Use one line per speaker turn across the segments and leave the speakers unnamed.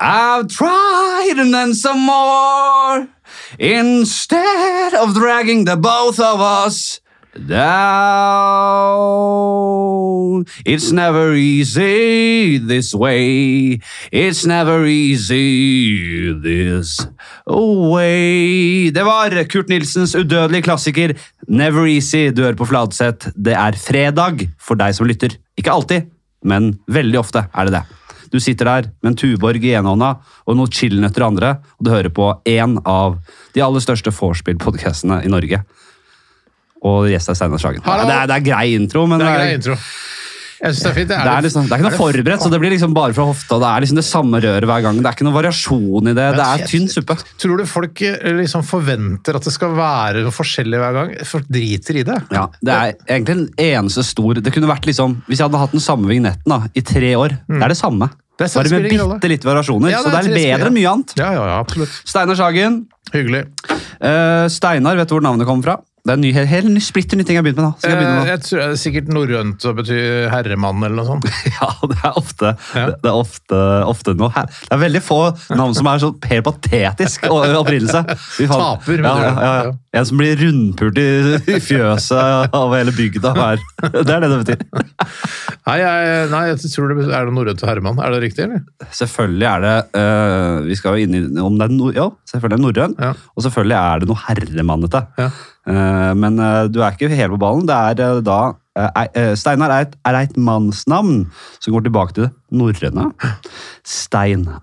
I've tried and then some more. Instead of dragging the both of us down. It's never easy this way. It's never easy this way. Det var Kurt Nilsens udødelige klassiker Never Easy dør på Fladseth. Det er fredag for deg som lytter. Ikke alltid, men veldig ofte er det det. Du sitter der med en Tuborg i ene hånda og noen chillenøtter i andre, og du hører på én av de aller største vorspiel-podkastene i Norge. Og gjest er Steinar Sagen.
Hallo!
Det er, det er grei intro, men
Det er grei intro. Jeg synes det er fint.
det er, liksom, det er ikke noe forberedt, så det blir liksom bare fra hofta. Det er liksom det samme røret hver gang. Det er ikke noe variasjon i det. Det er tynn suppe.
Tror du folk eh, liksom forventer at det skal være noe forskjellig hver gang? Folk driter i det.
Ja, Det er egentlig en eneste stor Det kunne vært liksom Hvis jeg hadde hatt den samme vignetten da, i tre år Det er det samme.
Mm. Det er-
Bare med
spiller ingen rolle.
bitte litt variasjoner.
Ja,
så det er
tre spill,
bedre enn mye annet.
Ja, ja, ja, absolutt.
Steinar Sagen,
Hyggelig.
Eh, Steinar, vet du hvor navnet kommer fra? Det er en ny, helt, helt ny, splitter ny ting jeg har begynt med nå. Skal jeg begynne
Eh,
med nå?
Jeg tror det er sikkert norrønt å bety herremann eller noe sånt.
Ja, det er ofte,
Ja.
det er ofte, ofte noe her. Det er veldig få navn som er så helt patetisk o- opprinnelse. Vi fant-
Taper, mener
ja, ja,
du?
ja, ja. En som blir rundpult i, i fjøset over hele bygda her. Det er det det betyr.
Nei, jeg, nei, jeg tror det er det norrønt og herremann. Er det riktig, eller?
Selvfølgelig er det eh, Vi skal jo inn i om det er nor- ja, selvfølgelig er det norrøn,
Ja.
og selvfølgelig er det noe herremannete.
Ja.
Eh, men eh, du er ikke helt på ballen. Det er eh, da eh, ei- eh, Steinar er et, er et mannsnavn som går tilbake til det norrøne. Steinar.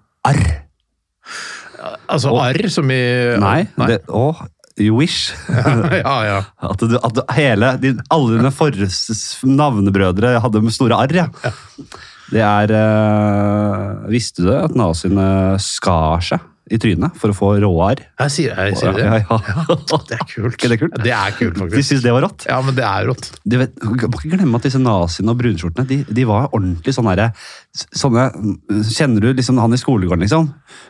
Altså arr, som i
Nei, det Å, you wish.
Ja, ja.
At, du, at du, hele, din, alle dine forres navnebrødre hadde med store arr, ja. Det er eh, Visste du det? At naziene skar seg i trynet for å få råarr?
Jeg sier, jeg sier det.
Ja, ja.
Det er kult.
Ikke det kult?
Det er kult,
De
faktisk.
syntes det var rått.
Ja, men det er rått.
Du vet, du må ikke glemme at disse naziene og brunskjortene de, de var ordentlig sånn derre sånne, Kjenner du liksom han i skolegården, liksom?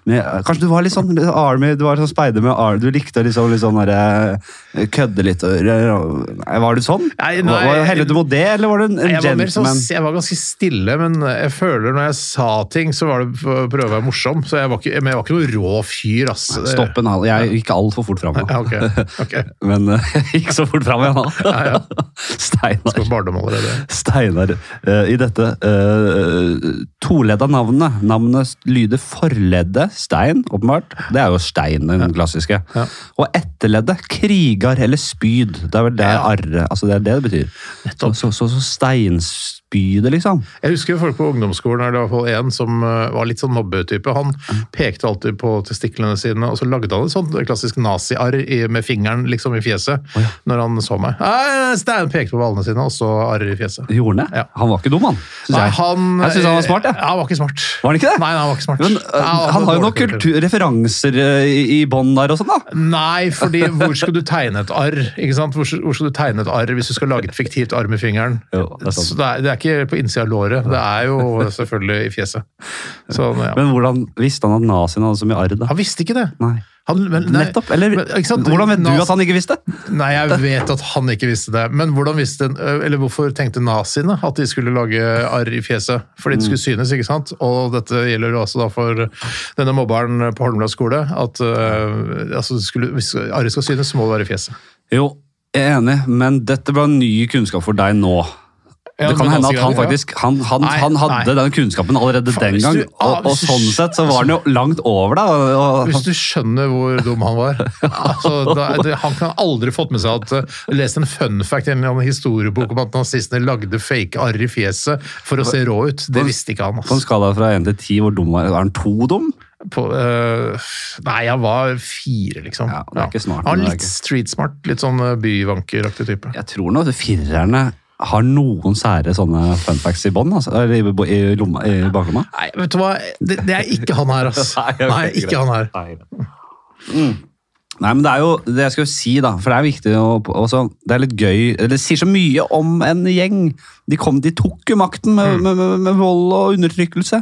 Med, kanskje du var litt sånn litt army, du var sånn speider med army, du likte liksom litt sånn derre Kødde litt og nei, Var du sånn?
Nei, nei,
var, var, heller du mot det, eller var du en, en
Jeg var, mer sånn,
gentleman?
jeg var ganske stille, men jeg føler når jeg sa ting, så var det for å prøve å være morsom. Så jeg var ikke, men jeg var ikke noen rå fyr, ass.
Stopp en hal. Jeg gikk altfor fort fram.
Ja, ok. ok.
Men jeg gikk så fort fram igjen da. Steinar.
På barndom allerede.
Steinar, eh, i dette uh, toledda navnet. Navnet lyder forleddet, stein, åpenbart. Det er jo stein, den klassiske. Og etterleddet, krigar eller spyd. Det er vel det arre, altså det er det det betyr. Så, så, så steinspydet, liksom.
Jeg husker folk på ungdomsskolen, eller i hvert fall en som eh, var litt sånn mobbetype. Han pekte alltid på testiklene sine, og så lagde han et sånt klassisk nazi-arr i- med fingeren liksom i fjeset når han så meg. Nei, Stein pekte på ballene sine, og så arr i fjeset.
Gjorde han det?
Ja.
Han var ikke dum, han. Synes
Nei,
jeg. jeg syns han var smart, jeg.
eh, Ja, han var ikke smart.
Var han ikke det?
Nei, han var ikke smart.
Men, eh,
Nei, var
han har jo
dårlig
noen kultur, referanser eh, i, i bånn der og sånn, da.
Nei, fordi hvor skal du tegne et arr? Ikke sant? Hvor, hvor skal du tegne et arr hvis du skal lage et fiktivt arr med fingeren?
Jo, det er sant.
Så det, er, det er ikke på innsida av låret, det er jo selvfølgelig i fjeset. Så, ja.
Men hvordan visste han at naziene hadde så mye arr, da?
han visste ikke det.
Nei.
Han, men, nei,
Nettopp. Eller
men, ikke sant?
hvordan vet du
Nas-
at han ikke visste?
Nei, jeg vet at han ikke visste det. Men hvordan visste, eller hvorfor tenkte naziene at de skulle lage arr i fjeset? Fordi det skulle
Mm.
synes, ikke sant? Og dette gjelder jo også da for denne mobberen på Holmland skole. At øh, altså, det skulle, hvis arret skal synes, så må det være i fjeset.
Jo, jeg er enig, men dette ble ny kunnskap for deg nå.
Ja,
det kan
men
hende
altså,
at han
ja.
faktisk han, han,
Nei,
han hadde
nei.
den kunnskapen allerede
Faen,
den
hvis
gang,
du- ah,
og, og
hvis du-
sånn sett så var han jo langt over deg. og- Og,
Hvis du skjønner hvor dum han var altså, da, det, Han kan aldri fått med seg at uh, lest en fun fact i en eller annen historiebok om at nazistene lagde fake arr i fjeset for å se rå ut. Det visste ikke han.
på en
Altså.
skala fra 1 til 10, hvor dum var han? Er han to dum?
På, uh, nei, han var fire, liksom.
Ja, det er ikke smart,
han
men
var
det er
litt
ikke-
streetsmart, litt sånn uh, byvankeraktig type.
Jeg tror nå at firerne har noen sære sånne fun facts i bånn, altså, eller i, bo- i, lomma, i baklomma.
Nei, vet du hva? Det, det er ikke han her, ass.
Nei, ok,
Nei, ikke han her.
Nei, men det er jo det jeg skal si, da. For det er viktig å også, Det er litt gøy eller Det sier så mye om en gjeng. De, kom, de tok jo makten med, med, med, med vold og undertrykkelse.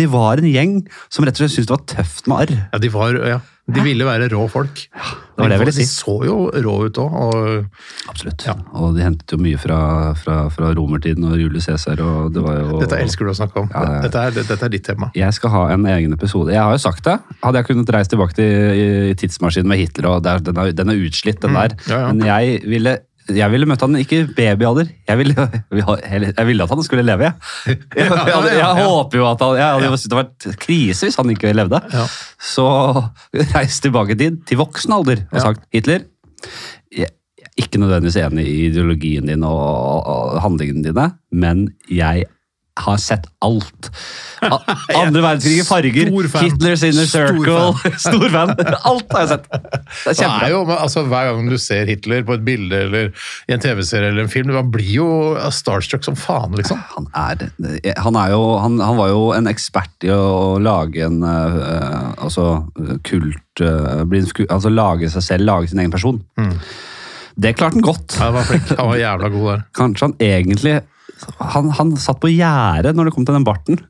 De var en gjeng som rett og slett syntes det var tøft med arr.
Ja, de var, ja. De ville være rå folk.
var det jeg ville si.
De så jo rå ut òg. Og
Absolutt. Og de hentet jo mye fra, fra, fra romertiden og Julius Cæsar, og det var jo
dette elsker du å snakke om.
Ja, ja.
Dette, er, dette er ditt tema.
Jeg skal ha en egen episode. Jeg har jo sagt det. Hadde jeg kunnet reise tilbake til i, i tidsmaskinen med Hitler, og der, den, er, den er utslitt, den der.
Mm. ja, ja.
Men jeg ville, jeg ville møtt han ikke i babyalder. Jeg ville, jeg ville at han skulle leve, jeg. Jeg, jeg,
Ja, ja,
jeg,
ja.
håper jo at han Jeg hadde jo syntes det hadde vært krise hvis han ikke levde.
Ja.
Så reis tilbake dit, til voksen alder, og
Ja.
sagt Hitler jeg, jeg er ikke nødvendigvis enig i ideologien din og, og, og handlingene dine, men jeg har sett alt. A- Andre verdenskrig i farger,
Stor fan.
Hitlers inner
Stor
circle, stor fan. Alt har jeg sett. Det er
Det er
kjempebra.
jo, men altså, hver gang du ser Hitler på et bilde eller i en TV-serie eller en film, man blir jo starstruck som faen, liksom.
Han er, han, er jo, han, han var jo en ekspert i å lage en eh, altså, kult eh, bli en sku, Altså lage seg selv, lage sin egen person.
Mm.
Det klarte han godt.
Ja, han var flink. Han var jævla god der.
Kanskje han egentlig han, han satt på gjerdet når det kom til den barten.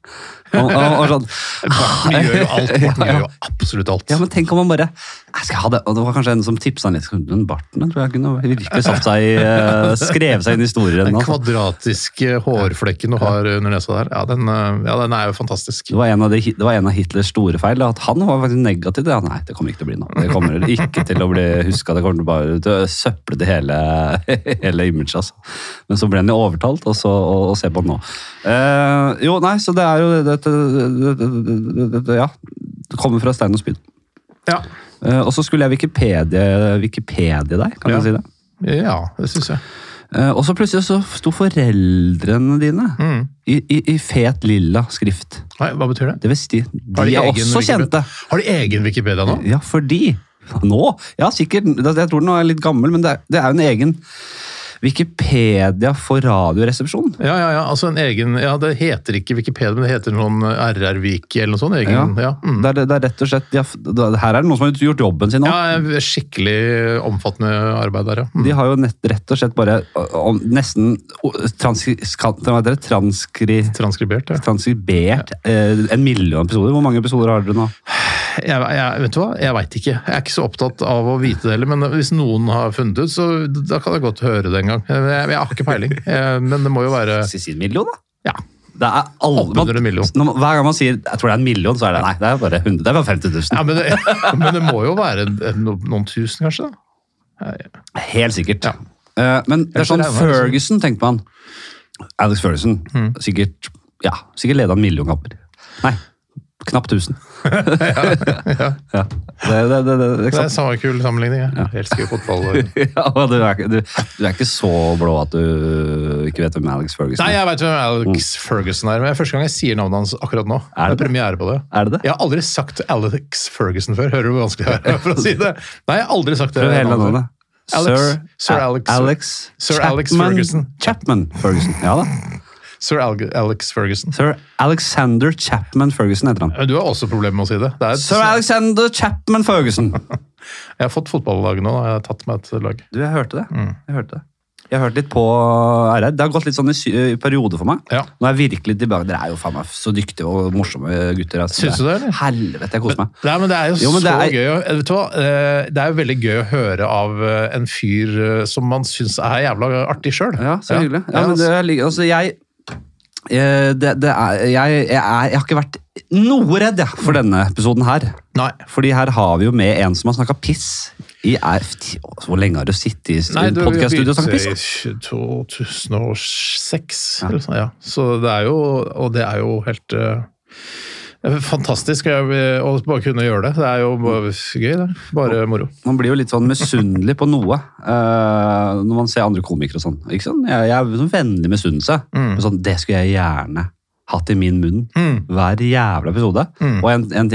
Og, og, og sånn,
Morten gjør jo alt. Morten gjør jo absolutt alt.
ja, men tenk om han bare jeg skal ha det. Og det var kanskje en som tipsa han litt. Den barten den tror jeg kunne virkelig satt seg i, eh, skrevet seg inn i historien.
Den
Altså.
kvadratiske hårflekken du har under nesa der, ja, den, eh, ja, den er jo fantastisk.
Det var, en av de, det var en av Hitlers store feil, da, at han var faktisk negativ. Ja, nei, det kommer ikke til å bli noe. Det kommer ikke til å bli huska. Det kommer til bare til å søple det hele, hele imaget. Altså. Men så ble han jo overtalt, og, så, og, og se på han nå. Eh, jo, nei, så det er jo dette det, det, det, det, det, det, Ja. Det kommer fra stein og spyd.
Ja,
Eh, og så skulle jeg Wikipedia, Wikipedia deg, kan
Ja.
jeg si det.
ja det syns jeg.
Eh, og så plutselig så sto foreldrene dine
Mm.
i, i, i fet lilla skrift.
Nei, hva betyr det?
Det vil si, de, de er
egen
også
Wikipedia?
kjente.
Har de egen Wikipedia nå?
Ja, fordi Nå? Ja, sikkert. Jeg tror den er litt gammel, men det er, det er jo en egen Wikipedia for radioresepsjon.
Ja, ja, ja. Altså en egen Ja, det heter ikke Wikipedia, men det heter noen RR-Vik eller noe sånt. Egen, ja. Mm.
Det, er, det er rett og slett de har, f- da- Her er det noen som har gjort jobben sin nå.
ja. Skikkelig omfattende arbeid der, ja. Mm.
De har jo nett, rett og slett bare ø, om, nesten o- transkri, kan- hva heter det? transkri,
Transkribert, ja.
transkribert eh, en million episoder. Hvor mange episoder har dere nå?
Jeg, jeg, vet du hva? Jeg veit ikke. Jeg er ikke så opptatt av å vite det heller, men hvis noen har funnet ut, så da kan jeg godt høre det en gang. Jeg, jeg har ikke peiling, Eh, men det må jo være
Si si en million, da.
Ja.
Det er alle, man,
Oppunder en million.
når man, hver gang man sier 'jeg tror det er en million', så er det nei, det er bare 100, det er bare 50 000.
Ja, men, det, men det må jo være no, noen tusen, kanskje? da?
Helt sikkert.
Ja.
Eh, men det er
Ellers
sånn
er liksom. det jo bare
Ferguson, tenkte man. Alex Ferguson.
Mm.
Sikkert, ja, sikkert leda en million kamper. Nei, knapt 1000. ja. Det, det, det, det, det, ikke
Det er
sant?
samme kul sammenligning. Jeg elsker jo fotball.
Ja, og du, er, ikke- du, du er ikke så blå at du ikke vet hvem Alex Ferguson
Nei,
er.
jeg veit hvem Alex Ferguson er, men det er første gang jeg sier navnet hans akkurat nå.
Er det
det Mm. er premiere på det.
Er det det?
Jeg har aldri sagt Alex Ferguson før. Hører du hvor vanskelig det er for å si det? Nei, jeg har aldri sagt det.
Prøv hele
navnet før.
navnet.
Alex-
Sir,
Sir Alex-
Alex,
Sir Alex Ferguson.
Chapman Ferguson. Ja da.
Sir Al- Alex Ferguson.
Sir Alexander Chapman Ferguson heter han.
Men du har også problemer med å si det. det er,
Sir Alexander Chapman Ferguson.
Jeg har fått fotballaget nå. da. Jeg har tatt meg et lag.
Du, jeg hørte det.
Mm.
Jeg hørte det. Jeg har hørt litt på RR. Det har gått litt sånn i, sy i periode for meg.
Ja.
Nå er jeg virkelig tilbake. Dere er jo faen meg så dyktige og morsomme gutter. Altså.
Syns du det, eller?
Helvete, jeg koser meg.
Nei, men Det er jo,
Jo, men det
så
er-
gøy. å- Vet du hva? Eh, Det er jo veldig gøy å høre av eh, en fyr eh, som man syns er jævla artig sjøl.
Ja, så hyggelig. Ja, men
altså.
det, er li- altså, jeg, eh, det, det er, jeg, jeg, er, jeg har ikke vært noe redd jeg, for denne episoden her.
Nei.
Fordi her har vi jo med en som har snakka piss. I er, hvor lenge har du sittet i
Nei, du
podkaststudio og snakka piss?
i 2006, eller sånn, ja. Så det er jo Og det er jo helt eh, fantastisk å å bare kunne gjøre det. Det er jo bare gøy, det. Bare moro.
sånn eh, sånn,
Mm.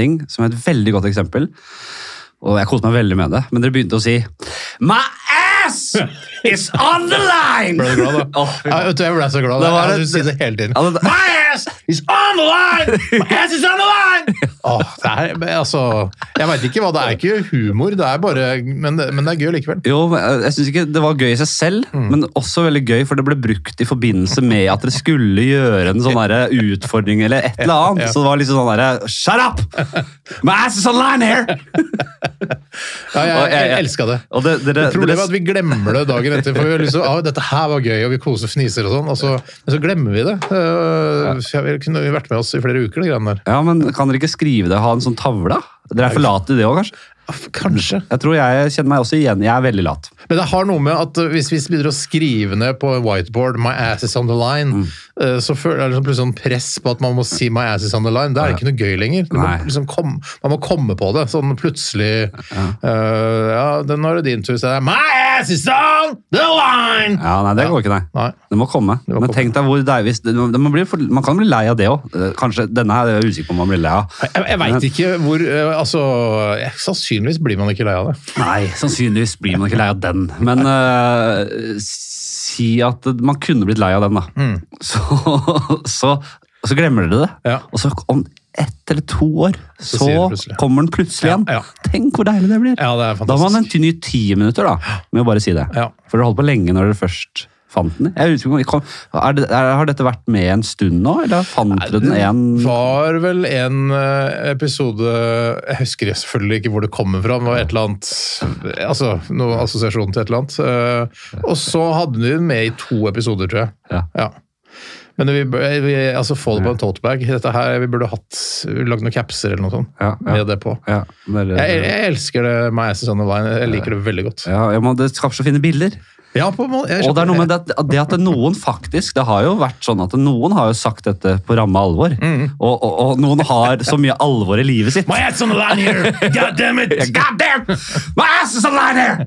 Mm. Ble du glad, da?
Åh, fy
Ja, vet du, jeg ble så glad.
Det var
Jeg
et-
synes det hele tiden.
Ja, det-
My ass is on the line! My ass is on the line! Åh, det er, men altså, jeg veit ikke hva det er. Ikke humor, det er bare, men, det, men det er gøy likevel.
Jo, men, eh, jeg synes ikke Det var gøy i seg selv, men også veldig gøy, for det ble brukt i forbindelse med at dere skulle gjøre en sånn derre utfordring eller et eller annet.
Ja, ja.
Så det var liksom sånn derre Shut up! My ass is online here!
Ja,
Og
jeg jeg,
jeg-
elska det.
Og det, dere,
Problemet er
dere,
at vi glemmer det dagen etter. For vi har lyst til å, ah, dette her var gøy, og vi koser og fniser og sånn. Og så, men så glemmer vi det. Uh, ja. Vi kunne jo vært med oss i flere uker, de greiene der.
ja, men kan dere ikke skrive det? Ha en sånn tavle? Dere er for late i det òg, kanskje?
Kanskje.
Jeg tror jeg kjenner meg også igjen. Jeg er veldig lat.
Men det har noe med at uh, hvis vi begynner å skrive ned på en whiteboard 'my ass is on the line', uh, så føler jeg liksom plutselig sånn press på at man må si 'my ass is on the line'. Da er det ikke noe gøy lenger. Du må
Nei.
liksom kom, man må komme på det. Sånn plutselig uh, Ja, den har det din tur. Så er det 'my ass is on the line'!
Ja, nei, det går ikke, nei.
Nei.
Det må komme.
må
Men
komme.
tenk deg hvor deilig det, det må bli for, Man kan bli lei av det òg. Kanskje denne her er jeg usikker på om man blir lei av.
Jeg, jeg veit ikke hvor eh, Altså, eh, sannsynligvis blir man ikke lei av det.
Nei, sannsynligvis blir man ikke lei av den. Men eh, si at man kunne blitt lei av den, da.
Mm.
Så, så, så glemmer dere det.
Ja.
Og så om ett eller to år, så,
sier det plutselig.
kommer den plutselig igjen.
Ja, ja.
Tenk hvor deilig det blir.
Ja, det er
da må man
fantastisk.
en ny ti minutter da, med å bare si det.
Ja.
For dere holdt på lenge når dere først fant den. Jeg husker, ikke om- er det, er, har dette vært med en stund nå, eller fant dere den
Det
en
var vel en eh, episode Jeg husker selvfølgelig ikke hvor det kommer fra, men det var et eller annet Altså noe assosiasjon til et eller annet. Eh, Og så hadde vi den med i to episoder, tror jeg.
Ja.
Men vi, bør- vi, altså få det på en totebag. Dette her, vi burde hatt lagd noen capser eller noe sånt
Ja, ja.
med det på.
ja, dere-
Jeg, jeg elsker det med Asses on the line. Jeg liker det veldig godt.
ja, ja, men det skaper så fine bilder.
Ja, på en måte. jeg
Og det er noe
skjønner-
med det, at- det at det noen faktisk Det har jo vært sånn at noen har jo sagt dette på ramme alvor. Og, og, og noen har så mye alvor i livet sitt.
My ass on the line here! God damn it!
God damn! My ass is a liar!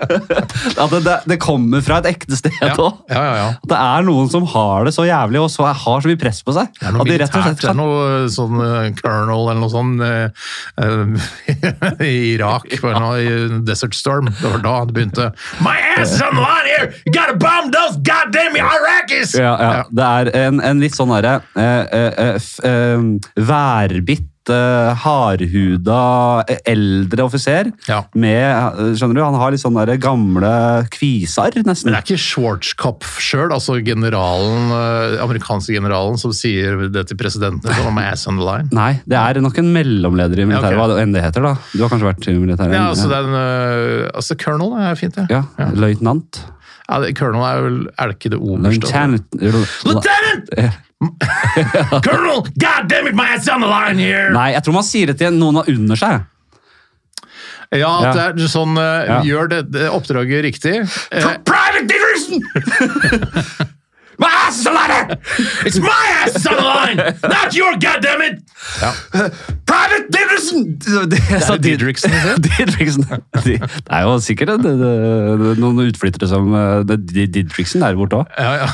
at det, det, det kommer fra et ekte sted
Ja,
òg.
ja, ja, ja.
Det er noen som har det så jævlig og så har så mye press på seg.
Det er noe
at de rett og
militært,
slett
det er noe sånn eh, colonel eller noe sånt eh, eh, i Irak, for noe, i Desert Storm. Det var da det begynte. My ass is on the line here! You gotta bomb those goddamn Iraqis!
Ja, ja. Det er en, en litt sånn derre eh, eh, eh, f- eh, værbitt, eh, hardhuda, eh, eldre offiser.
Ja.
Med, eh, skjønner du, han har litt sånn derre gamle kvisar,
Men
nesten.
det er ikke Schwarzkopf sjøl, altså generalen, eh, amerikanske generalen, som sier det til presidenten. Sånn, My ass on the line.
Nei, det er nok en mellomleder i militæret,
Ja, ok.
hva enn det heter. da. Du har kanskje vært i militæret?
Ja, altså, det er en, eh, altså colonel er fint, det.
ja. Løytnant.
Ja, det- colonel er vel Er det ikke det oberste?
Lieutenant.
Lieutenant! Colonel! God damn it, my ass on the line here!
Nei, jeg tror man sier det til noen av under seg.
Ja, at
Ja.
det er sånn eh,
Ja.
Gjør det, det oppdraget riktig. Eh,
Private diversion! My ass is a liar!
It's my ass on the line, not your goddammit!
Private Didriksen! Det er
Didriksen, ikke
Didriksen. De- Det er jo sikkert det, det, det, noen utflyttere som eh, det, det- Didriksen der borte òg.
ja, ja,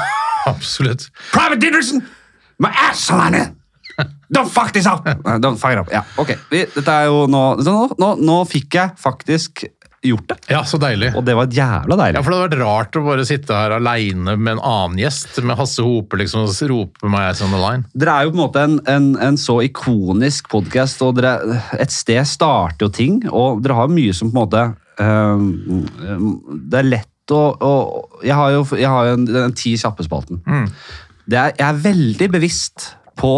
absolutt.
Private Didderson, my ass on the line! Don't fuck this up!
Don't fire up. Ja, ok. Vi, dette er jo nå, så nå, nå, nå fikk jeg faktisk gjort det,
Ja, så deilig.
og det var jævla
Ja,
deilig.
for Det hadde vært rart å bare sitte her aleine med en annen gjest, med Hasse Hope, liksom, og rope meg ass on the line.
Dere er jo på en måte en, en, en så ikonisk podkast, og dere, et sted starter jo ting, og dere har mye som på en måte eh, Det er lett å, å Jeg har jo, jeg har jo en, den ti kjappe-spalten. Det er, jeg er veldig bevisst på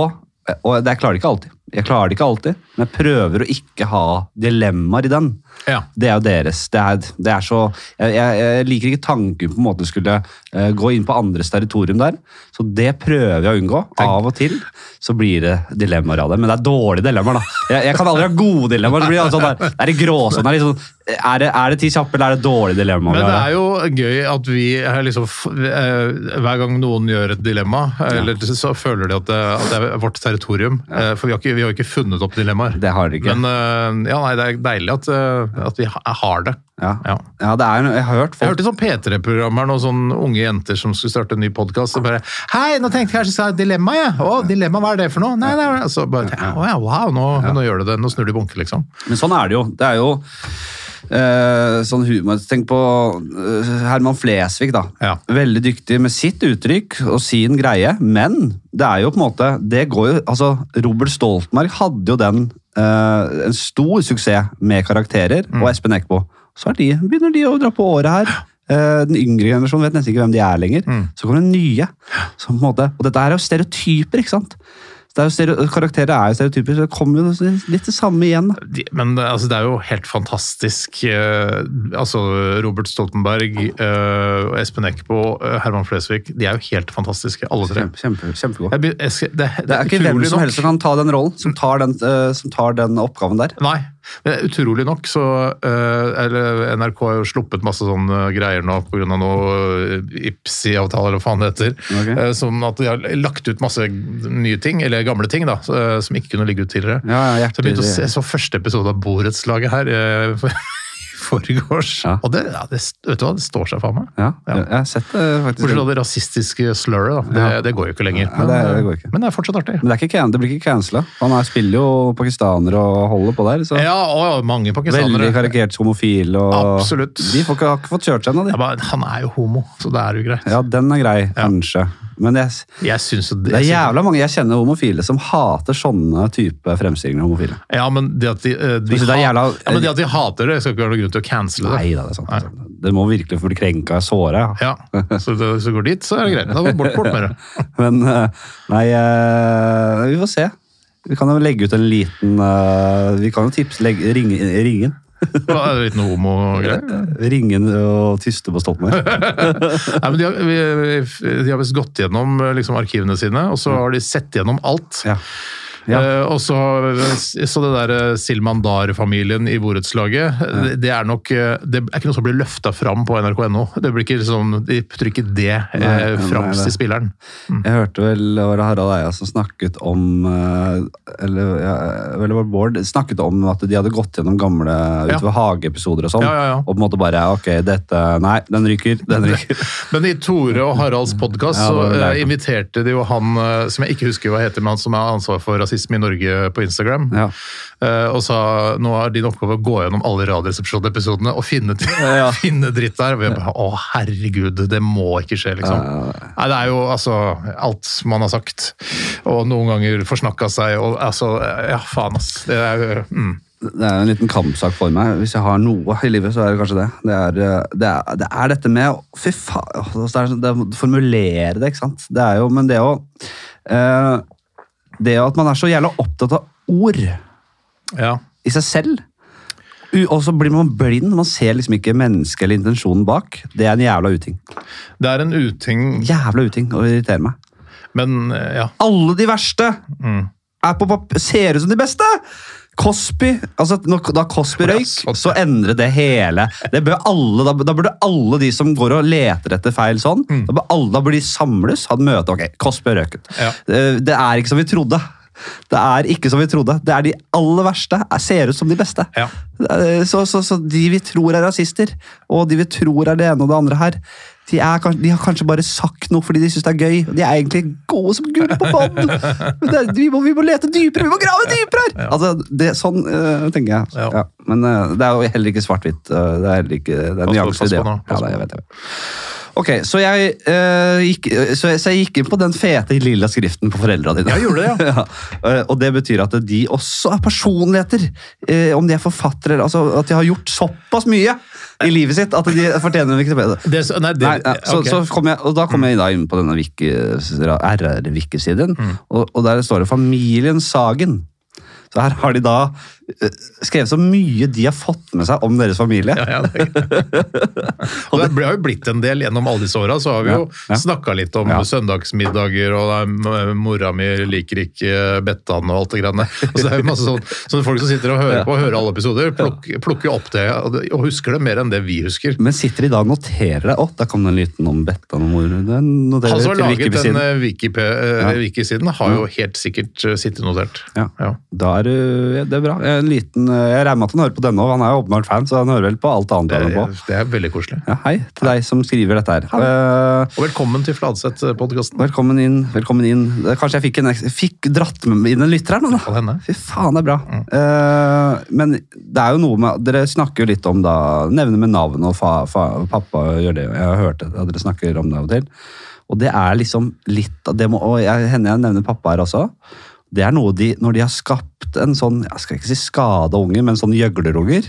Og det, jeg klarer det ikke alltid. Jeg klarer det ikke alltid, men jeg prøver å ikke ha dilemmaer i den.
Ja.
Det er jo deres. Det er, det er så, jeg, jeg, jeg liker ikke tanken på en måte skulle eh, gå inn på andres territorium der. Så det prøver jeg å unngå. Av og til så blir det dilemmaer av det. Men det er dårlige dilemmaer, da. Jeg, jeg kan aldri ha gode dilemmaer. Det blir alltid sånn der, det er i gråsonen. det Er, litt sånn, er, det, er det ti kjappe, eller er det dårlige dilemmaer?
Men det er jo gøy at vi er liksom f- eh, Hver gang noen gjør et dilemma, eh, eller så føler de at det, at det er vårt territorium. Eh, For vi har, ikke, vi har ikke funnet opp dilemmaer.
Det har dere ikke.
Men eh, ja, nei, det er deilig at, eh, at vi ha- har det.
ja.
Ja.
ja, det er, jeg har hørt
Jeg
folk
hørte sånn P3-program her, noen sånn unge jenter som skulle starte en ny podkast. Og bare 'Hei, nå tenkte jeg kanskje jeg skal ha et dilemma, jeg.' 'Å, dilemma, hva er det for noe?' Nei, altså, nei, nei. Så bare, «Å ja, wow, nå, nå gjør du det. Nå snur de bunke, liksom.
Men sånn er det jo. Det er jo eh, sånn humor. Tenk på eh, Herman Flesvig, da.
Ja.
Veldig dyktig med sitt uttrykk og sin greie, men det er jo på en måte det går jo, altså, Robert Stoltenberg hadde jo den eh, en stor suksess med karakterer, og Espen Eckbo. Så er de, begynner de å dra på året her. Eh, den yngre generasjonen vet nesten ikke hvem de er lenger. Så kommer det nye. Som på en måte, og dette her er jo stereotyper, ikke sant? Så Det er jo stereo, karakterer er jo stereotyper, så det kommer jo litt det samme igjen. da.
De, men det- altså, det er jo helt fantastisk. eh, altså, Robert Stoltenberg, eh, Espen Eckbo, eh, Herman Flesvig. De er jo helt fantastiske, alle tre.
Kjempe, kjempe, kjempegod.
Mm. Jeg, be- jeg, skal- det, det
Det er ikke hvem
utrolig sånn.
som
nok.
helst som kan ta den rollen, som tar den, eh, som tar den oppgaven der.
Nei, men utrolig nok så eh, eller NRK har jo sluppet masse sånne eh, greier nå pga. noe eh, IPSI-avtale, eller hva faen det heter.
Ok.
eh, som at de har lagt ut masse nye ting, eller gamle ting, da, så, eh, som ikke kunne ligge ut tidligere.
Ja, ja,
så jeg begynte å se
hjertelig.
så første episode av Borettslaget her eh, for- i forgårs.
Ja.
Og det, ja, det, vet du hva, det står seg faen meg.
Ja,
Ja.
jeg jeg har sett det faktisk.
Bortsett fra det rasistiske slurret, da. Det,
Ja.
det går jo ikke lenger.
Nei, det- det går ikke.
men det er fortsatt artig.
Men det, er ikke, can- det blir ikke cancela. Han er, spiller jo pakistaner og holder på der. Så
Ja, og mange
veldig
pakistanere.
karikert homofil. Og
Absolutt.
De får ikke, har ikke fått kjørt seg ennå,
Jeg
de.
bare, han er jo homo, så det er jo greit.
Ja, den er grei, kanskje. Men jeg,
Jeg synes jo det,
det er jævla mange jeg kjenner homofile som hater sånne type fremstillinger av homofile.
Ja, men det at de, eh, de,
synes det er
ha-
jævla-
ja, men det at de hater det, skal ikke være noen grunn til å cancele det.
Nei da, det er sant. det er sant. Det må virkelig få bli krenka og såra. ja.
Ja, så det, hvis du går dit, så er det greit. Da går bort, bort med det.
Men eh, nei, eh, vi får se. Vi kan jo legge ut en liten eh, Vi kan jo tipse legge, ringe, ringen.
Hva, er det litt noe homo-greier?
Ringen og tyste på Stoltenberg.
Nei, men de har, vi- vi- de har visst gått gjennom eh, liksom, arkivene sine, og så har de sett gjennom alt.
Ja. Ja.
Eh, og så, så det der eh, Silman Dar-familien i borettslaget, det, det er nok eh, Det er ikke noe som blir løfta fram på nrk.no. Det blir ikke liksom, De trykker det
Nei,
eh,
nei,
fram
det-
til spilleren.
Jeg hørte vel det var Harald Eia som snakket om eh, Eller, ja, eller var det Bård snakket om at de hadde gått gjennom gamle
Ja.
utover hageepisoder og sånn.
Ja, ja, ja.
Og på en måte bare Ok, dette Nei, den ryker. Den ryker.
Men i Tore og Haralds podkast
Ja, det var jo
så eh,
leit.
inviterte de jo han eh, som jeg ikke husker hva heter, men han som har ansvar for rasisme i Norge på Instagram,
Ja.
eh, og sa nå er din oppgave å gå gjennom alle Radioresepsjon-episodene og finne,
ja.
finne dritt der. Og jeg bare, Å, herregud, det må ikke skje, liksom.
Eh,
Nei, det er jo altså alt man har sagt, og noen ganger forsnakka seg, og altså Ja, faen, ass. Det er jo mm.
Det er jo en liten kampsak for meg. Hvis jeg har noe i livet, så er det kanskje det. Det er, eh, det er, det er dette med å- Fy faen. altså, Det er, sånn- det er, å formulere det, ikke sant. Det er jo, men det å eh, Det at man er så jævla opptatt av ord
Ja.
i seg selv. U- Og så blir man blind. Man ser liksom ikke mennesket eller intensjonen bak. Det er en jævla uting.
Det er en uting,
Jævla uting og irriterer meg.
men eh, ja.
Alle de verste
Mm.
er på pap ser ut som de beste! Cosby, altså når, Da Cosby
Ja,
røyk,
sånn.
så endret det hele. Det bør alle, da, da burde alle de som går og leter etter feil sånn,
Mm.
da, bør alle, da burde de samles, ha et møte. Ok, Cosby røket.
Ja.
Eh, Det er ikke som vi trodde. Det er ikke som vi trodde. Det er de aller verste. er- Ser ut som de beste.
Ja.
Eh, Så, så, så de vi tror er rasister, og de vi tror er det ene og det andre her, de, er, kan- de har kanskje bare sagt noe fordi de syns det er gøy. og De er egentlig gode som gull på bånn! Men det er- Vi, må- vi må lete dypere! Vi må grave dypere her! Altså, det, sånn eh, tenker jeg.
Ja.
Ja. Men eh, det er jo heller ikke svart-hvitt. eh, det er heller ikke det er
Pass på-
nyanser i
pass
det.
på nå,
Ja,
pass
da,
på.
jeg vet, jeg vet. Ok, så jeg, eh, gikk, så, jeg, så jeg gikk inn på den fete lilla skriften på foreldra dine.
Jeg gjorde det, ja.
Ja, eh, Og det betyr at de også er personligheter. eh, Om de er forfattere, eller- altså at de har gjort såpass mye i livet sitt at de fortjener en Wikipedia.
Det, er så- nei, det,
Nei, ja, så,
ok.
så kom jeg, og da kom jeg da inn på denne Wiki- eh, RR-wiki-siden,
Mm.
og, og der står det 'Familien Sagen'. Så her har de da eh, skrevet så mye de har fått med seg om deres familie.
Ja, ja, det er greit. og det har jo blitt en del gjennom alle disse åra. Så har vi jo
Ja, ja.
snakka litt om
Ja.
søndagsmiddager, og det er m- mora mi liker ikke Bettan og alt det greiene. Og så det er jo masse sånn, så folk som sitter og hører på og hører alle episoder, plukker, plukker opp det og det- og husker det mer enn det vi husker.
Men sitter de da og noterer det? sånn Å, der kom den lyten om Bettan og mor. Den noterer
Han
vi
som har
til
laget den
Wikipesiden.
eh, Wikipe- eh,
Ja.
wikisiden, har jo helt sikkert eh, sittet notert.
Ja.
Ja.
Da er, eh, det er bra. En liten, eh, jeg regner med at han hører på denne òg. Han er jo åpenbart fan, så han hører vel på alt annet han
Det,
er på.
det er veldig koselig.
Ja, hei til deg som skriver dette her. Eh,
Og velkommen til eh, Fladseth-podkasten.
velkommen inn. velkommen inn. Det- Kanskje jeg fikk, en, eks- fikk dratt med inn en lytter her nå, da.
Kan hende.
Fy faen, det er bra. Eh, men det er jo noe med Dere snakker jo litt om da Nevner med navn og fa, fa, pappa gjør det. Jeg har hørt at dere snakker om det av og til. Og det er liksom litt av det må, Og jeg, hender jeg nevner pappa her også. Det er noe de Når de har skapt en sånn Jeg skal ikke si skadeunger, men sånn gjøglerunger.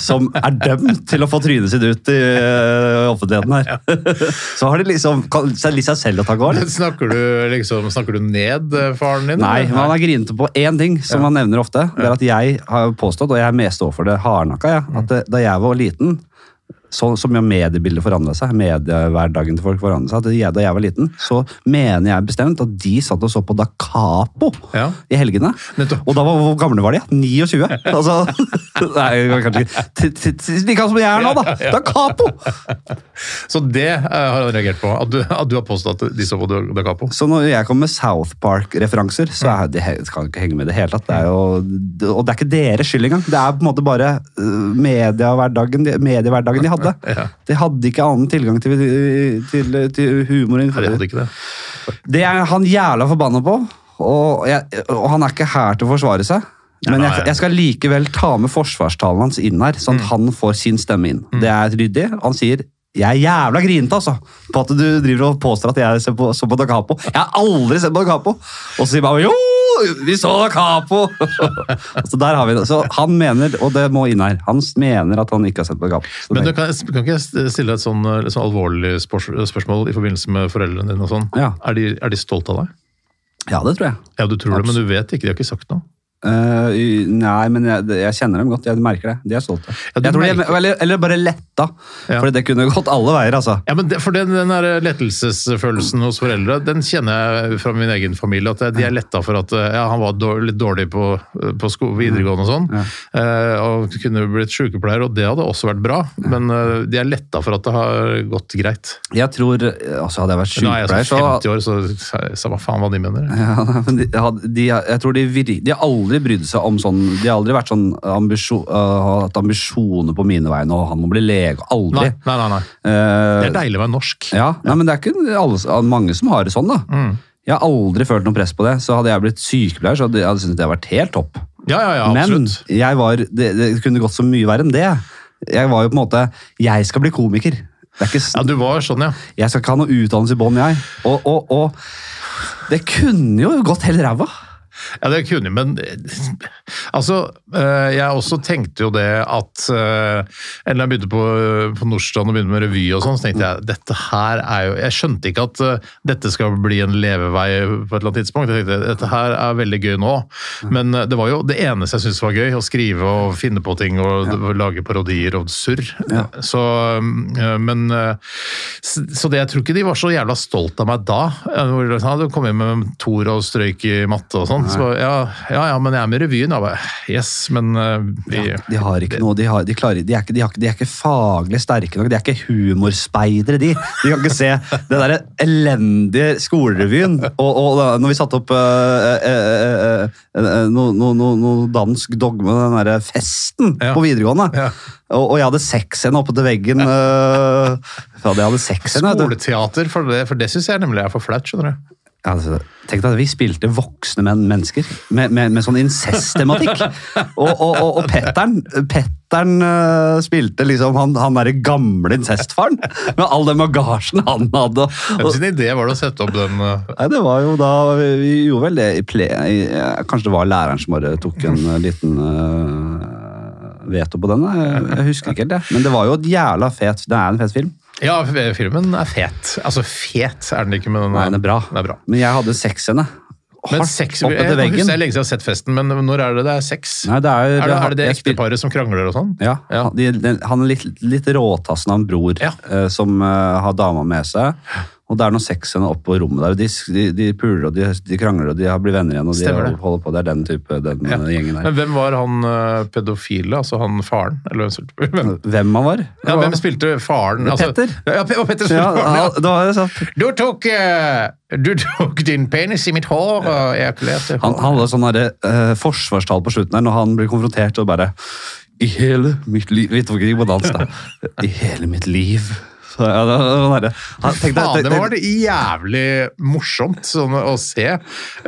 Som er dømt til å få trynet sitt ut i eh, offentligheten her. Så har de liksom kan- så er det litt seg selv å ta gård.
Snakker du, liksom, snakker du ned eh, faren din?
Nei,
eller?
men han er grinete på én ting som han nevner ofte. Det er at jeg har påstått, og jeg mest står for det hardnakka, jeg, at
Mm.
det, da jeg var liten så, så mye av mediebildet forandra seg, mediehverdagen til folk forandra seg. at Jeg, da jeg var liten, så mener jeg bestemt at de satt og så på Da Capo
Ja.
i helgene.
Nettopp.
Og da var, hvor gamle var de? 29? Altså, nei, kanskje ikke. Til- til- til- Like gamle som jeg er nå, da! Da Capo!
Så det eh, har han reagert på. At du, at du har påstått at de så på Da Capo.
Så når jeg kommer med South Park-referanser, så er det, det kan ikke henge med i det hele tatt. Det er jo, det- og det er ikke deres skyld engang. Det er på en måte bare øh, mediehverdagen de, mediehverdagen de hadde.
Ja.
De hadde ikke annen tilgang til, øh, til, til humor.
Nei, de hadde ikke det.
Det er han jævla forbanna på, og, jeg, og han er ikke her til å forsvare seg. Men jeg, jeg skal likevel ta med forsvarstalen hans inn her, sånn at han får sin stemme inn. Det er ryddig. Han sier jeg er jævla grinete altså, på at du driver og påstår at jeg ser på, så på Da Capo. Jeg har aldri sett på Da Capo! Og så sier man jo, vi så Da Capo! så der har vi det. Så han mener, og det må inn her, han mener at han ikke har sett på Da Capo. Så
Men du
det-
kan, kan ikke jeg stille deg et sånn, eh, litt sånn alvorlig spørs, spørsmål i forbindelse med foreldrene dine og sånn?
Ja.
Er, de, er de stolte av deg?
ja, det tror jeg.
Ja, du tror det, men du vet ikke. De har ikke sagt noe.
Eh, y- nei, men jeg, det- jeg kjenner dem godt. Jeg merker det. De er stolte.
Ja, du
jeg tror de
merker-
er, eller, eller bare letta.
Ja.
For det kunne gått alle veier, altså.
Ja, men det, for den, den der lettelsesfølelsen hos foreldre, den kjenner jeg fra min egen familie. At de er letta for at eh, ja, han var dårlig, litt dårlig på, på sko, videregående og sånn. eh, Og kunne blitt sykepleier, og det hadde også vært bra. Men eh, de er letta for at det har gått greit.
Jeg tror, altså Hadde jeg vært
Nå er jeg
sykepleier,
sånn
så
50 år, så, så, så hva faen hva de mener?
ja, nei, men de, hadde- de, jeg tror de, vir- de har aldri brydd seg om sånn De har aldri vært sånn ambisjon, øh, hatt ambisjoner på mine vegne, og han må bli lege.
Nei,
Aldri.
nei, nei. nei.
Eh,
Det Mm. er deilig å være norsk.
Ja, nei, men det er ikke alle, mange som har det sånn, da. Jeg har aldri følt noe press på det. Så hadde jeg blitt sykepleier, så hadde jeg hadde syntes det hadde vært helt topp.
Ja, ja, ja,
Men
absolutt.
jeg var, det, det kunne gått så mye verre enn det. Jeg var jo på en måte Jeg skal bli komiker. Det er ikke, s-
Ja, du var sånn, ja.
jeg skal ikke ha noe utdannelse i bånn, jeg. Og, og, og det kunne jo gått helt ræva.
Ja, det kunne jeg, men eh, Altså, eh, jeg også tenkte jo det at eh, Eller da jeg begynte på, på Nordstrand og begynte med revy og sånn, så tenkte jeg dette her er jo Jeg skjønte ikke at eh, dette skal bli en levevei på et eller annet tidspunkt. Jeg tenkte dette her er veldig gøy nå, men eh, det var jo det eneste jeg syntes var gøy. Å skrive og finne på ting og d- lage parodier og surr. Så, eh, men eh, s- Så det jeg tror ikke de var så jævla stolt av meg da. Eh, hvor det var sånn, Du kom inn med Tor og strøyk i matte og sånn. Så bare, ja, ja, ja, men jeg er med i revyen. Jeg bare, yes, men eh, vi
De har ikke noe, de, har, de, klarer, de, er ikke, de, har, ikke- de er ikke faglig sterke nok, de er ikke humorspeidere, de. De kan ikke se den der elendige skolerevyen. Og, og da, når vi satte opp eh, eh, eh, eh, noe no, no, no dansk dogme, den derre festen
Ja.
på videregående
Ja.
og, og jeg hadde sexscene oppe til veggen. eh, ja, jeg hadde sexscene, vet du.
Skoleteater, for det, for det syns jeg nemlig er for flaut, skjønner du.
Ja, Altså, tenk deg at vi spilte voksne menn mennesker med, med, med sånn incest-tematikk. Og, og, og, og Petteren, Petteren øh, spilte liksom han, han derre gamle incestfaren med all den bagasjen han hadde.
Hvem
Og,
sin idé var det å sette opp den eh,
nei, det var jo da Vi, vi gjorde vel det i ple... I, eh, kanskje det var læreren som bare tok en eh, liten øh, veto på den? da. Jeg, jeg husker ikke helt det. Men det var jo et jævla fet Det er en fet film.
Ja, f- filmen er fet. Altså, fet er den ikke, men den
Nei, den er bra.
Den er bra.
Men jeg hadde sexscene.
Men
Hardt
sex, jeg,
oppe til
jeg,
veggen.
det er lenge siden jeg har sett festen, men når er det det er sex?
Nei, det er, jo-
er, det, er det det
jeg spil-
ekteparet som krangler og sånn?
Ja,
Ja.
han- De, den, han er litt, litt råtassen av en bror
Ja.
eh, som eh, har dama med seg. Og det er noen sexscener oppe på rommet der. og De, de, de puler og de, de krangler og de har- blir venner igjen. og de
Stemmer det.
holder på. Det er den type, den
Ja.
eh, gjengen der.
Men hvem var han eh, pedofile, altså han faren? Eller hvem spilte hvem?
Hvem han var?
Ja, hvem spilte faren? Altså,
Petter.
Ja, Pe- og Petter spilte
Ja,
faren, ja.
ja, da har jeg sagt.
Du tok, eh, du tok din penis i mitt hår, og jeg ejakulerte.
Han, han hadde sånn derre, eh, forsvarstall på slutten der, når han blir konfrontert og bare I hele mitt liv Vet du ikke på dans, da. I hele mitt liv. Så, ja, det var sånn derre- han- tenk deg-
Faen, det
tenk-
var det jævlig morsomt sånn, å se,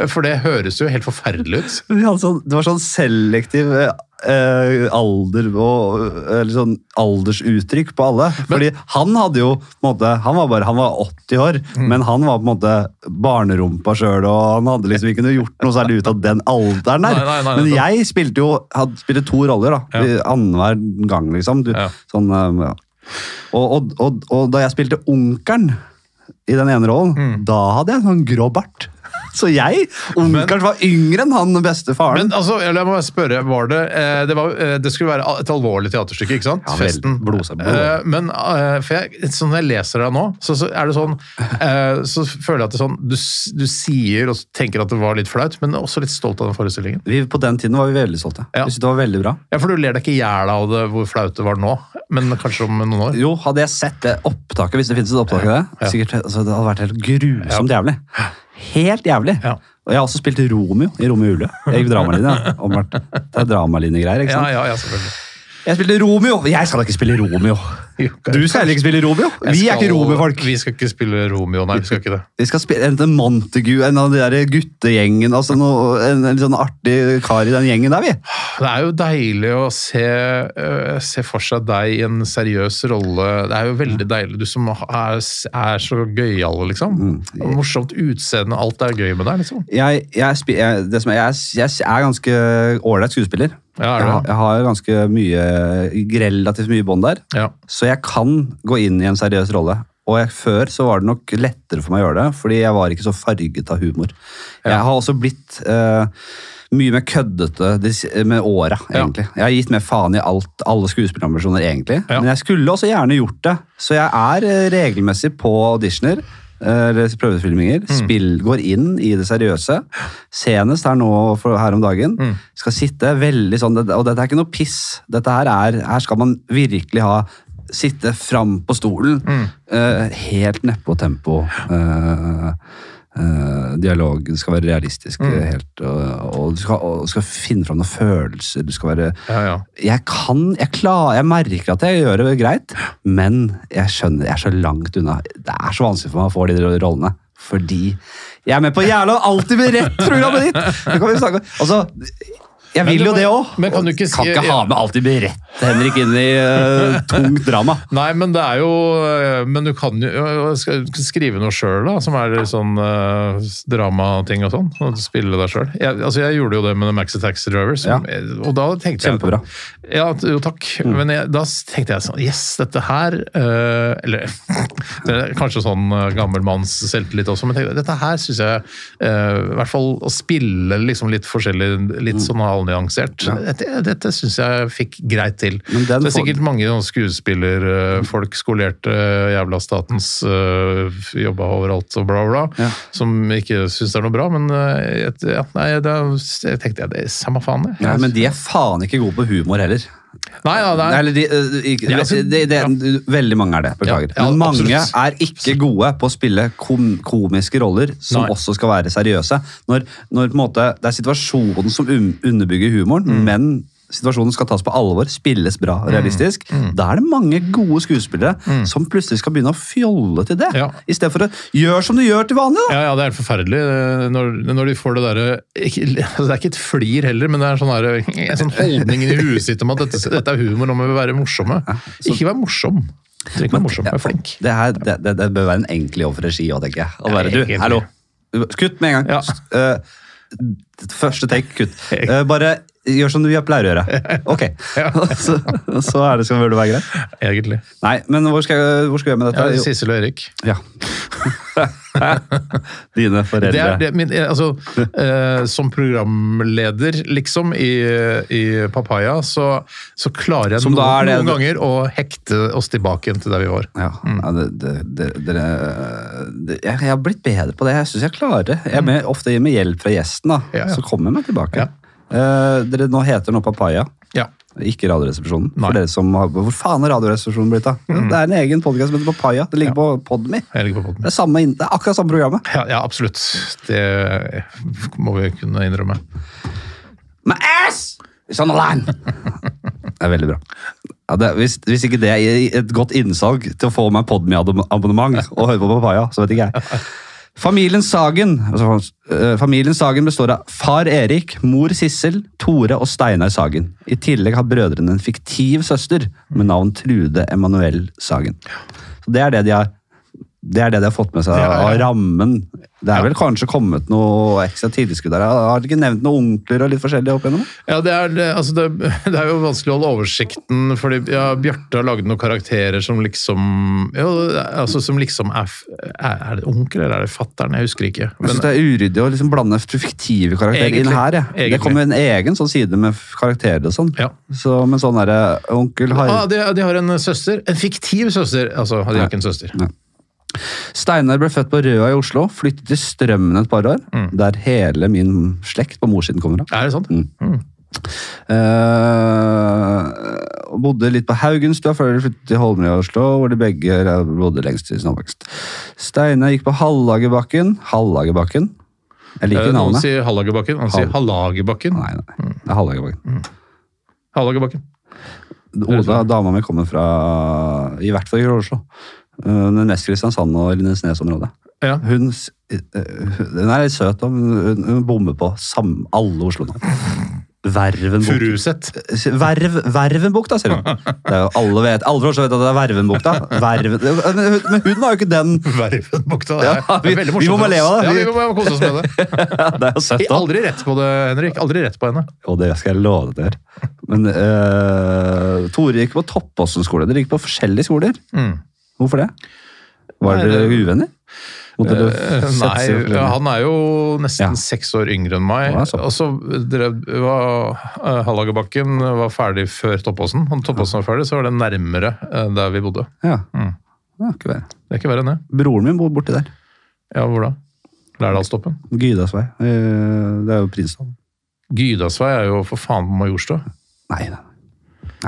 for det høres jo helt forferdelig ut.
Vi hadde sånn, det var sånn selektiv eh, eh, alder og eh, eller sånn aldersuttrykk på alle. Fordi han hadde jo på en måte, han var bare, han var 80 år,
Mm.
men han var på en måte barnerumpa sjøl, og han hadde liksom ikke noe gjort noe særlig ut av den alderen der.
Nei, nei, nei,
men
nettopp.
jeg spilte jo hadde, spilte to roller, da.
Ja.
I Annenhver gang, liksom. Du,
Ja.
sånn, eh, ja. og, og, og, og da jeg spilte onkelen i den ene rollen,
Mm.
da hadde jeg sånn grå bart. Så jeg, onkelen var yngre enn han beste faren.
Men altså, eller jeg må bare spørre, var det eh, det, var, eh, det skulle være et alvorlig teaterstykke, ikke sant?
Ja, vel, blodsø- blod.
Eh, Men eh, for jeg, sånn når jeg leser deg nå, så, så er det sånn eh, Så føler jeg at det er sånn du, s- du sier og tenker at det var litt flaut, men også litt stolt av den forestillingen.
Vi, på den tiden var vi veldig stolte.
Ja.
Vi syntes det var veldig bra.
Ja, for du ler deg ikke i hjel av det hvor flaut det var nå, men kanskje om noen år.
Jo, hadde jeg sett det opptaket, hvis det finnes et opptak av det,
Ja.
sikkert, altså, det hadde vært helt grusomt jævlig. Helt jævlig.
Ja.
Og jeg har også spilt Romeo i Romeo og Julie. Jeg gikk dramalinje, ja, åpenbart. Det er dramalinjegreier, ikke
Ja,
sant?
ja, ja, selvfølgelig.
Jeg spilte Romeo! Jeg skal da ikke spille Romeo.
Jo,
Du skal heller ikke spille Romeo.
Jeg
Vi er ikke
skal-
Romeo-folk.
Vi skal ikke spille Romeo, nei. vi skal ikke det.
Vi skal spille enten Montague, en av de der guttegjengen, altså noe, en, en litt sånn artig kar i den gjengen der, vi.
Det er jo deilig å se, øh, se for seg deg i en seriøs rolle. Det er jo veldig deilig. Du som er, er så gøyal, liksom. Og Morsomt utseende. Alt er gøy med deg, liksom.
jeg, jeg, spi- jeg, det som er, jeg, jeg er ganske ålreit skuespiller.
Ja, er du
jeg, har-
det?
jeg har ganske mye, relativt mye bånd der.
Ja.
Så jeg kan gå inn i en seriøs rolle. Og jeg, før så var det nok lettere for meg å gjøre det, fordi jeg var ikke så farget av humor. Jeg har også blitt eh, mye mer køddete de s- med åra,
Ja.
egentlig. Jeg har gitt mer faen i alt, alle skuespillerambisjoner, egentlig.
Ja.
Men jeg skulle også gjerne gjort det. Så jeg er eh, regelmessig på auditioner, eh, eller prøvefilminger.
Mm.
Spill går inn i det seriøse. Senest her nå for, her om dagen.
Mm.
Skal sitte veldig sånn, det- og dette er ikke noe piss. Dette her er, her skal man virkelig ha Sitte fram på stolen, eh, helt nedpå tempo. eh, eh, dialogen skal være realistisk eh, helt, og, og du skal, og du skal finne fram noen følelser. Du skal være
Ja, ja.
jeg kan, jeg klarer, jeg merker at jeg gjør det greit, men jeg skjønner, jeg er så langt unna. Det er så vanskelig for meg å få de rollene, fordi jeg er med på jævla alltid med rett programmet ditt! Det kan vi snakke om. Altså, jeg
Men
vil
du
jo
må-
det òg.
men kan du ikke si-
ha med alltid med rett, Henrik, inn i eh, tungt drama.
Nei, men det er jo øh, Men du kan jo øh, skal du skrive noe sjøl, da, som er sånn øh, dramating og sånn. og Spille deg sjøl. Jeg, altså, jeg gjorde jo det med The Maxi Taxi Drivers, som- og da tenkte jeg
Kjempebra.
Ja, t- jo takk.
Mm.
Men jeg, da s- tenkte jeg sånn Yes, dette her øh, Eller det er kanskje sånn øh, gammel manns selvtillit også, men tenkte, jeg, dette her syns jeg øh, I hvert fall å spille liksom litt forskjellig, litt
Mm.
sånn halvnyansert, dette, dette syns jeg fikk greit til.
Men den
det er
får-
sikkert mange sånne skuespillerfolk, skolerte eh, jævla statens øh, jobba overalt og bla, bla, bla,
Ja.
som ikke syns det er noe bra, men øh, et- ja, nei, da s- tenkte jeg det er samme faen, jeg.
Nei, men de er faen ikke gode på humor heller.
Nei, ja, det er,
Eller de, eh, ikke,
Ja, altså,
de, de, Veldig mange er det, beklager.
Ja, ja,
Men mange
absolutt.
er ikke gode på å spille kom, komiske roller som
Nei.
også skal være seriøse. Når, når på en måte, det er situasjonen som um, underbygger humoren,
Mm.
men situasjonen skal tas på alvor, spilles bra og realistisk.
Mm.
Da er det mange gode skuespillere som plutselig skal begynne å fjolle til det.
Ja.
I stedet for å gjøre som du gjør til vanlig. da.
Ja, ja, det er helt forferdelig eh, når, når de får det derre ikke- altså, Det er ikke et flir heller, men det er sånn der, en sånn holdning i huet sitt om at dette, dette er humor, nå må vi være morsomme. Ikke vær morsom. Du trenger ikke være morsom, vær flink.
Det, her, det, det, det bør være en enkel jobb for regi òg, tenker jeg. Å
Ja,
være, du,
egentlig.
hallo. Kutt med en gang.
Ja.
S- eh, d- første take, kutt.
Helt.
Eh, bare Gjør som du pleier å gjøre. Ok. Og så, og så er det, skal det være greit.
Egentlig.
Nei, men hvor skal, jeg- hvor skal jeg med
Ja,
dette? Jo,
Sissel og Erik.
Ja. Dine foreldre.
Det er, det, min, altså, eh, som programleder, liksom, i, i Papaya, så, så klarer jeg
Som
noen,
da er det-
noen ganger å hekte oss tilbake igjen til der vi var.
Ja, ja, det, det, det, dere, det, jeg, jeg har blitt bedre på det. Jeg syns jeg klarer det. Jeg er med, ofte med hjelp fra gjesten, da.
Mm. Ja, ja.
Så kommer jeg meg tilbake.
Ja.
Eh, dere nå heter nå Papaya,
Ja.
ikke Radioresepsjonen.
Nei.
For dere som har, hvor faen er Radioresepsjonen blitt av? Det er en egen podkast som heter Papaya. Det ligger på Podme.
Jeg ligger på
Det
podden.
er, samme, inn- det er akkurat samme programmet.
Ja, ja, absolutt. Det må vi kunne innrømme.
My ass is on the line! det er veldig bra. Ja, det, hvis, hvis ikke det er et godt innsalg til å få meg Podme-abonnement og høre på Papaya, så vet ikke jeg. Familien Sagen altså, eh, familien Sagen består av far Erik, mor Sissel, Tore og Steinar Sagen. I tillegg har brødrene en fiktiv søster med navn Trude Emanuel Sagen. Så det er det de har det er det de har fått med seg
Det er-
av rammen. Det er vel kanskje kommet noe ekstra tilskudd der? Har de ikke nevnt noen onkler og litt forskjellig opp igjennom?
Ja, det er, det- altså det, det er jo vanskelig å holde oversikten, fordi ja, Bjarte har lagd noen karakterer som liksom ja, altså Som liksom er, f- er Er det onkel, eller er det fattern? Jeg husker ikke.
Jeg
Men,
synes Altså, Det er uryddig å liksom blande fiktive karakterer inn
Egentlig.
her. Ja. Det
Egentlig.
kommer en egen sånn side med f- karakterer og sånn.
Ja.
Så, men sånn er det. Onkel Harry
ah, de, de har en søster. En fiktiv søster! Altså, de har ikke en søster.
Steinar ble født på Røa i Oslo, flyttet til Strømmen et par år,
Mm.
der hele min slekt på morssiden kommer fra.
Er det sant? Mm.
Eh, og bodde litt på Haugenstua før de flyttet til Holmlia i Oslo, hvor de begge bodde lengst i sin oppvekst. Steinar gikk på Hallagerbakken. Hallagerbakken? Jeg
Eh,
liker
Noen
navnet.
sier Hallagerbakken, han sier
Hall-
Hallagerbakken.
Nei, nei. Det er Hallagerbakken.
Hallagerbakken.
Oda, dama mi, kommer fra i hvert fall i Oslo. Uh, Den mest Kristiansand og Lindesnes-området.
Ja.
Hun, s- eh, hun er litt søt, da, men hun, hun bommer på sam, alle Oslo-navn. Vervenbukta.
Furuset.
Verv, Vervenbukta, sier hun. Det er jo, alle, vet, alle fra Oslo vet at det er Vervenbukta. Verven, men hun- men hun har jo ikke den.
Vervenbukta. Det er-
Ja, vi-
det er veldig
vi må bare
morsomt for
leve av
oss.
det.
Ja,
Vi-
vi må bare kose oss med det.
Det er jo søtt, da.
Aldri rett på det, Henrik. Aldri rett på henne.
Og det skal jeg love deg. Men eh, Tore gikk på Toppåsen skole. Dere gikk på forskjellige skoler.
Mm.
Hvorfor det? Var
Nei,
dere
det-
uvenner? Måtte dere
Eh,
sette
Nei,
seg opp litt?
han er jo nesten
Ja.
seks år yngre enn meg.
Ja, såpass.
Og så drev var eh, Hallagerbakken var ferdig før Toppåsen. Når Toppåsen var ferdig, så var det nærmere eh, der vi bodde.
Ja.
Mm.
Ja, ikke verre.
Det er ikke verre enn det.
Broren min bor borti der.
Ja, hvor da? Lærdalstoppen.
Gydas vei. Eh, Det er jo Prinsdalen.
Gydasvei er jo for faen på Majorstua.
Nei, nei.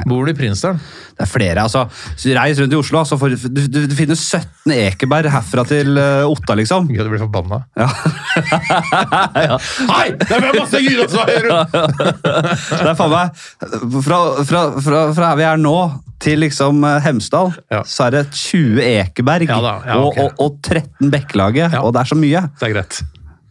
Bor du i Prinsdalen?
det er flere. altså. Så Reis rundt i Oslo. Altså, for, du, du, du finner 17 Ekeberg herfra til eh, Otta, liksom.
Gud, jeg blir forbanna.
ja.
Hei! Det er masse Gydasvei rundt!
Det er faen meg fra, fra, fra, fra her vi er nå til liksom eh, Hemsedal,
Ja.
så er det 20 Ekeberg
Ja da, ja, ok.
og, og, og 13 Bekkelaget,
Ja.
og det er så mye.
Det er greit.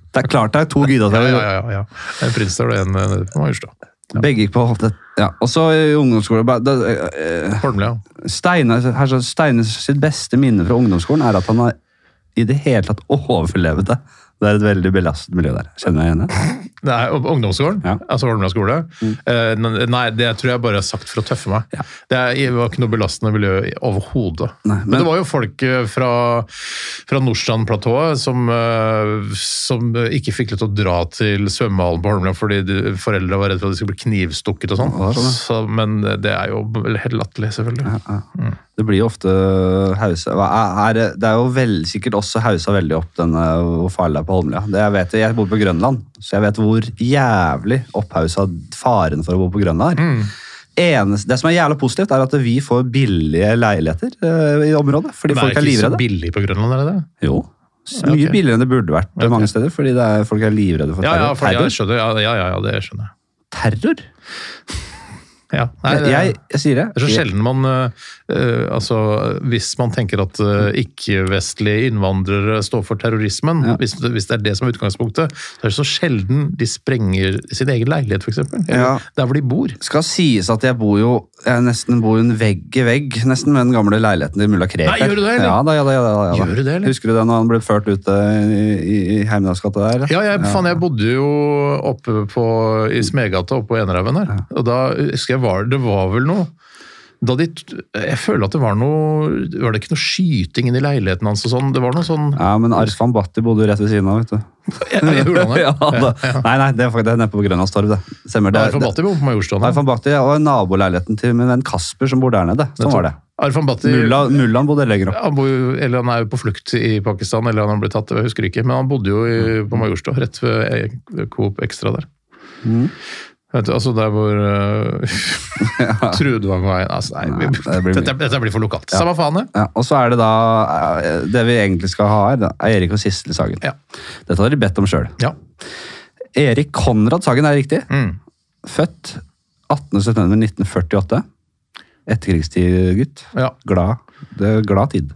Det er klart det er to Gydas
Ja,
veier.
ja, ja. ja. En Prinsdal og en eh, på Majorstua.
Begge gikk på Holte. Ja, og så i ungdomsskolen ba- da, eh,
Holmlia.
Steinar her så- Steinar sitt beste minne fra ungdomsskolen er at han har i det hele tatt overlevd det. Det er et veldig belastet miljø der. Kjenner jeg igjen det?
Det er opp- ungdomsskolen,
Ja. Mm.
altså Holmlia skole. Eh, men nei, det tror jeg bare jeg har sagt for å tøffe meg.
Ja.
Det er, det var ikke noe belastende miljø i- overhodet.
Nei,
Men,
men-
det var jo folk eh, fra, fra Nordstrandplatået som, eh, som ikke fikk lov til å dra til svømmehallen på Holmlia fordi de, foreldre var redd for at de skulle bli knivstukket og sånn.
Ja, det er sånn, ja.
Så- Men det er jo helt latterlig, selvfølgelig.
Mm. Det blir jo ofte hausa Hva er- er det- Det er jo vel, sikkert også hausa veldig opp denne hvor farlig det er på Holmlia. Det jeg vet, jeg bor på Grønland, så jeg vet hvor jævlig opphausa faren for å bo på Grønland er.
Mm.
Eneste, det som er jævlig positivt, er at vi får billige leiligheter eh, i området. Fordi
Men
folk er
det ikke
livredde.
så billig på Grønland, er det det?
Jo. S-
Ja,
Mye
ok.
billigere enn det burde vært mange steder, fordi det er, folk er livredde for
Ja,
terror.
ja, for, ja, jeg
terror?
skjønner, ja, ja, ja, ja, det skjønner jeg.
terror?
Ja. Nei, det-
jeg, jeg sier det.
Det er så sjelden man eh, eh, altså, Hvis man tenker at eh, ikke-vestlige innvandrere står for terrorismen,
Ja.
hvis, det- hvis det er det som er utgangspunktet, så er det så sjelden de sprenger sin egen leilighet, f.eks.
Ja.
Der hvor de bor.
skal sies at jeg bor jo Jeg nesten bor en vegg i vegg nesten med den gamle leiligheten til mulla Krekar.
Nei, gjør du det, eller?
Ja da, ja da, ja da, ja da.
Gjør du det, eller?
Husker du det når han ble ført ut eh, i, i, i Heimdalsgata der?
Ja, jeg, Faen, jeg bodde jo oppe på, i Smedgata oppe på Enerhaugen der. Og da husker jeg var, det var vel noe da de, Jeg føler at det var noe Var det ikke noe skyting inni leiligheten hans og sånn? Det var noe sånn
Ja, men Arslan Bhatti bodde jo rett ved siden av, vet du.
Jeg, jeg gjorde han det.
ja, da. Nei, nei, det er faktisk det er nede på Grønlandstorv, det. Stemmer det.
Arfan Bhatti bor på Majorstuen.
Arfan Bhatti og naboleiligheten til min venn Kasper som bor der nede. Sånn var det.
Arfan Bhatti
Mulla, mullaen bodde lenger opp.
han, bor, jo- eller han er jo på flukt i Pakistan, eller han har blitt tatt, jeg husker ikke. Men han bodde jo i,
Mm.
på Majorstua, rett ved eh, Coop Extra der. Vet du, altså der hvor uh, Trudvangveien altså, nei,
Nei,
vi,
det blir mye.
dette, dette blir for lokalt. Samme faen, det.
Ja, og så er det da eh, Det vi egentlig skal ha her, da, er Erik og Sissel Sagen.
Ja.
Dette har de bedt om sjøl.
Ja.
Erik Konrad Sagen er riktig.
Mm.
Født 18.9.1948. Etterkrigstid-gutt.
ja.
Glad. Det er glad tid.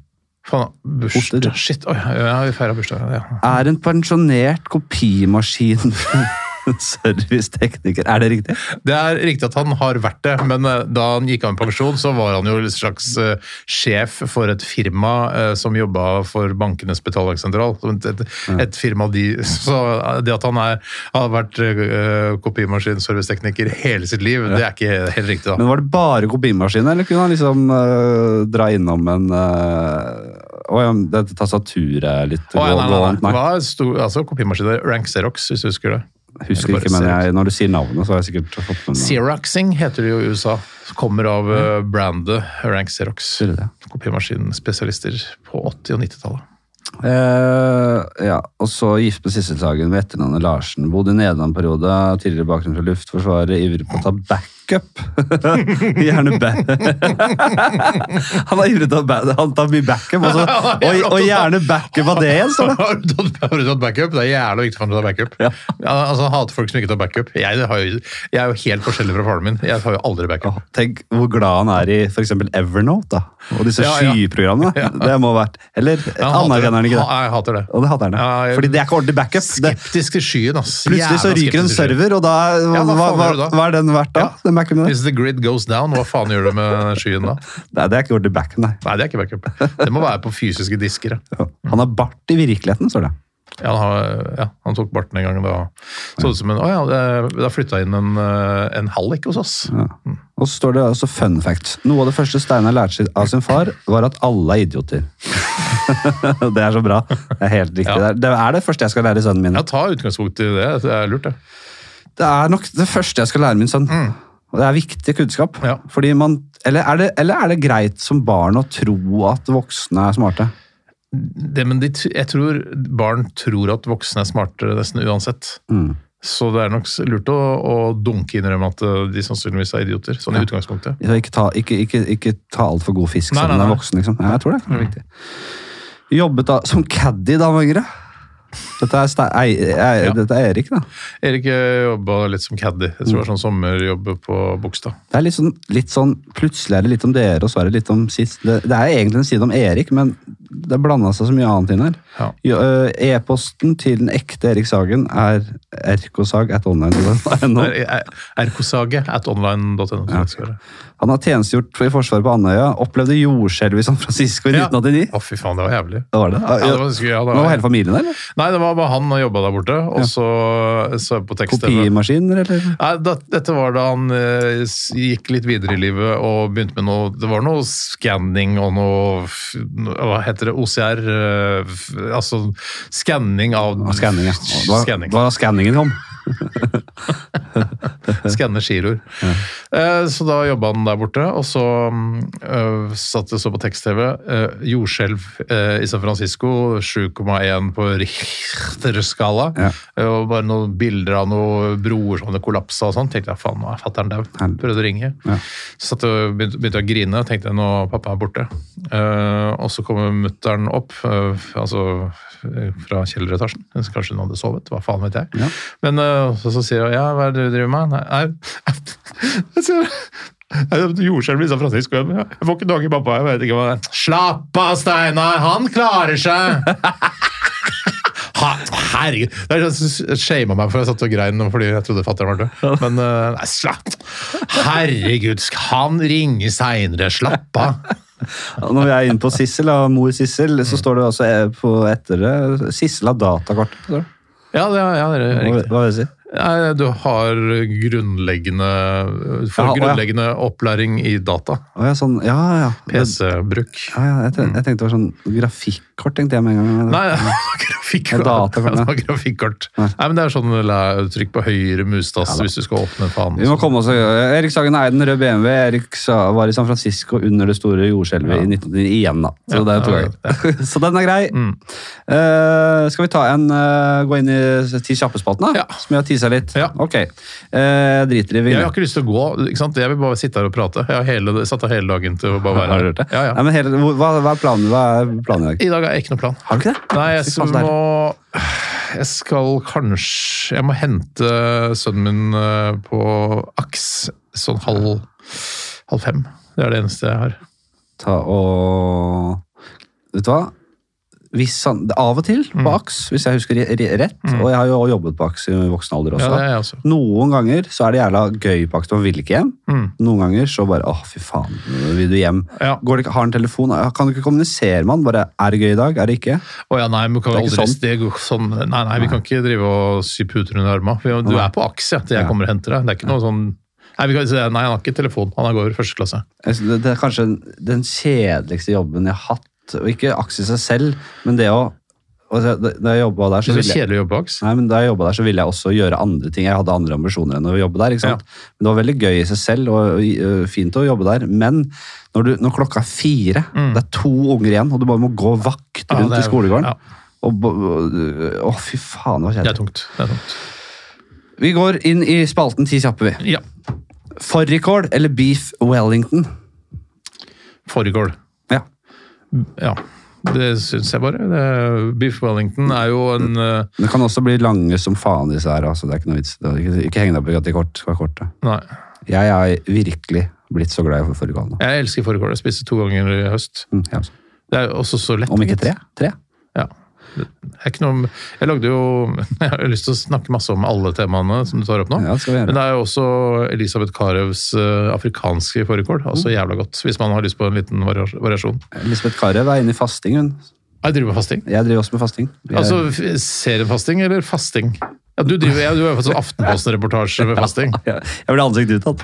Faen,
Hoster, ja.
bursdag Shit, oi, ja, vi feira bursdag. Ja.
Er en pensjonert kopimaskin. Servicetekniker. Er det riktig?
Det er riktig at han har vært det, men eh, da han gikk av med pensjon, så var han jo en slags eh, sjef for et firma eh, som jobba for bankenes betalingssentral. Så Et, et, et firma de, så eh, det at han er, har vært eh, kopimaskinservicetekniker hele sitt liv, det er ikke helt riktig, da.
Men var det bare kopimaskiner, eller kunne han liksom øh, dra innom en øh, Å ja, det tastaturet er litt
Å, ja, nei, nei, nei.
gåent?
Det
Nei,
var stor, altså kopimaskiner. Rank Xerox, hvis du husker det.
husker
Bare
ikke, men
Xerox.
jeg, når du sier navnet, så har jeg sikkert fått med meg
Xeroxing heter det jo i USA. Kommer av eh, brandet Rank Xerox.
Sier du det?
Kopimaskinspesialister på 80- og 90-tallet.
Eh, ja, og så gifte Sissel Sagen med etternavnet Larsen. Bodde i Nederland en periode, tidligere bakgrunn fra Luftforsvaret, ivrig på å ta backup. Gjerne ba... han er ivrig til å ta ba- Han tar mye backup, og, så, og, og gjerne backup av det igjen, står det.
Har du tatt- har du tatt backup? Det er jævla viktig for han å ta backup.
Ja.
Ja, altså, han hater folk som ikke tar backup. Jeg, har jo, jeg er jo helt forskjellig fra faren min. Jeg tar jo aldri backup.
Åh, Tenk hvor glad han er i for eksempel Evernote da. og disse
Ja, ja.
skyprogrammene.
Ja.
Det må ha vært Eller
Jeg hater
anerkjenner han ikke
Ha-
det?
Jeg hater det.
Og det hater han. Ja,
Ja, jeg-
Fordi det er ikke ordentlig backup. Det,
Skeptisk til skyen, ass.
plutselig så
Jævla
ryker en
skeptisk til skyen.
server, og da hva,
Ja, hva
hva,
faen
hva,
gjør du da?
er den verdt da?
Ja.
Den backupen der?
Hvis the grid goes down, hva faen gjør du med skyen da?
Nei, det er ikke ordentlig backup, nei.
Nei, det er ikke backup. Det må være på fysiske disker. Ja.
Han har bart i virkeligheten, står det.
Ja, han, har- ja, han tok barten en gang da. Så ut som en, å ja, det- da flyttet inn en, eh, en hallik hos oss.
Ja. Og så står det også fun fact. Noe av det første Steinar lærte seg av sin far, var at alle er idioter. det er så bra. Det er helt riktig.
Ja.
Det er- Det er det første jeg skal lære sønnen min.
Ja, ta utgangspunkt i det. Det er lurt det.
Det er nok det første jeg skal lære min sønn. Og det er viktig kunnskap.
Mm. Ja.
Fordi man, eller, er det, eller er det greit som barn å tro at voksne er smarte?
det, men de, t- jeg tror barn tror at voksne er smartere nesten uansett. Så det er nok s- lurt å, å dunke innrømme at eh, de sannsynligvis er idioter. Sånn i utgangspunktet.
Så Ikke ta, ikke, ikke, ikke ta altfor god fisk
Nei,
selv om du
nei,
er
nei.
voksen. Liksom. Ja, jeg tror det er viktig. Jobbet da, som caddy da han var yngre. Dette er, Ste- ei, ei,
Ja.
dette er Erik, da.
Erik eh, jobba litt som caddy. Jeg tror det var sånn sommerjobb på Bogstad.
Det er litt sånn, litt sånn, Plutselig er det litt om dere, og så er det litt om sist. Det, det er egentlig en side om Erik, men det har blanda seg så mye annet inn her.
Ja.
Jo, ø, E-posten til den ekte Erik Sagen er rksag.online.no.
Er- er- Erkosage at online.no. tror jeg det skal være.
Han har tjenestegjort i Forsvaret på Andøya, opplevde jordskjelv i San Francisco i
Ja.
1989.
Å, fy faen, det var jævlig.
Det var det.
Ja, det var, ganske- ja, det
Nå var
var,
hele familien der? eller?
nei, det var bare han som jobba der borte, og så så jeg på tekst
Kopimaskiner, eller?
Nei, da, dette var da han eh, s- gikk litt videre i livet og begynte med noe Det var noe skanning og noe f- Hva heter det? OCR? eh, f- Altså skanning av
Og Skanning, ja. Og Da,
Skanning.
da skanningen kom.
Skanne giroer. Eh, Så da jobba han der borte, og så mm, eh, satt jeg så på tekst-TV. eh, Jordskjelv eh, i San Francisco, 7,1 på Richter-skala.
Ja.
Eh, Og bare noen bilder av noen broer som hadde kollapsa og sånn. Tenkte jeg faen, nå er fatter'n dau.
Helvete.
Prøvde å ringe.
Ja.
Så satt jeg, og begynte, begynte jeg å grine, og tenkte nå pappa er borte. Eh, og så kommer mutter'n opp, eh, altså eh, fra kjelleretasjen. Kanskje hun hadde sovet, hva faen vet jeg.
Ja.
Men eh, så, så sier hun ja, hva er det du driver med? Nei, nei. Jeg sier, «Nei, det er Jordskjelv i San Francisco. Jeg jeg får ikke tak i pappa. jeg vet ikke hva det er. Slapp av, Steinar! Han klarer seg! Ha, herregud! Det er sånn som shama meg for jeg satt og grein nå fordi jeg trodde fatter'n var død. Men eh, nei, slapp Herregud, skal han ringe seinere? Slapp av!
Og Når vi er inne på Sissel, da, mor Sissel,
Mm.
så står det også eh, på etter det Sissel har datakort. Hva
Ja, det er, ja, det er
hva
riktig.
vil jeg si?
Nei, du har grunnleggende
Ja,
Får
å, ja.
grunnleggende opplæring i data.
Å, ja, sånn, ja, ja.
PC-bruk.
ja, ja jeg, tenkte, jeg tenkte det var sånn grafikkort, tenkte jeg med en gang.
Nei,
Ja,
grafikkort.
datakort,
Ja, det var
ja.
grafikkort. Nei, men det er sånn la- trykk på høyre mustass hvis du skal åpne fanen.
Vi må komme oss og gjøre Erik Sagen eide den røde BMW. Erik sa, var i San Francisco under det store jordskjelvet i 1999 igjen, da. Så, det er to ganger. så den er grei.
Mm.
Eh, skal vi ta en, eh, gå inn i ti kjappe spalten, da?
Ja.
Som vi har tisa litt?
Ja.
Ok. Eh, driter i vi.
Jeg har ikke lyst til å gå. ikke sant? Jeg vil bare sitte her og prate. Jeg har hele, satt av hele dagen til å bare være
Har
her.
du hørt det?
Ja, ja.
Nei, men hele, hvor- hva, hva, er planen, hva er planen i dag?
I dag har jeg ikke noen plan.
Har du ikke det?
Nei, jeg
Fy
s-
faen, så deilig.
må Jeg skal kanskje Jeg må hente sønnen min eh, på AKS sånn halv, halv fem. Det er det eneste jeg har.
ta og Vet du hva? Hvis han, av og til
Mm.
på AKS, hvis jeg husker re- re- rett, og jeg har jo jobbet på AKS i voksen alder også.
Ja, det er jeg også.
Noen ganger så er det jævla gøy på AKS, man vil ikke hjem. Noen ganger så bare åh, fy faen, vil du hjem?
Mm, Ja.
Går det ikke, har en telefon? Ja, Kan du ikke kommunisere med han? Bare er det gøy i dag, er det ikke?
Å ja, nei, men vi kan
Det er
aldri
ikke sånn.
det går sånn. Nei, nei, vi kan ikke drive og sy puter under armene. Vi- Du er på aks ja, til jeg
Ja.
kommer og henter deg. Det er ikke noe sånn... Nei, vi kan, så det er- nei, han har ikke telefon. Han går i første klasse.
Jeg synes Det, det er kanskje den- den kjedeligste jobben jeg har hatt, og ikke AKS i seg selv, men det å altså, Da da jeg jobba der, så
Det er
ville
så
jeg
kjedelig å jobbe på aks.
Nei, men Da jeg jobbet der, så ville jeg også gjøre andre ting. Jeg hadde andre ambisjoner enn å jobbe der. ikke sant? Men Det var veldig gøy i seg selv og, og øh, fint å jobbe der. Men når, du, når klokka er fire, det er to unger igjen, og du bare må gå vakt
Mm. Ja,
rundt
det er-
i skolegården
ja.
og bo- øh, Å, fy faen, det var
Det er
kjedelig.
tungt. Det er tungt.
Vi går inn i spalten Ti kjappe, vi.
Ja.
Fårikål eller beef Wellington?
Fårikål.
Ja.
Ja. Det syns jeg bare. Det, Beef Wellington er jo en eh,
Det kan også bli lange som faen, disse her. altså det er Ikke noe vits. Det er Ikke, ikke heng deg opp i at de kort, skal være korte.
Nei.
Jeg har virkelig blitt så glad i fårikål nå.
Jeg elsker fårikål. Jeg spiste to ganger i høst.
Mm, jeg også.
Det er også så lett.
Om ikke tre? Tre?
Ja. Det er ikke noe, jeg lagde jo Jeg har lyst til å snakke masse om alle temaene som du tar opp nå.
Ja, det skal vi gjøre.
Men det er jo også Elisabeth Karevs eh, afrikanske fårikål. Også
Mm.
jævla godt, hvis man har lyst på en liten varias- variasjon.
Lisbeth Karev er inne i fasting, hun.
Jeg driver med fasting.
Jeg driver også med fasting. Jeg,
Altså f- seriefasting eller fasting? Ja, du driver, ja, du har jo fått sånn Aftenposten-reportasje med fasting.
jeg, jeg ble ansikt utad.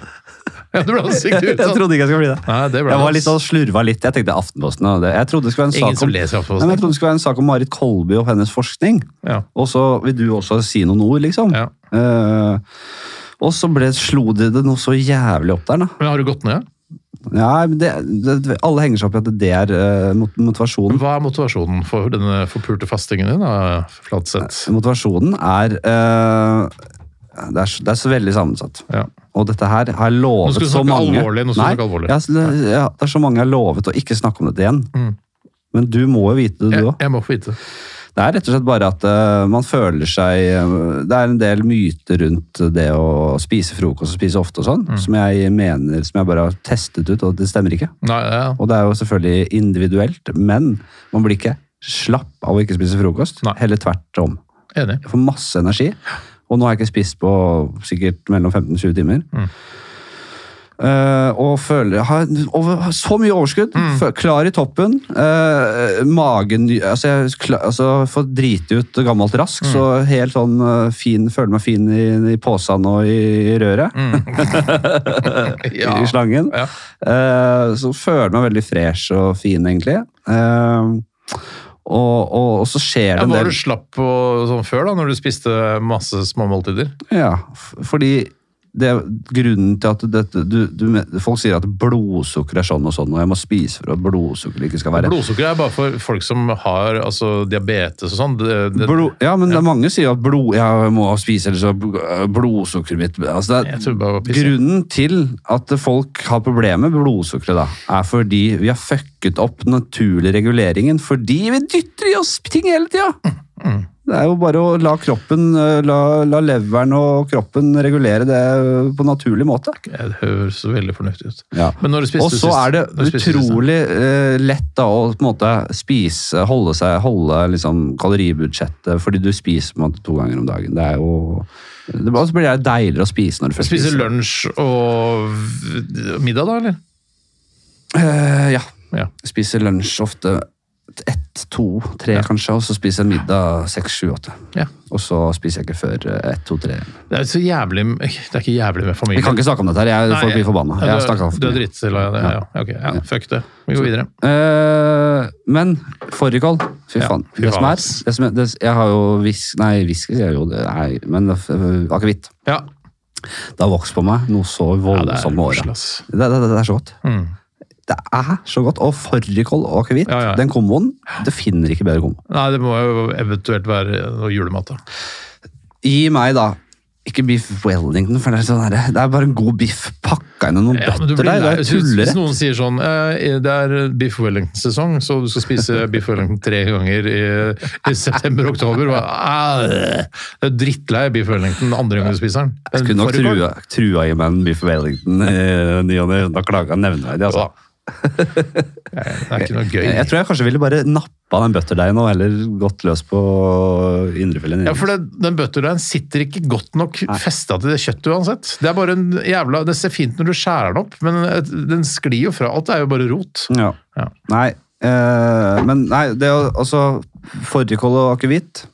Ja, du ble ansiktet
Jeg
ut av
trodde ikke jeg skulle bli det.
Nei, det ble
jeg var
det,
litt sånn slurva litt. Jeg tenkte Aftenposten og det. Jeg trodde det skulle være en
Ingen
sak
som
om, Nei, men
leser
jeg
Aftenposten.
trodde det skulle være en sak om Marit Kolby og hennes forskning.
Ja.
Og så vil du også si noen ord, liksom.
Ja.
Eh, og så ble, slo de det noe så jævlig opp der, da.
Men har du gått ned?
Nei, men det, det, alle henger seg opp i at det er eh, mot- motivasjonen.
Hva er motivasjonen for denne forpulte fastingen din, da, Flatseth?
Motivasjonen er eh, det, er så- det er så veldig sammensatt.
Ja.
Og dette her har jeg
Nå
lovet
skal du
så
snakke
mange
alvorlig, nå skal du
Nei,
snakke alvorlig.
jeg har- ja, det er så mange jeg har lovet å ikke snakke om dette igjen.
Mm.
Men du må jo vite det,
Jeg,
du òg.
jeg må få vite det.
Det er rett og slett bare at eh, man føler seg eh, Det er en del myter rundt det å spise frokost og spise ofte og sånn, som jeg mener Som jeg bare har testet ut, og det stemmer ikke.
Nei, ja.
Og det er jo selvfølgelig individuelt, men man blir ikke slapp av å ikke spise frokost.
Nei.
Heller tvert om.
Enig.
Jeg får masse energi. Og nå har jeg ikke spist på sikkert mellom 15 og 20 timer.
Mm.
Eh, og føler har, over, har så mye overskudd.
Mm.
Fø- Klar i toppen. eh, magen altså jeg, kla- altså, Får drite ut gammelt rask,
Mm.
så helt sånn eh, fin, føler meg fin i, i posen og i, i røret.
Mm. Ja.
I slangen.
Ja.
Eh, så føler jeg meg veldig fresh og fin, egentlig. Eh, og, og, og så skjer det
Ja,
en
var
del
du slapp på sånn før, da, når du spiste masse små måltider?
Ja, f- fordi det, grunnen til at dette, du, du, men- folk sier at blodsukker er sånn og sånn, og jeg må spise for at blodsukker ikke skal være
Blodsukker er bare for folk som har altså, diabetes og sånn. Det, det,
Blod, ja, men det er mange sier at blod, jeg må spise ellers så bl- blodsukkeret mitt altså det
jeg
er,
tror bare det var piss.
Grunnen til at folk har problemer med blodsukkeret, da, er fordi vi har
Mm,
fucket opp den naturlige reguleringen fordi vi dytter i oss ting hele tida. Det er jo bare å la kroppen, eh, la, la leveren og kroppen regulere det eh, på naturlig måte.
Det høres veldig fornuftig ut.
Ja.
Men når du spiste
Og så
sist?
er det
Når du spiste sist, da?
utrolig eh, lett da, å på en måte spise, holde, seg, holde liksom, kaloribudsjettet fordi du spiser på en måte to ganger om dagen. Det er jo det, Og så blir det deiligere å spise når du først
Spise lunsj og v- middag, da, eller?
Eh, ja.
Ja.
Spiser lunsj ofte ett, to, tre kanskje, og så spiser jeg middag seks, sju, åtte.
Ja.
Og så spiser jeg ikke før eh, ett, to, tre.
Det er, så jævlig, det er ikke jævlig med familie.
Vi kan ikke snakke om dette her, jeg, folk blir forbanna. Jeg har snakket
du,
for
du er
mye.
dritt, eller, ja, ja. ok. ja, fuck det. Vi går videre.
Eh, men fårikål Fy
Ja,
faen.
fy
det
faen,
som er,
ass.
det som er det, Jeg har jo whisk... Nei, whisky sier jeg jo det. Nei, men det er f- eh, akevitt.
Ja,
Det har vokst på meg noe så
ja det er
voldsomt med
koselig,
året.
ass.
Det, det, det, det er så godt.
Mm.
Det er så godt. Og fårikål og akevitt,
Ja, ja.
den komboen, det finner ikke bedre kombo.
Nei, det må jo eventuelt være noe julemat, da.
Gi meg da ikke biff Wellington, for det er, sånn her, det er bare en god biff pakka inn i noen
Ja, men du
bøtter
blir
der. Det
lei.
er
Hvis- Hvis
tullerett.
noen sier sånn eh, Det er Biff Wellington-sesong, så du skal spise Biff Wellington tre ganger i, i september og oktober hva- Æ, Du er drittlei Biff Wellington andre gangen du spiser den.
Jeg skulle nok trua, trua i meg en biff Wellington eh, ny og ne. Da klaga jeg nevneverdig, altså.
Det er ikke noe
Jeg,
gøy.
tror jeg kanskje ville bare nappa den butterdeigen og heller gått løs på indrefileten.
Ja, for det, Den butterdeigen sitter ikke godt nok festa til det kjøttet uansett. Det er bare en jævla, det ser fint når du skjærer den opp, men den sklir jo fra. Alt er jo bare rot.
Ja.
Ja.
Nei, eh, men nei, det er jo altså Fårikål og akevitt.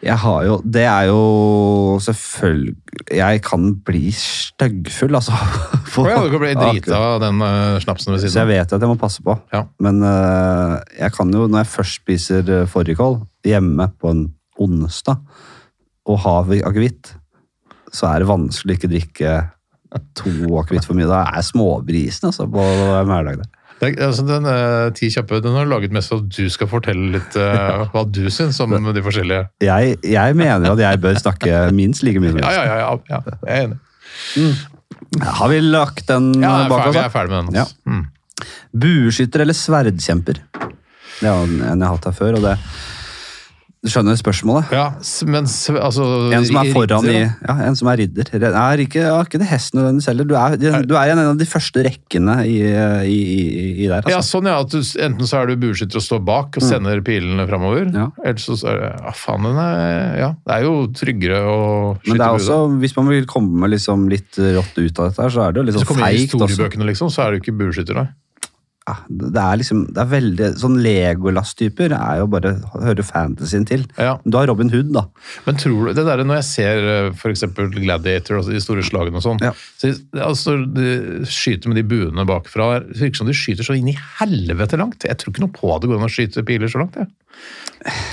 Jeg har jo Det er jo selvfølgelig Jeg kan bli styggfull, altså. på
Og ja, Du kan bli
akevitt.
drita av den eh, snapsen ved
Ah, Så jeg
siden av.
vet at jeg må passe på.
Ja.
Men øh, jeg kan jo, når jeg først spiser øh, fårikål hjemme på en onsdag, og har vi akevitt, så er det vanskelig å ikke drikke to akevitt for mye. Da er småbrisen altså, på hverdagen.
Det er, altså, den eh, Ti kjappe den har du laget mest for at du skal fortelle litt eh, hva du syns om de forskjellige
Jeg, jeg mener at jeg bør snakke minst like mye. som
Ja,
dere.
ja, ja. ja, ja jeg er enig.
Har vi lagt den
Ja,
øh,
jeg er
bak
ferdig,
oss?
jeg er
da?
ferdig med den. altså. Mm.
Bueskytter eller sverdkjemper? Det er jo en en jeg har hatt her før, og det Du skjønner spørsmålet?
Ja, s- men s- altså
En som er
i-
foran i
da.
Ja, en som er ridder. Det Er ikke, ja, ikke det hesten nødvendigvis heller. Du er, du er i en av de første rekkene i, i, i, i der.
Ja,
Altså.
sånn ja, at du, Enten så er du bueskytter og står bak og sender pilene framover.
Mm. Ja.
Eller så er det Ja, faen, den er Ja, det er jo tryggere å skyte
Men det er
bue, da.
også, hvis man vil komme med liksom litt rått ut av dette, her, så er det jo litt
Hvis du
sånn
kommer inn i
feigt også.
historiebøkene, liksom, så er du ikke bueskytter, nei.
Ja, det er liksom, det er veldig, sånn Legolas-typer er jo bare hører fantasyen til.
Ja.
Du har Robin Hood, da.
Men tror du, det der når jeg ser f.eks. Gladiator, altså de store slagene og sånn
Ja.
så, altså, De skyter med de buene bakfra. Det virker som de skyter så inn i helvete langt. Jeg tror ikke noe på at det går an å skyte piler så langt. Jeg,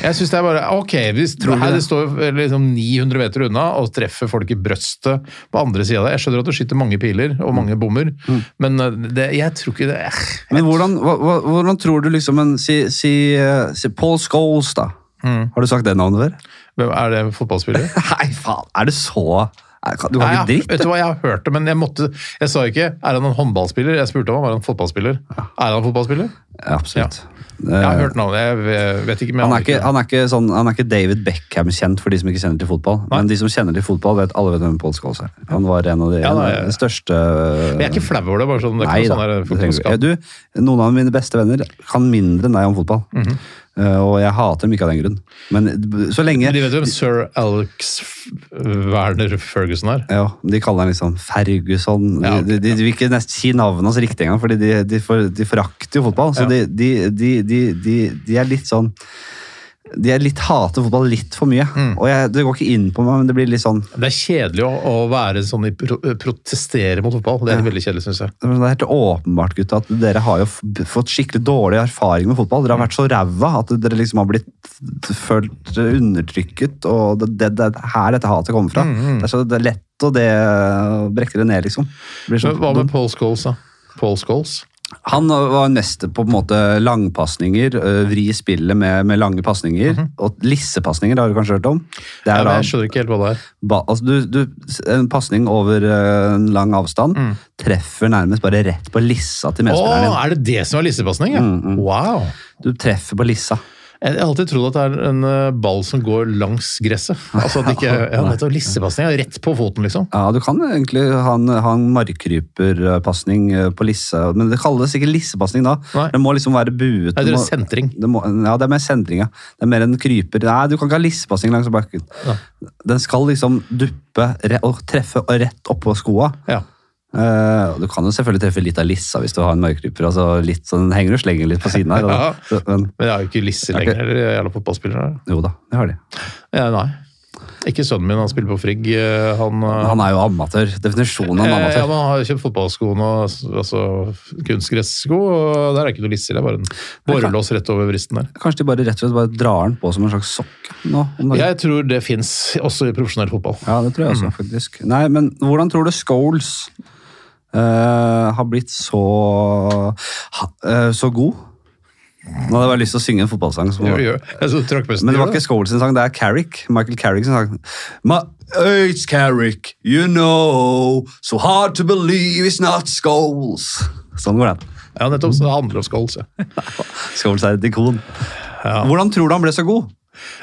jeg syns det er bare Ok, hvis
du
her
det?
de står liksom 900 meter unna og treffer folk i brøstet på andre sida der. Jeg skjønner at du skyter mange piler og mange bommer,
Mm.
men eh, det, jeg tror ikke det eh.
Men hvordan, hva, hva- hvordan tror du liksom en Si, si, eh, si Paul Scholes, da. Har du sagt det navnet før?
Hvem- Er det fotballspiller?
Mm. Nei, faen! Er du så er- kan- Du kan
Nei,
ikke
jeg,
dritt?
vet du hva, jeg har hørt det, men jeg måtte Jeg sa ikke er han en håndballspiller. Jeg spurte om han var en fotballspiller. Er han en fotballspiller?
Ja, absolutt.
Jeg har
Eh,
hørt navnet. Jeg ve- vet ikke, men jeg
han, er
aner
ikke,
ikke.
han, er ikke sånn, han er ikke David Beckham kjent for de som ikke kjenner til fotball. Men de som kjenner til fotball, vet alle vet hvem Paul Scholes er. Han var en av de,
Ja, nei,
en av de største
Men jeg er ikke flau over det. bare sånn, det er
Nei
ikke
da.
noe sånn der
det trenger Eh,
fotballskap.
du ikke. du, noen av mine beste venner kan mindre enn deg om fotball.
Mhm.
Eh, og jeg hater dem ikke av den grunn. Men b- så lenge
De vet hvem sir Alex F- Werner Ferguson er?
ja, De kaller han liksom Ferguson.
Ja, ok,
de, de, de vil ikke nesten si navnet hans riktig engang, fordi de, de, for, de forakter jo fotball. Så de,
Ja.
de, de, de, de, de er litt sånn De er litt hater fotball litt for mye.
Mm.
Og jeg, det går ikke inn på meg, men det blir litt sånn
Det er kjedelig å, å være sånn i pro protestere mot fotball. Det er veldig kjedelig, syns jeg.
Men Det er helt åpenbart, gutta, at dere har jo f- fått skikkelig dårlig erfaring med fotball. Dere har vært så ræva at dere liksom har blitt følt undertrykket, og det, det, det er her dette hatet kommer fra.
Mm,
Det er så det er lett å det brekke det ned, liksom. Det blir så
Men hva
dumt.
med Paul Scholes, da? Paul Scholes?
Han var neste på på en måte langpasninger, ø, vri spillet med, med lange pasninger. Og lissepasninger, det har du kanskje hørt om? Mhm. Det
Nei,
er
men
da
jeg skjønner ikke helt hva det er.
ba, altså du, du, en pasning over ø, en lang avstand treffer nærmest bare rett på lissa til
Å,
medspilleren din. Mm,
er det det som er lissepasning? Ja? Wow!
Du treffer på lissa.
Jeg har alltid trodd at det er en eh, ball som går langs gresset. Altså at det ikke ja, nettopp lissepasning er rett på foten, liksom.
Ja, du kan egentlig ha en, ha en markkryperpasning eh, på lisse, men det kalles ikke lissepasning da.
Nei.
Det må liksom være buet.
Nei, det
det
er
må-
sentring.
det må, ja, det er mer sendring, ja. Det er mer en kryper. Nei, du kan ikke ha lissepassing langs bakken. Den skal liksom duppe re og treffe og rett oppå skoa.
Ja.
Eh, og du kan jo selvfølgelig treffe litt av lissa hvis du har en mørkryper. Altså litt sånn, den henger og slenger litt på siden her.
Ja.
Og, så- men,
Men jeg har jo ikke lisse lenger, eller jeg er jævla fotballspillere.
jo da, det har de.
Ja, nei. Ikke sønnen min, han spiller på Frigg. eh, Han, eh,
Han er jo amatør. Definisjonen av en
Eh, Ja,
amatør.
man har kjøpt fotballskoene og s- altså, kunstgressko, og der er ikke noe lisser. Det er bare en borrelås rett over vristen der.
Kanskje de bare rett og slett bare drar den på som en slags sokk nå om dagen.
Jeg tror det fins også i profesjonell fotball.
Ja, det tror jeg også, faktisk. Nei, men hvordan tror du Scholes eh, har blitt så ha, eh, så god? Nå hadde jeg bare lyst til å synge en fotballsang. Som,
Jo, jo. Jeg så tråkkpusten
men det var
gjorde
ikke Scholes sin sang, det er Carrick. Michael Carrick sin sang. My, it's Carrick, you know, so hard to believe it's not Scholes. Sånn går den.
Ja, nettopp. Så det handler om skål, så.
Scholes er et ikon. Hvordan tror du han ble så god?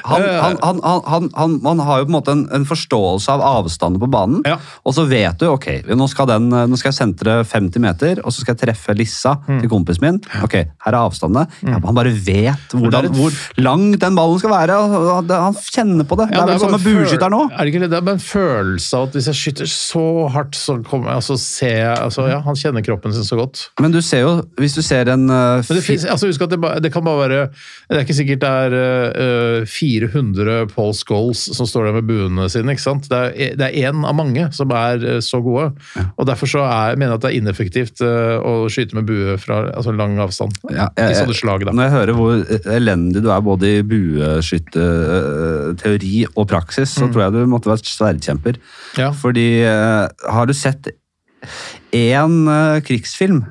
Han,
Eh.
han, han, han, han, han, han har jo på en måte en, en forståelse av avstanden på banen.
Ja.
Og så vet du ok, nå skal, den, eh, nå skal jeg sentre 50 meter, og så skal jeg treffe Lissa til kompisen min. Ok, her er avstandene. Ja, men han bare vet
Det er
hvordan,
et-
hvor lang den ballen skal være. og han- Han kjenner på det.
Ja,
det er vel sånn
bare
med
føl-
bueskytter nå.
Er det ikke litt- det er bare en følelse av at hvis jeg skyter så hardt, så kommer jeg altså se altså, Ja, han kjenner kroppen sin så godt.
Men du ser jo, hvis du ser en eh,
Men det,
fi-
finnes, altså husk at det, ba- det kan bare være Det er ikke sikkert det er eh, eh, 400 Paul Scholes som står der med buene sine. ikke sant? Det er- det er én av mange som er eh, så gode. og Derfor så er, mener jeg at det er ineffektivt eh, å skyte med bue fra altså lang avstand.
Ja, jeg-
I
jeg-
sånne slag, da.
Når jeg hører hvor elendig du er både i bueskytteteori og praksis, så tror jeg du måtte vært sverdkjemper.
Mm. Ja.
Fordi eh, har du sett én eh, krigsfilm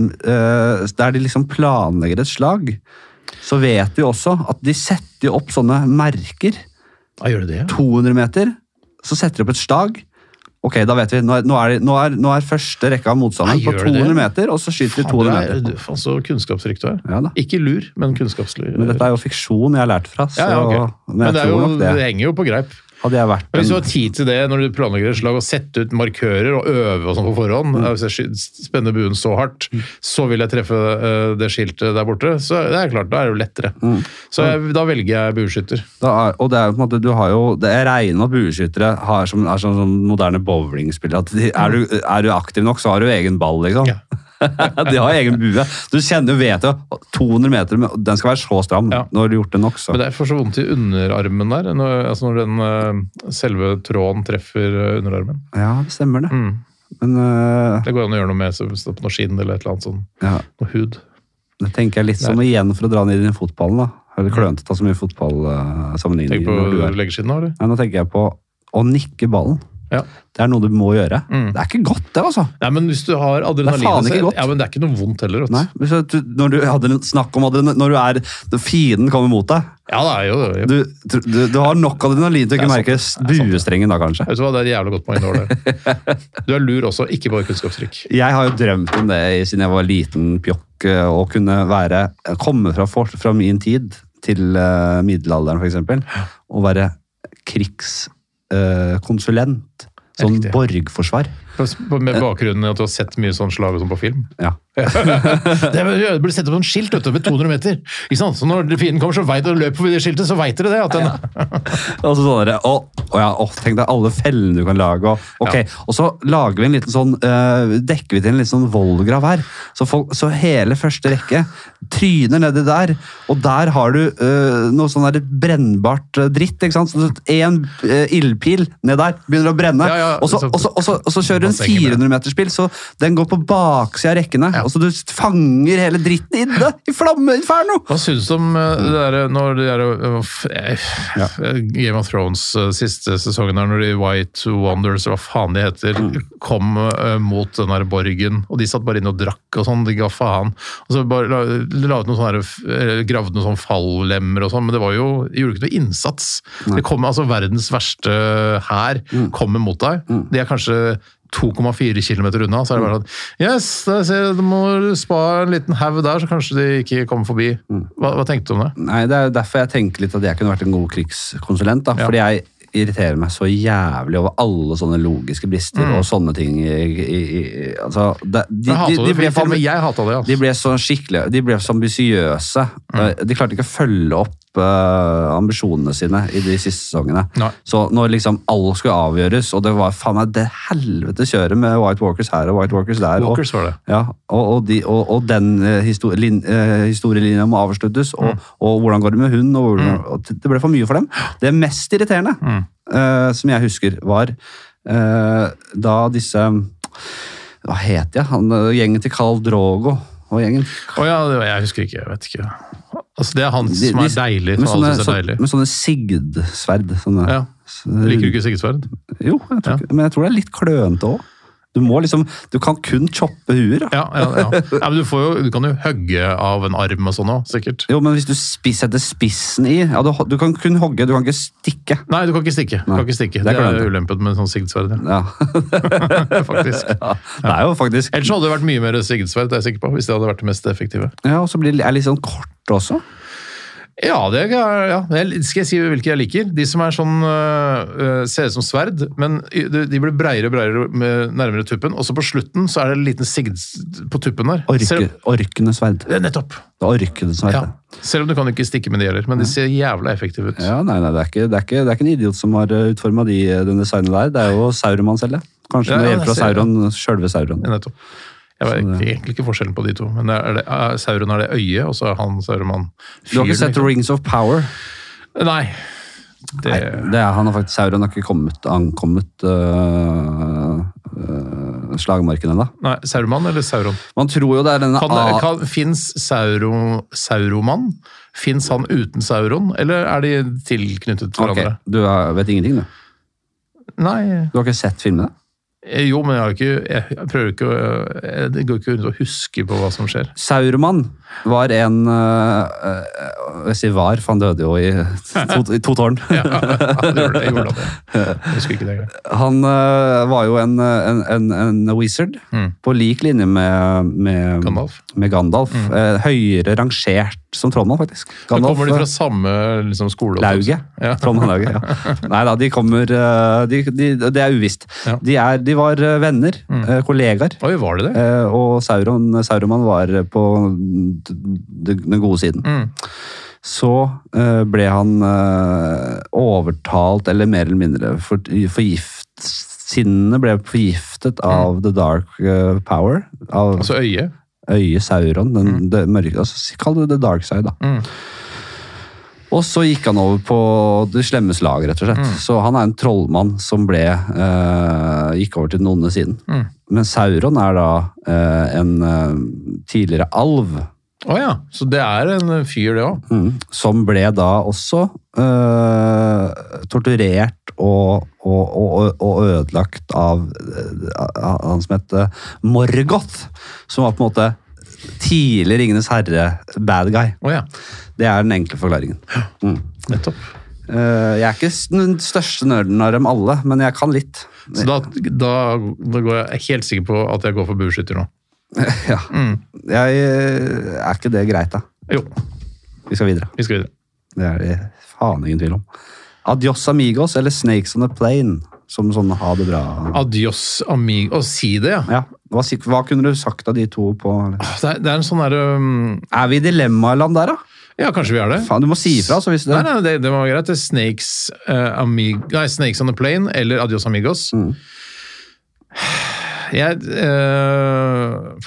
eh, der de liksom planlegger et slag, så vet du jo også at de setter jo opp sånne merker.
Ja, Ah, gjør det det?
200 meter, så setter de opp et slag. Ok, da vet vi. Nå er, nå er, de- nå er, nå er første rekka av motstanderen
Nei,
på
gjør de det?
200 meter, og så skyter de
Faen, du
200
er,
meter.
du, faen, så kunnskapsrik du er.
Ja da.
Ikke lur, men kunnskapslur.
Men dette er jo fiksjon jeg har lært fra, så
ja, ja, ok.
men jeg
Men det, er
tror
jo,
nok
det
det.
henger jo på greip.
Hadde jeg vært
Men Hvis du
en,
har tid til det når du planlegger et slag, og sette ut markører og øve og sånn på forhånd
Mm.
eh, Hvis jeg sky- spenner buen så hardt, så vil jeg treffe eh, det skiltet der borte. Så det er klart, da er det jo lettere.
Mm.
Så jeg, da velger jeg bueskytter.
da er, og det er jo på en måte, du har jo, det jeg regner med at bueskyttere har som, er sånn, sånn moderne bowlingspillere. At de, er, du, er du aktiv nok, så har du egen ball, liksom.
Ja.
de har egen bue. Du kjenner jo, vet jo, 200 meter, men den skal være så stram.
Ja.
Når du har gjort det nok, så.
Men det er for så vondt i underarmen der, når, altså når den eh, selve tråden treffer eh, underarmen.
Ja, det stemmer det.
Mm.
Men øh,
Det går an å gjøre noe med så, så på noe skinn eller et eller annet sånn.
ja.
Noe hud.
Det tenker jeg litt som igjen for å dra ned i den fotballen. da. Er det klønete å ta så mye fotballsammenligning?
Mm. Tenk på
når du er-
legeskinn nå, eller?
Nei, Nå tenker jeg på å nikke ballen.
Ja.
Det er noe du må gjøre.
Mm.
Det er ikke godt, det, altså.
Nei, men hvis du har
faen
adrenalin
ikke godt.
Ja, men det er ikke noe vondt heller. vet du.
Nei, hvis du, når du hadde en snakk om adrenalin, når du er, når fienden kommer mot deg
Ja, det er jo, jo.
du, du, du har nok adrenalin til å
Det
ikke
er
merke buestrengen da, kanskje.
Vet du hva, Det er et jævla godt poeng. Ole. Du er lur også, ikke bare kunnskapstrykk.
Jeg har jo drømt om det i- siden jeg var liten pjokk, eh, å kunne være, komme fra, for, fra min tid til eh, middelalderen, for eksempel, og være krigskonsulent. sånn
Riktig.
borgforsvar.
Med bakgrunnen i at du har sett mye sånn slag og sånn på film.
Ja.
Det er- det blir sett opp sånn skilt vet du, ved 200 meter. Ikke sant? Så når fienden kommer så veit og løper forbi det skiltet, så veit dere det. At den,
Og så sånn der, å, å ja, å, tenk deg alle fellene du kan lage. Og, ok. og så lager vi en liten sånn, eh, dekker vi til en liten sånn vollgrav her. Så, folk, så hele første rekke tryner nedi der, og der har du eh, noe sånn der brennbart eh, dritt. ikke sant? Så Én uh, ildpil ned der begynner å brenne,
Ja, liksom ja,
og, så,
så-
og, så, og, så, og så kjører du en
Bassenget med.
400-metersbil, så den går på baksida av rekkene. Og så du fanger hele dritten inne i flammeinferno!
hva syns du om eh, det derre når det derre eh, f- eh, eh, Game of Thrones eh, siste sesongen der, når de White Wonders, hva faen de heter, kom eh, mot den der borgen, og de satt bare inne og drakk og sånn, de ga faen. Og så bare la, la ut noen sånne her, eh, gravde noen sånne fallemmer og sånn, men det var jo, de gjorde ikke noe eh, innsats. Det kom, altså Verdens verste hær kommer mot deg. De er kanskje 2,4 km unna, så er det bare sånn Yes, der ser jeg, du må spa en liten haug der, så kanskje de ikke kommer forbi.
Mm.
Hva, hva tenkte du om det?
Nei, Det er jo derfor jeg tenker litt at jeg kunne vært en god krigskonsulent. da, Fordi jeg irriterer meg så jævlig over alle sånne logiske brister og sånne ting. I, i, i, altså, det, de,
Mm. Jeg hatet
de, de,
det, for
ble
til og
for,
med jeg hata det.
de
Altså.
ble så skikkelig, de ble så ambisiøse.
Mm.
Eh, De klarte ikke å følge opp eh, ambisjonene sine i de siste sesongene.
Nei.
Så når liksom alt skulle avgjøres, og det var faen meg det helvete kjøret med White Walkers her og White Walkers der og,
Walkers var det.
ja, og, og, de, og, og den eh, histori lin, eh, historielinja må avsluttes, og,
Mm.
og hvordan går det med hun, og, hvordan, og det ble for mye for dem. Det mest irriterende,
Mm.
eh, som jeg husker, var eh, da disse Hva het jeg? Han, eh, gjengen til Carl Drogo og gjengen.
Å ja, det, jeg husker ikke. Jeg vet ikke. Altså, det er han
De-
som
de-
er deilig.
Med
Som
sånne,
alle synes er
så,
deilig.
med sånne sigdsverd. Sånne,
Ja. Liker du ikke Sigurd Sverd?
Jo, jeg tror,
Ja.
ikke- men jeg tror det er litt klønete òg. Du må liksom, du kan kun choppe huer. da.
Ja, ja, ja. ja, men du, får jo, du kan jo hogge av en arm og sånn òg, sikkert.
Jo, men hvis du spi- setter spissen i ja, du, ho- du kan kun hogge, du kan ikke stikke.
Nei, du kan ikke stikke. Du
Nei,
kan ikke stikke.
det
Det
kan
er
jeg
ulempen med sånn Sigurd Sverd,
Ja.
ja. faktisk.
ja. Det er jo faktisk
Ellers hadde det vært mye mer Sigurd Sverd, det er jeg sikker på, hvis det hadde vært det mest effektive.
Ja, og så blir det er litt sånn kort også.
Ja, det er- ja. Jeg- skal jeg si hvilke jeg liker. De som er sånn øh, øh, ser ut som sverd, men i- de de blir breiere og breiere med nærmere tuppen. Og så på slutten så er det en liten sigd på tuppen der.
Orke,
Selv-
orkende sverd.
Ja, nettopp.
Det er orkende sverd.
Ja.
Ja.
Selv om du kan ikke stikke med de heller, men de ser jævla effektive ut.
Ja, nei, nei, det er ikke, det er ikke, det er ikke en idiot som har utforma de, eh, den designet der. Det er jo Sauron selv, det. Kanskje
Ja,
med
det
hjelp fra
ser jeg.
Sauron, sjølve Sauron.
Ja, nettopp. Jeg vet
Sånn,
egentlig ikke forskjellen på de to, men er det, er Sauron er det øyet, og så er han Sauroman
Du har ikke sett
liksom.
Rings of Power?
Nei. Det,
Nei, det er, han har faktisk, Sauron har ikke kommet, ankommet øh, øh, slagmarken ennå.
nei, Sauroman eller Sauron?
Man tror jo det er denne
Kan,
A-
kan, finnes Sauro, Sauroman? Fins han uten Sauron, eller er de tilknyttet til
Ok,
hverandre?
Du er- vet ingenting, du?
Nei
Du har ikke sett filmene?
eh, Jo, men jeg, har ikke, jeg, jeg prøver ikke å jeg, Det går ikke rundt å huske på hva som skjer.
Sauroman var en øh, øh, Jeg sier var, for han døde jo i to, i to tårn.
Ja, det gjorde det. Jeg gjorde det. Jeg husker ikke det engang.
Han øh, var jo en, øh, en, en, en wizard
Mm.
på lik linje med, med
Gandalf. Mm.
Med Gandalf. Eh, høyere rangert som trollmann, faktisk.
Men
Gandalf, eh,
Kommer de fra samme liksom, skole?
Lauget.
Ja.
Trondheim Lauget, ja. Nei da, de kommer eh, de, de, Det er uvisst.
Ja. Mm.
De, er, de var eh, venner, eh, kollegaer,
Oi, var det det?
eh, og Sauron, Sauroman var på d- d- den gode siden.
Mm.
Så eh, ble han eh, overtalt, eller mer eller mindre for, forgift Sinnet ble forgiftet av The Dark eh, Power, av
Mm. Altså øyet?
øyet Sauron. Den, det mørke, altså, kall det The Dark Side, da.
Mm.
Og så gikk han over på det slemmes lag, rett og slett.
Mm.
Så han er en trollmann som ble eh, gikk over til den onde siden.
Mm.
Men Sauron er da eh, en eh, tidligere alv,
Å ja, så det er en fyr, det òg.
Mm. som ble da også eh, torturert og, og, og, og ødelagt av, eh, av han som heter Morgoth, som var på en måte tidlig Ringenes herre-bad guy.
Å ja,
Det er den enkle forklaringen. Mm.
nettopp.
Eh, jeg er ikke s- den største nerden av dem alle, men jeg kan litt.
Så da, da, da går jeg jeg er helt sikker på at jeg går for bueskytter nå.
Ja. Jeg eh, er ikke det greit, da.
Jo,
Vi skal videre.
vi skal videre.
Det er det faen ingen tvil om. Adios amigos eller Snakes on a plane, som sånn ha det bra.
Adios amigo. Å, si det, ja.
Ja. Hva, sik- hva kunne du sagt av de to på eller?
Det er, det er en sånn derre um,
Er vi i dilemmaland der, da?
Ja, kanskje vi er det.
Faen, du må si ifra. så hvis det
Nei, nei, det, det var greit. Det er Snakes, eh, amig nei, Snakes on the Plane eller Adios Amigos.
Mm.
Jeg eh,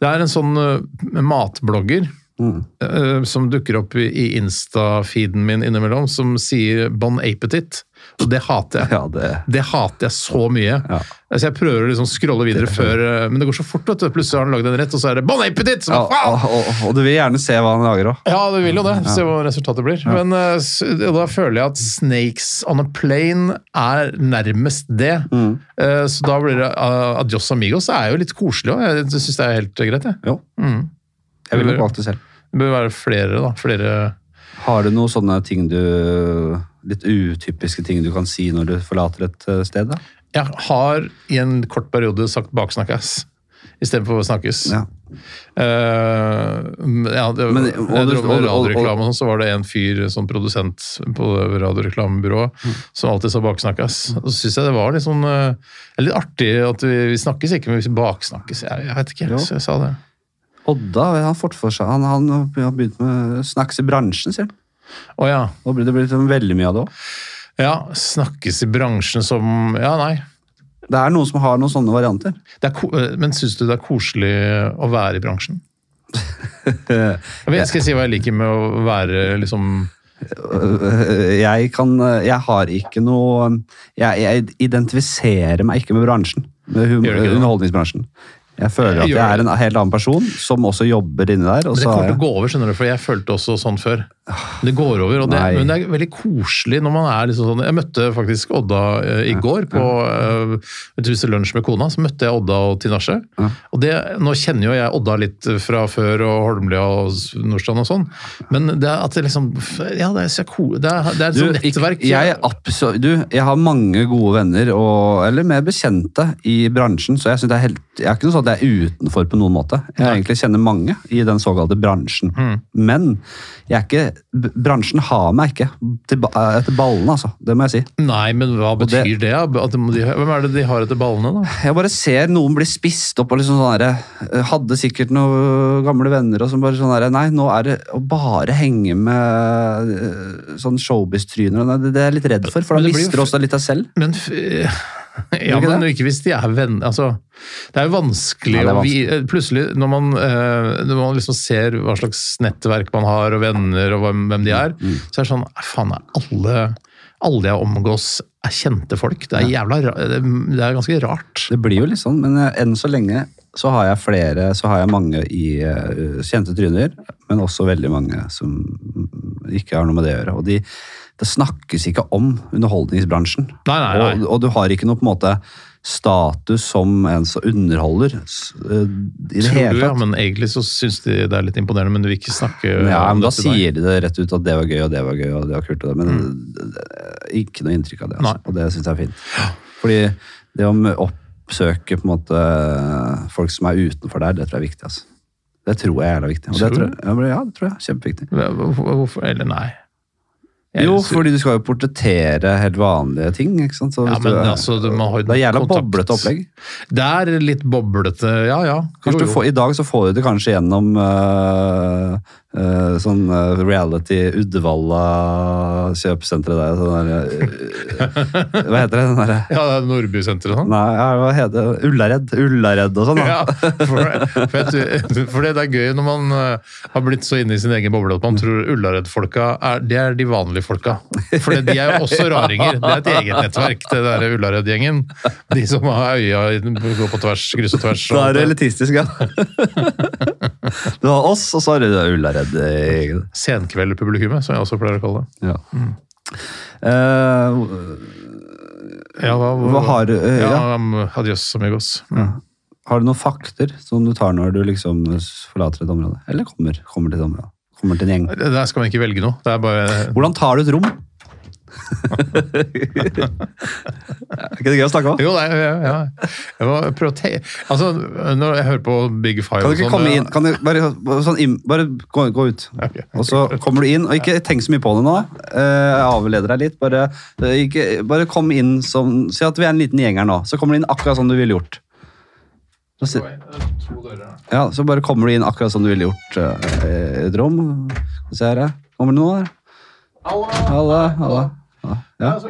Det er en sånn eh, matblogger
Mm.
eh, som dukker opp i, i Insta-feeden min innimellom, som sier bon apetit. Og det hater jeg.
Ja, det
Det hater jeg så mye.
Ja.
Altså, jeg prøver å liksom scrolle videre før eh, Men det går så fort, vet du. Plutselig har han lagd en rett, og så er det bon apetit! Så,
ja,
faen!
og, og, og du vil gjerne se hva han lager òg.
Ja, du vil jo det. Se hva resultatet blir. Men eh, s- da føler jeg at Snakes on a Plane er nærmest det. Eh, så da blir det uh, Adios Amigos er jo litt koselig òg. Jeg syns det er helt greit, jeg.
Jo.
Mm.
Jeg ville valgt det selv.
Det bør være flere, da. Flere
Har du noen sånne ting du Litt utypiske ting du kan si når du forlater et eh, sted? da?
Jeg har i en kort periode sagt 'baksnakkes' istedenfor 'snakkes'.
Ja.
Eh, ja, det,
Men-
jeg
og du-
drev
og-
med
og-
radioreklame, og sånn, så var det en fyr som produsent på radioreklamebyrået
Mm.
som alltid sa 'baksnakkes'. Og så syns jeg det var litt sånn eh, litt artig at vi, vi snakkes ikke, men vi baksnakkes. Jeg, jeg vet ikke,
Jo.
jeg, jeg sa det.
Odda han fort for seg. Han, han har begynt med snacks i bransjen, sier han.
Å ja.
Da blir det blitt veldig mye av det òg.
Ja, snakkes i bransjen som Ja, nei.
Det er noen som har noen sånne varianter.
Det er, ko- eh, men syns du det er koselig å være i bransjen?
Eh,
Jeg vet, skal jeg si hva jeg liker med å være liksom
øh, Jeg kan øh, Jeg har ikke noe Jeg, jeg identifiserer meg ikke med bransjen. Med hum-
Gjør du ikke det?
underholdningsbransjen. Jeg føler at
Gjør
jeg er
det.
en helt annen person som også jobber inni der. Og
Men det
så har
kommer til å
jeg,
gå over, skjønner du, for jeg følte også sånn før. Det går over, og det,
Nei.
men det er veldig koselig når man er liksom sånn Jeg møtte faktisk Odda eh, i går på eh, jeg spiste lunsj med kona. Så møtte jeg Odda og Tinashe. Og det, nå kjenner jo jeg Odda litt fra før, og Holmlia og s- Nordstrand og sånn. Men det er at det liksom Ja, det er, så ko- det er, det er et
du,
sånt
ikke,
nettverk.
jeg, er abso- du, jeg har mange gode venner, og, eller mer bekjente, i bransjen. Så jeg, synes det er helt, jeg er ikke noe sånn at jeg er utenfor på noen måte. Jeg egentlig kjenner mange i den såkalte bransjen.
Mm.
Men jeg er ikke, b- bransjen har meg ikke til, ba- etter ballene, altså. Det må jeg si.
Nei, men hva
det-
betyr det? da? At de, hvem er det de har etter ballene, da?
Jeg bare ser noen bli spist opp og liksom sånn derre Hadde sikkert noen gamle venner og som bare sånn derre Nei, nå er det å bare henge med eh, sånn showbiz-tryner Nei, det, det er jeg litt redd for, for
Men
da
det blir jo
mister du også litt av selv.
Men f ja,
ikke
men
det?
ikke hvis de er venner altså, Det er jo vanskelig,
Ja, det er
å vi- Plutselig, når man, eh, når man liksom ser hva slags nettverk man har, og venner, og hvem, hvem de
Mm,
er, så er det sånn eh, Faen, er alle, alle jeg omgås, er kjente folk? Det er jævla ra- det, det er ganske rart.
Det blir jo litt sånn, men eh, enn så lenge så har jeg flere, så har jeg mange i eh, kjente tryner, men også veldig mange som mm, ikke har noe med det å gjøre. Og de, det snakkes ikke om underholdningsbransjen.
Nei, nei, nei.
Og, og du har ikke noe på en måte status som en som underholder s- eh, i det
Tror du,
hele
ja,
tatt.
men Egentlig så syns de det er litt imponerende, men du vil ikke snakke
Ja,
om
men da
det til deg.
sier de det rett ut at det var gøy, og det var gøy, og det var kult. Og det, men det, det, ikke noe inntrykk av det. Altså.
Nei.
Og det syns jeg er fint. Fordi det å mø- oppsøke på en måte folk som er utenfor der, det tror jeg er viktig. Altså. Det tror jeg er jævla viktig. Og det
Tror
tror
du?
jeg, ja, men ja, det tror jeg. er Kjempeviktig.
Hvorfor, hvorfor- eller nei. Jeg
Jo,
synes-
fordi du skal jo portrettere helt vanlige ting. ikke sant? Så
ja,
hvis
men,
du,
altså, du- man har jo
det er jævla
kontakt.
boblete opplegg.
Det er litt boblete, ja ja.
Kanskje
Jo,
du
jo.
får, I dag så får du det kanskje gjennom øh, øh, sånn øh, reality Uddevalla kjøpesenteret der. Sånn der øh, hva heter det? Sånn der,
Ja, det er Nordbysenteret og sånn.
nei, ja, hva heter det? Ullared. Ullared og sånn. da.
Ja, for, for, jeg, tror- for det er gøy når man eh, har blitt så inne i sin egen boble at
Mm.
man tror Ullared-folka er, det er de vanlige folka. For det- de er jo også raringer. Det er et eget nettverk, det der Ullared-gjengen. De som har øya i- går på tvers, kryss og tvers. og
Da
alt
er du
det.
elitistisk, ja. du har oss, og så har du Ullared. øh,
Senkveldpublikummet, som jeg også pleier å kalle det.
Ja.
Mm.
Eh,
Ja, hva,
hva har, du- øh,
ja,
ja.
um, Adios, amigos. Mm.
har du noen fakter som du tar når du liksom forlater et område? Eller kommer, kommer til et område? Kommer til en gjeng?
Det Der skal man ikke velge noe. Det er bare
Hvordan tar du et rom? er ikke det gøy å snakke om?
Jo, nei, ja, ja. Jeg må prøve å te... Altså, når jeg hører på Big Five
Kan du
og
ikke
sånn,
komme
ja.
inn? Kan du bare sånn, inn- bare gå, gå ut.
Ok.
Og så kommer du inn, og ikke tenk så mye på det nå. Eh, Jeg avleder deg litt. Bare, eh, ikke, bare kom inn som Si at vi er en liten gjeng her nå. Så kommer du inn akkurat som du ville gjort. Så, si- ja, så bare kommer du inn akkurat som du ville gjort eh, i et rom. Skal vi Se her, ja. Kommer det noen her? Halla. Halla. Ja. Ja. Ja, så-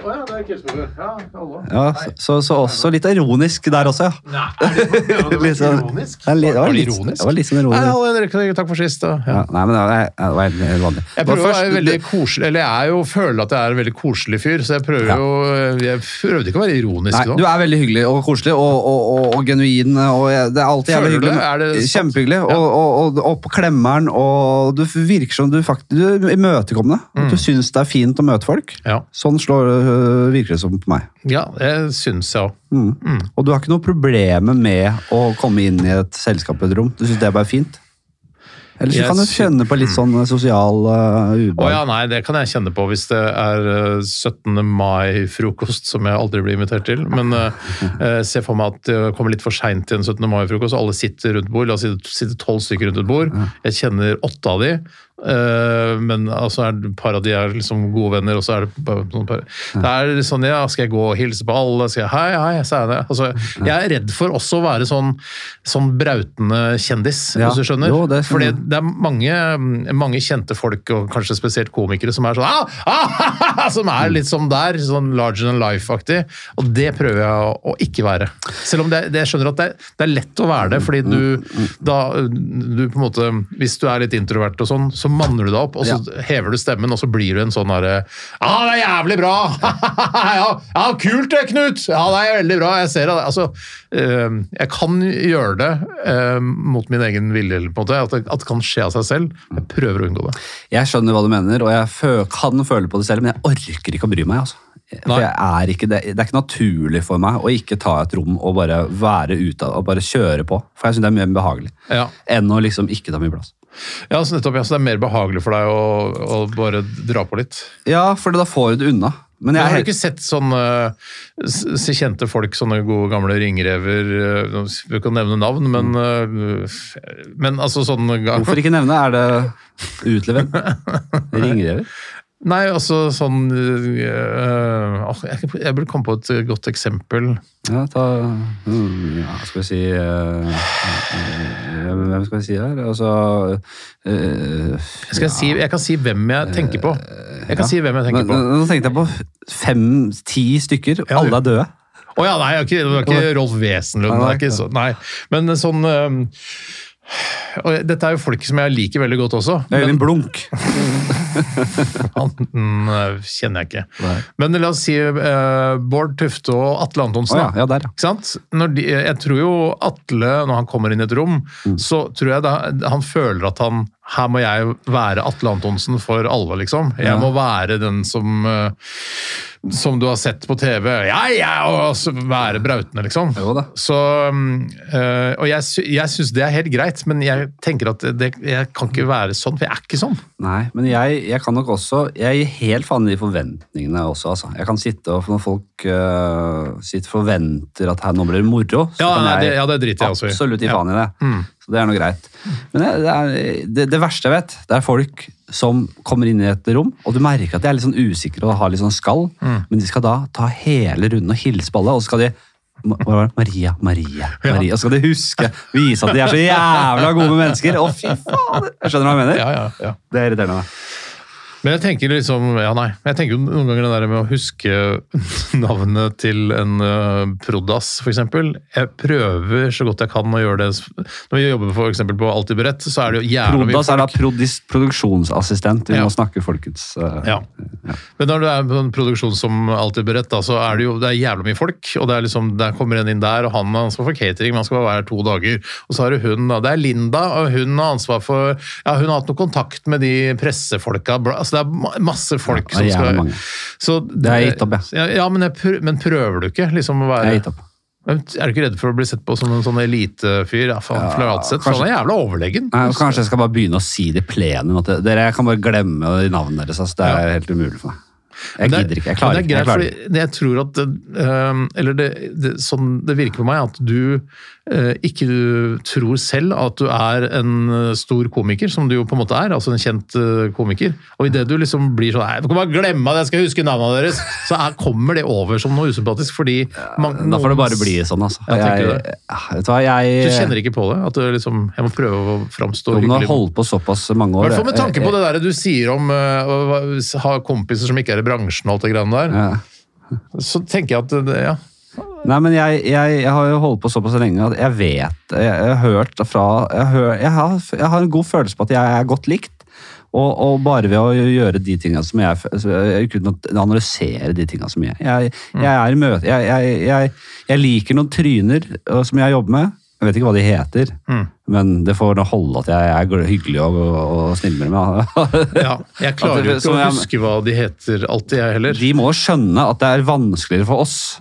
så, så også litt ironisk der også, ja. Litt sånn- Det er litt- det var litt-
Var det ironisk?
Det var litt sånn
Nei,
ironisk.
alle dere, takk for sist. Da. Ja.
Ja, nei, men det var, det var helt- helt vanlig.
Jeg prøver
Men
å
først-
være veldig koselig, eller jeg er jo, føler at jeg er en veldig koselig fyr, så jeg prøver jo Jeg prøvde ikke å være ironisk
Nei,
nå.
du er veldig hyggelig og koselig og, og, og, og genuin. Og jeg- det er alltid
Føler
jævlig
du
hyggelig.
det? Er det sant?
Kjempehyggelig. Og, og, og, og på klemmeren, og du virker som du faktisk Du er imøtekommende. At
Mm.
Du syns det er fint å møte folk.
Ja.
Sånn slår, øh, virker det som på meg.
ja, det syns jeg òg.
Mm. Og du har ikke noe problem med å komme inn i et selskap i et rom. Du syns det er bare fint? Eller så
Jeg
kan du
sy-
kjenne på litt sånn eh, sosial uh,
Å
ubehag.
ja, nei, det kan jeg kjenne på hvis det er eh, 17. mai-frokost som jeg aldri blir invitert til. Men eh, eh, se for meg at jeg kommer litt for seint til en 17. mai-frokost. Alle sitter rundt bord. La oss si det sitter tolv stykker rundt et bord. Jeg kjenner åtte av de. eh, men altså er det et par av de er liksom gode venner, og så er det bare noen par Det er litt sånn, ja, skal jeg gå og hilse på alle? Skal jeg hei, hei, Seine? Altså, jeg er redd for også å være sånn, sånn brautende kjendis,
Ja.
hvis du skjønner.
Jo, det skjønner
Fordi
jeg.
det er mange, mm, mange kjente folk, og kanskje spesielt komikere, som er sånn ah, ah, Som er litt som der, sånn larger than life-aktig. Og det prøver jeg å, å ikke være. Selv om det, det, jeg skjønner at det, det er lett å være det, fordi
Mm,
du da du på en måte, Hvis du er litt introvert og sånn, så manner du deg opp, og så hever du stemmen, og så blir du en sånn herre ah, det er jævlig bra! ja, ja, kult det, Knut! Ja, det er veldig bra, jeg ser det. Altså, eh, jeg kan gjøre det eh, mot min egen vilje, eller på en måte. At det, at det kan skje av seg selv. Jeg prøver å unngå det.
Jeg skjønner hva du mener, og jeg fø kan føle på det selv, men jeg orker ikke å bry meg. altså. For
Nei.
jeg er ikke, det, det er ikke naturlig for meg å ikke ta et rom og bare være ute av- og bare kjøre på. For jeg syns det er mer behagelig
Ja.
enn å liksom ikke ta mye plass.
Ja, så nettopp, ja, så det er mer behagelig for deg å, å bare dra på litt.
Ja, for da får du det unna. Men
Men
jeg
har
er
du ikke sett sånne s- s- kjente folk, sånne gode gamle ringrever eh, Nå skal Vi kan nevne navn, men, eh, men altså sånne ga-
Hvorfor ikke nevne? Er det utlevert? Ringrever?
Nei, altså sånn eh, eh, åh, Jeg jeg burde komme på et godt eksempel.
Ja, ta mm, ja, Skal vi si eh, eh, Hvem skal vi si her? Altså eh,
Skal jeg, si, jeg kan si hvem jeg tenker på. Jeg kan si hvem jeg tenker
Men-
på.
men- Nå tenkte jeg på fem-ti stykker,
Ja,
alle
du-
er døde.
Å ja, nei, jeg har ikke, det var ikke Rolf Wesenlund. det er ikke så, nei. Men sånn øhm, og Dette er jo folk som jeg liker veldig godt også.
Øyvind Blunk.
Han mm, kjenner jeg ikke.
Nei.
Men la oss si øh, Bård Tufte og Atle Antonsen.
Å ja,
da.
ja, der, ja.
Ikke sant? Når de, jeg tror jo Atle, når han kommer inn i et rom, så tror jeg da, han føler at han Her må jeg være Atle Antonsen for alvor, liksom. Jeg
Ja.
må være den som eh, Som du har sett på TV. Ja, ja! Og så være brautende, liksom.
Jo da.
Så mm, eh, Og jeg, sy- jeg syns det er helt greit, men jeg tenker at det, jeg kan ikke være sånn, for jeg er ikke sånn.
Nei, men jeg, jeg kan nok også Jeg gir helt faen i de forventningene også, altså. Jeg kan sitte og når folk eh, sitter forventer at her nå blir det moro, så
Ja,
kan
nei,
jeg
det- ja, det driter jeg også i.
absolutt gi
Ja.
faen
Mm.
i det. Så det er noe greit. Men det, det, er, det, det verste jeg vet, det er folk som kommer inn i et rom, og du merker at de er litt sånn usikre og har litt sånn skall,
Mm.
men de skal da ta hele runden og hilse på alle, og så skal de Ma- hva var det? Maria, Maria, Maria. Og så skal de huske, vise at de er så jævla gode mennesker. Å, fy faen! Jeg skjønner hva jeg mener.
Ja, ja, ja.
Det er irriterende. meg.
Men jeg tenker liksom, ja nei, jeg tenker jo noen ganger det der med å huske navnet til en uh, prodas, for eksempel. Jeg prøver så godt jeg kan å gjøre det. Når vi jobber for eksempel på Alltid Beredt, så er det jo jævla mye
Prodas er da prodis, produksjonsassistent. Vi
Ja.
må snakke folkets eh,
Ja. Men når det er en produksjon som alltid beredt, da, så er det jo det er jævla mye folk. og det er liksom, Der kommer en inn der, og han har ansvar for catering, men han skal bare være her to dager. Og så har du hun, da. Det er Linda, og hun har ansvar for ja, Hun har hatt noe kontakt med de pressefolka. bla- altså Det er ma- masse folk
Ja,
som
det er jævla
skal
mange.
så
Det har jeg gitt opp, jeg.
ja. ja men, jeg prøver, men prøver du ikke liksom å
Jeg
være
har gitt opp.
Men Er du ikke redd for å bli sett på som en sånn elitefyr? Ja, faen, flaut sett. for Han er jævla overlegen.
Nei, og kanskje jeg skal bare begynne å si det i plenum. At det- dere jeg kan bare glemme de navnene deres. Altså, det er helt umulig for meg. Jeg
Men det-
gidder ikke. Jeg
men
klarer
det
ikke.
er
Jeg
greit,
klarer ikke.
fordi det- jeg tror at det, ehm, Eller det, det, sånn det virker på meg, at du eh, ikke du tror selv at du er en eh, stor komiker, som du jo på en måte er. Altså en kjent eh, komiker. Og idet du liksom blir sånn Nei, du kan bare glemme at jeg skal huske navnene deres! Så er, kommer det over som noe usympatisk, fordi man-
Da får det bare
noen-
bli sånn, altså.
Ja, tenker du
jeg, vet du hva,
Du
jeg
kjenner ikke på det? At du liksom Jeg må prøve å framstå
Jon har
hyggelig.
holdt på såpass mange
I
år.
hvert fall med tanke på det der du sier om eh, å å ha kompiser som ikke er i bransjen og alt det greiene der.
Ja.
Så tenker jeg at det- ja,
Nei, men jeg, jeg, jeg har jo holdt på såpass lenge at jeg vet Jeg, jeg har hørt fra jeg, hø- jeg, har, jeg har en god følelse på at jeg er godt likt. Og, og bare ved å gjøre de tingene som jeg fø- så jeg- Uten å analysere de tingene så mye. Jeg, jeg er i møte jeg, jeg, jeg, jeg liker noen tryner øh, som jeg jobber med. Jeg vet ikke hva de heter, men det får nå holde at jeg er gl- hyggelig og, og, og snill med dem.
Ja, jeg
At
klarer jo
det-
ikke
som
å
jeg-
huske hva de heter alltid, jeg heller.
De må skjønne at det er vanskeligere for oss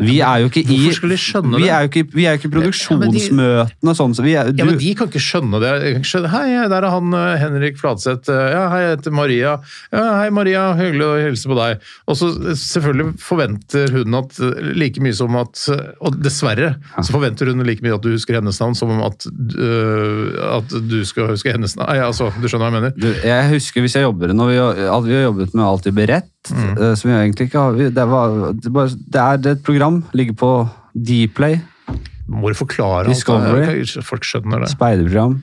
Vi er jo ikke i
Hvorfor skulle de skjønne
vi
det?
er jo ikke, vi er jo ikke i
men de-
produksjonsmøtene sånn som vi er,
Ja, men
du,
De kan ikke skjønne det. De kan ikke skjønne, hei, der er han eh, Henrik Fladseth. Eh, Ja, hei, jeg heter Maria. Ja, hei, Maria, hyggelig å hilse på deg. Og så eh, selvfølgelig forventer hun at eh, like mye som at eh, Og dessverre så forventer hun like mye at du husker hennes navn som om at, eh, at du skal huske hennes navn. Nei, altså, du skjønner hva jeg mener?
du Jeg husker hvis jeg jobber når vi, at vi har jobbet med Alltid beredt,
Mm.
eh, som vi egentlig ikke har vi- Det, var, det, bare, det er et program, ligger på Dplay,
Må du forklare alt
Discovery.
det her? Folk skjønner det.
speiderprogram.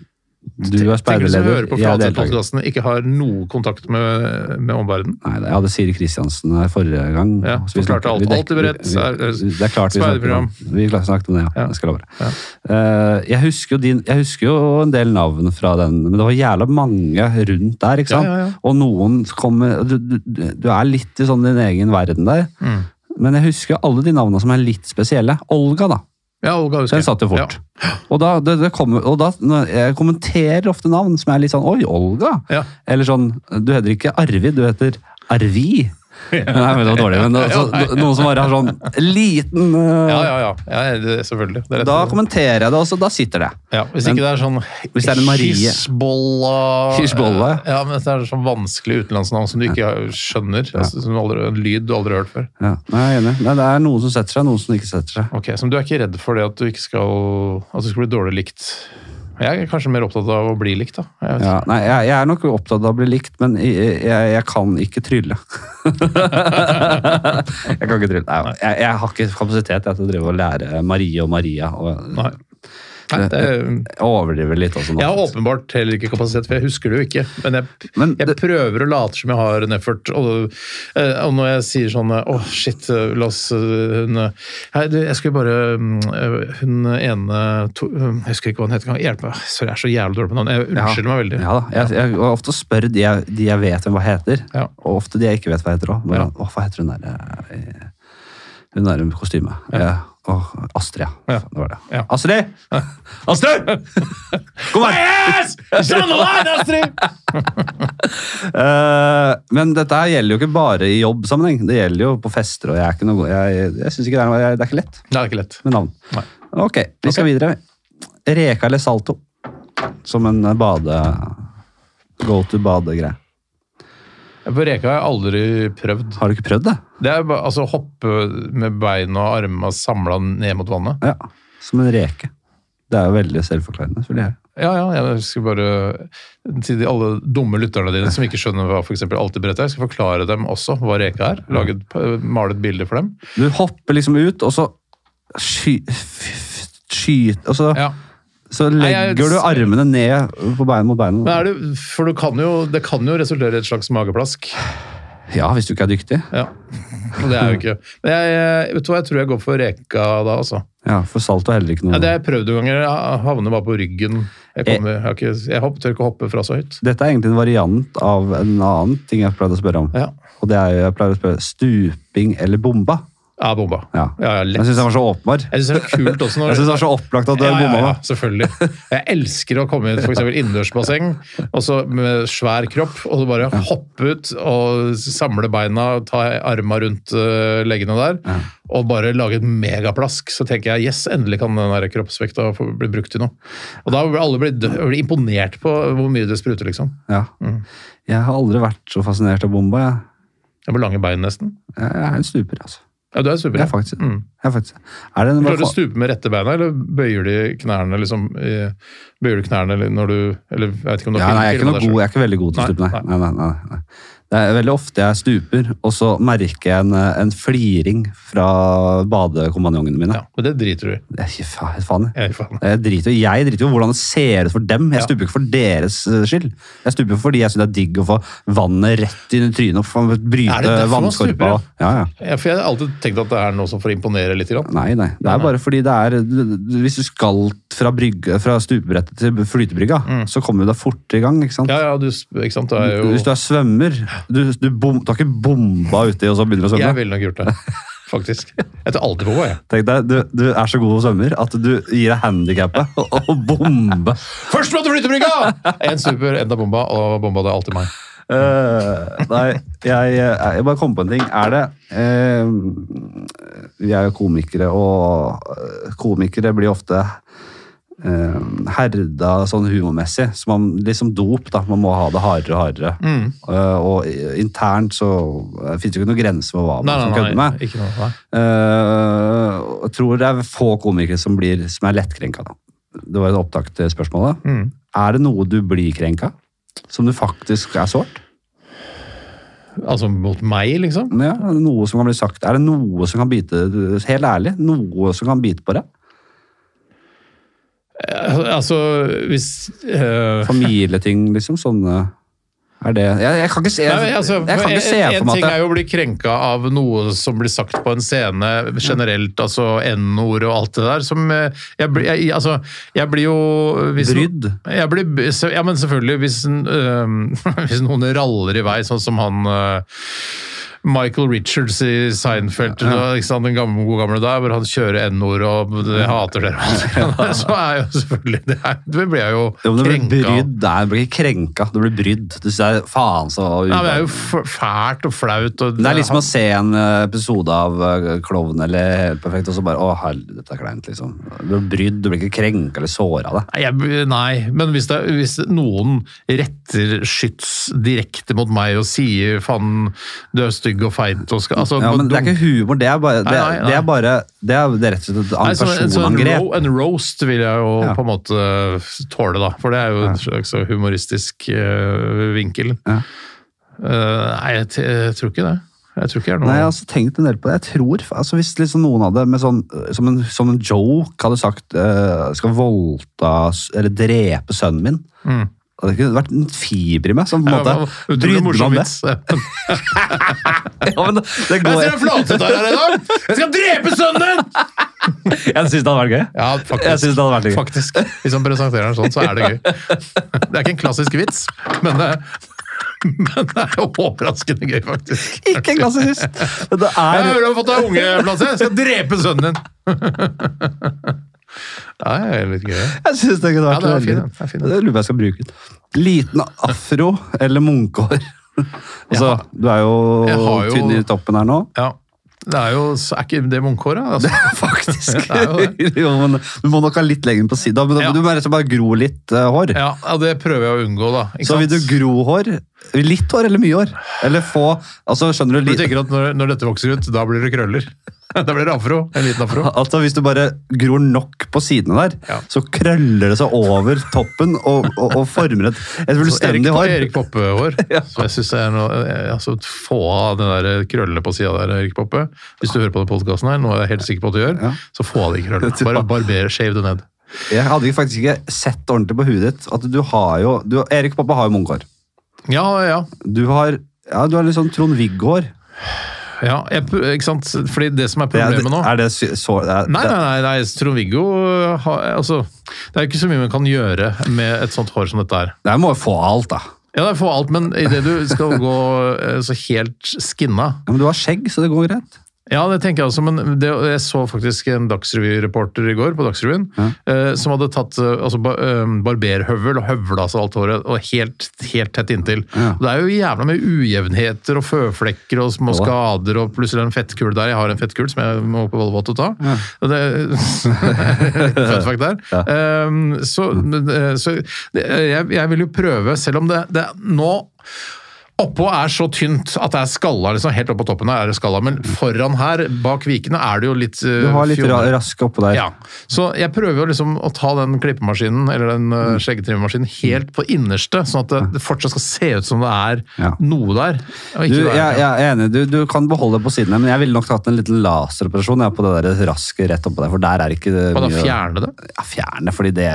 Du er
Tenk hvis du hører
speiderleder,
på
jeg er deltaker.
Fladseth-podkasten ikke har noe kontakt med, med omverdenen.
Nei, jeg hadde Siri Kristiansen her forrige gang.
Ja,
så vi
forklarte
snakket-
alt.
vi dek-
Alt i beredt,
vi-
så er-
vi- Det er klart vi snakket om,
speiderprogram.
vi klart snakket om det, ja.
Ja.
Jeg skal love det. Eh, jeg, husker jo din, jeg husker jo en del navn fra den, men det var jævla mange rundt der, ikke sant?
Ja, ja, ja.
Og noen kommer du, du, du er litt i sånn din egen verden der.
Mm.
Men jeg husker alle de navnene som er litt spesielle. Olga, da.
Ja, Olga husker
Den
jeg.
satt jo fort.
Ja.
Og da, det, det kommer, og da når jeg kommenterer ofte navn som er litt sånn Oi, Olga!
Ja.
Eller sånn Du heter ikke Arvid, du heter Arvi. Nei, men det var dårlig, men det, så, noen som bare har sånn liten eh,
Ja, ja, ja. ja det, selvfølgelig. Det er rett
Da
og slett.
kommenterer jeg det, og så da sitter det.
ja, hvis
Men-
ikke det er sånn
Hvis det er en Marie.
Hizbollah
Hizbollah,
Ja, men det er sånn vanskelig utenlandsnavn som du ikke skjønner. Altså, som du aldri, en lyd du aldri har hørt før.
Ja, nei, jeg er enig. Nei, det er noen som setter seg, noen som ikke setter seg.
Ok, Så du er ikke redd for det at du ikke skal At du skal bli dårlig likt? Jeg er kanskje mer opptatt av å bli likt, da. Jeg vet.
Ja, nei, jeg, jeg er nok opptatt av å bli likt, men jeg, jeg, jeg kan ikke trylle. jeg kan ikke trylle. Nei, jeg, jeg har ikke kapasitet jeg, til å drive og lære Marie og Maria. Og,
Nei. Nei, det,
jeg overdriver litt også nå.
jeg har åpenbart heller ikke kapasitet, for jeg husker det jo ikke. Men jeg,
Men
jeg
det-
prøver å late som jeg har en effort. Og, eh, og når jeg sier sånn eh, Åh, shit, eh, la oss eh, hun, eh, Hei, du, jeg skulle bare mm, eh, Hun ene to, eh, Jeg husker ikke hva hun heter. Kan jeg hjelpe meg? Sorry, jeg er så jævlig dårlig på navn. Jeg unnskylder meg veldig.
Ja da, jeg, jeg, og ofte spør de jeg, de jeg vet hvem hva heter,
Ja.
og ofte de jeg ikke vet hva heter òg.
Ja.
Hva heter hun der eh, Hun der med kostyme. Ja. Åh, Astrid, ja.
Ja.
Faen, Det var det.
Ja.
Astrid! Astrid! Kom her! Eh, men dette her gjelder jo ikke bare i jobbsammenheng. Det gjelder jo på fester, og jeg er ikke noe god Jeg, jeg synes ikke det er noe jeg, Det er ikke lett
Nei, det er ikke lett.
med navn.
Nei.
Ok, vi skal videre. Reka eller Salto? Som en eh, bade... Go to bade-greie.
På Reka har jeg aldri prøvd.
Har du ikke prøvd det?
Det er bare altså, hoppe med beina og armene samla ned mot vannet.
Ja, som en reke. Det er jo veldig selvforklarende. selvfølgelig er det.
Ja, ja, jeg skal bare til de alle dumme lytterne dine som ikke skjønner hva for eksempel alltid brett er, jeg skal forklare dem også hva reka er. Lage et, male et bilde for dem.
Du hopper liksom ut, og så sky, f- f- skyter Og så,
Ja.
så
Nei, jeg-
legger du armene ned på beina mot
Men
beina.
er det, for du kan jo, det kan jo resultere i et slags mageplask.
Ja, hvis du ikke er dyktig.
Ja. Og det er jo ikke Men jeg, vet du hva, jeg tror jeg går for reka da, altså.
Ja, For salto er heller ikke
Ja,
noe
det har jeg prøvd noen ganger. Jeg havner bare på ryggen. Jeg, kommer, jeg, har ikke, jeg hopp- tør ikke å hoppe fra så høyt.
Dette er egentlig en variant av en annen ting jeg pleide å spørre om.
Ja.
Og det er jo, jeg pleier å spørre stuping eller bomba.
Ja, bomba.
Ja.
Ja, ja, lett.
Jeg syns den var så åpbar.
Jeg syns det er kult også når
Jeg synes det er så opplagt at du har bomma. da.
selvfølgelig. Jeg elsker å komme i for eksempel innendørsbasseng og så med svær kropp, og så bare hoppe ut og samle beina, ta arma rundt eh, leggene der, og bare lage et megaplask. Så tenker jeg yes, endelig kan den der kroppsvekta få bli brukt til noe. Og da blir alle blitt- blir imponert på hvor mye det spruter, liksom.
Ja. Jeg har aldri vært så fascinert av bomba. Jeg,
Jeg har lange bein, nesten.
jeg er en stuper, altså.
Ja, du er super.
Jeg er faktisk,
Mm.
jeg er faktisk. Er det en,
Klarer du å stupe med rette beina, eller bøyer de knærne liksom, eh, bøyer du knærne eller når du eller, jeg vet ikke om du
Ja,
har
nei, jeg er
film-
ikke noe
film av deg selv.
god, jeg er ikke veldig god til å
Nei,
stupe, nei. Nei, nei, nei, nei. Det er veldig ofte jeg stuper, og så merker jeg en, eh, en fliring fra badekompanjongene mine.
Ja, men det driter du i.
Jeg, gir fa- faen, jeg.
Jeg gir faen.
Jeg driter, jo- jeg driter jo i hvordan det ser ut for dem. Jeg
Ja.
stuper ikke for deres eh, skyld. Jeg stuper fordi jeg syns det er digg å få vannet rett inn i trynet og få
Er det
bryte
derfor man
vannskorpa.
stuper,
Ja, ja.
Ja, for jeg har alltid tenkt at det er noe som får imponere litt. Grann.
Nei, nei. Det er bare fordi det er Hvis du skal fra, brygge, fra stupebrettet til flytebrygga,
Mm.
så kommer du deg fortere i gang. ikke sant?
Ja, ja, du, ikke sant? Det er jo,
Hvis du er svømmer Du, du, bom, du har ikke bomba uti og så begynner du å svømme.
jeg ville nok gjort det, faktisk. Jeg tar aldri på meg, jeg.
Tenk deg, du, du er så god svømmer at du gir deg handikappet og, og bombe.
Først måtte flytebrygga! En super, enda bomba, og bomba det er alltid meg.
Eh, nei, jeg, jeg bare kom på en ting. Er det eh, vi er jo komikere, og eh, komikere blir ofte eh, herda sånn humormessig. Så man, liksom dop, da. Man må ha det hardere og hardere.
Mm.
Eh, og i- internt så eh, finnes det jo ikke noen grense for hva man
Nei,
kan
nei,
kødde
nei,
med.
ikke noe, nei.
Eh, og jeg tror det er få komikere som, blir, som er lettkrenka. Da. Det var et opptak til spørsmålet.
Mm.
Er det noe du blir krenka? Som du faktisk er sårt?
Altså mot meg, liksom?
Ja, er det noe som kan bli sagt? Er det noe som kan bite Helt ærlig, noe som kan bite på deg?
Eh, Altså, hvis eh,
Familieting, liksom? Sånne Er det Jeg, jeg kan ikke se,
Nei,
jeg,
men altså,
kan ikke se
en-
for meg
En ting
at
er jo å bli krenka av noe som blir sagt på en scene generelt, altså N-ord og alt det der. Som eh, jeg, blir- jeg, altså, jeg blir jo hvis no-
Brydd?
Jeg blir, b- se- ja, men selvfølgelig. Hvis, en, eh, hvis noen raller i vei, sånn som han eh, Michael Richards i Seinfeld, da, ikke sant, den gamle, gode gamle der, hvor han kjører N-ord og jeg hater dere. og alt det der, Så er jo selvfølgelig Det, er, det blir jeg jo
Jo, men du blir
krenka av.
brydd. Nei, du blir ikke krenka. Du blir brydd. Du synes det er faen så
Ja, men det er jo f- fælt og flaut. Og
Det er liksom å se en eh, episode av eh, Klovn eller Helt perfekt, og så bare Å, helvete, det er kleint, liksom. Du blir brydd, du blir ikke krenka eller såra av det.
Nei, jeg, nei, men hvis, det, hvis noen retter skyts direkte mot meg og sier 'faen, du er stygg og feit' og skal altså,
Ja, men det er ikke humor, det er bare Det,
Nei, nei, nei.
det er bare Det er det er rett og slett et
Nei, så,
annet
så en,
personangrep.
ro, en roast vil jeg jo
Ja.
på en måte tåle, da. For det er jo en slags humoristisk eh, vinkel.
Ja.
Eh, nei, jeg, t jeg tror ikke det. Jeg tror ikke det er noe
Nei, jeg har altså tenkt en del på det. Jeg tror, altså Hvis liksom noen hadde med sånn, som, en, som en joke hadde sagt eh, skal voldta s- eller drepe sønnen min Det hadde ikke vært en fiber i meg som på en
Mm. Ja,
måte
men- utrolig
brydde meg
morsom
om det.
vits. Jeg
Ja, men det, det går,
ser en flatet her i dag! Jeg skal drepe sønnen din!
jeg syns det hadde vært gøy.
Ja, faktisk.
Jeg synes det hadde vært gøy.
Faktisk. Hvis man presenterer den sånn, så er det gøy. Det er ikke en klassisk vits, men det, men det er overraskende gøy, faktisk.
Ikke en klassisist! Men Det
Jeg
er
hører du har fått deg unge, Flatse. Jeg skal drepe sønnen din! Ja, det er litt gøy.
Jeg syns det kunne
Ja,
vært
det var
veldig-
fin, den. Det er fin, den.
Det lurer på om jeg skal bruke den. Liten afro eller munkehår. Altså, du er
Jeg
jo,
har jo-
tynn i toppen her nå.
Ja. Det er jo så er ikke det munkhåret? Altså.
Faktisk.
Det er jo
jo, men du må nok ha litt lenger på sida. Men da-
Ja.
Du må rett og slett bare gro litt eh, hår.
Ja, ja, det prøver jeg å unngå, da. Ikke
Så vil du
sant?
gro hår Litt hår eller mye hår? Eller få altså skjønner du,
Du
li-
tenker at når, når dette vokser ut, da blir det krøller? Da blir det afro? En liten afro?
Altså Hvis du bare gror nok på sidene der,
Ja.
så krøller det seg over toppen og, og, og former et, et
Så Erik,
fullstendig hår.
Erik Poppe-hår. Så jeg synes det er noe, eh, altså, Få av den der krøllene på sida der, Erik Poppe. Hvis du hører på den podkasten her, noe jeg er helt sikker på at du gjør,
Ja.
så få av de krøllene. Bare barber, shave det ned.
Jeg hadde faktisk ikke sett ordentlig på huet ditt at du har jo du, Erik Pappa har jo munkehår.
Ja, ja.
Du har ja, du har litt sånn Trond-Viggo-hår.
ja jeg, pu- ikke sant? Fordi det som er
Det Er,
problemet nå
er det sy- så det er,
Nei, nei, nei, nei Trond-Viggo har- altså, Det er jo ikke så mye man kan gjøre med et sånt hår som dette her.
det- det må jo få alt, da.
Ja, det er for alt, men idet du skal gå eh, så helt skinna
Ja, men du har skjegg, så det går greit.
Ja, det tenker jeg også, men det, jeg så faktisk en Dagsrevy-reporter i går på Dagsrevyen, eh, som hadde tatt eh, altså, ba, eh, barberhøvel og høvla seg alt håret, og helt, helt tett inntil.
Ja.
Det er jo jævla mye ujevnheter og føflekker og små
Ja.
skader, og plutselig er det en fettkul der. Jeg har en fettkul som jeg må på Volvat og ta. Og Det, fun fact der. Eh, så men, eh, så det, eh, jeg, jeg vil jo prøve, selv om det, det nå Oppå er så tynt at det er skalla, liksom. Helt oppå toppen her er det skalla, men foran her, bak vikene, er det jo litt
Du
uh,
har litt ra raske oppå der.
Ja. Så jeg prøver jo liksom å ta den klippemaskinen, eller den
Mm.
uh, skjeggetrimmermaskinen, helt på innerste, sånn at det, det fortsatt skal se ut som det er
Ja.
noe der. og ikke
Du, jeg,
være-
jeg er enig, du, du kan beholde det på sidene, men jeg ville nok tatt en liten laseroperasjon jeg, på det der raske rett oppå der, for der er ikke det
Hva da,
mye-
fjerne det?
Ja, fjerne, fordi det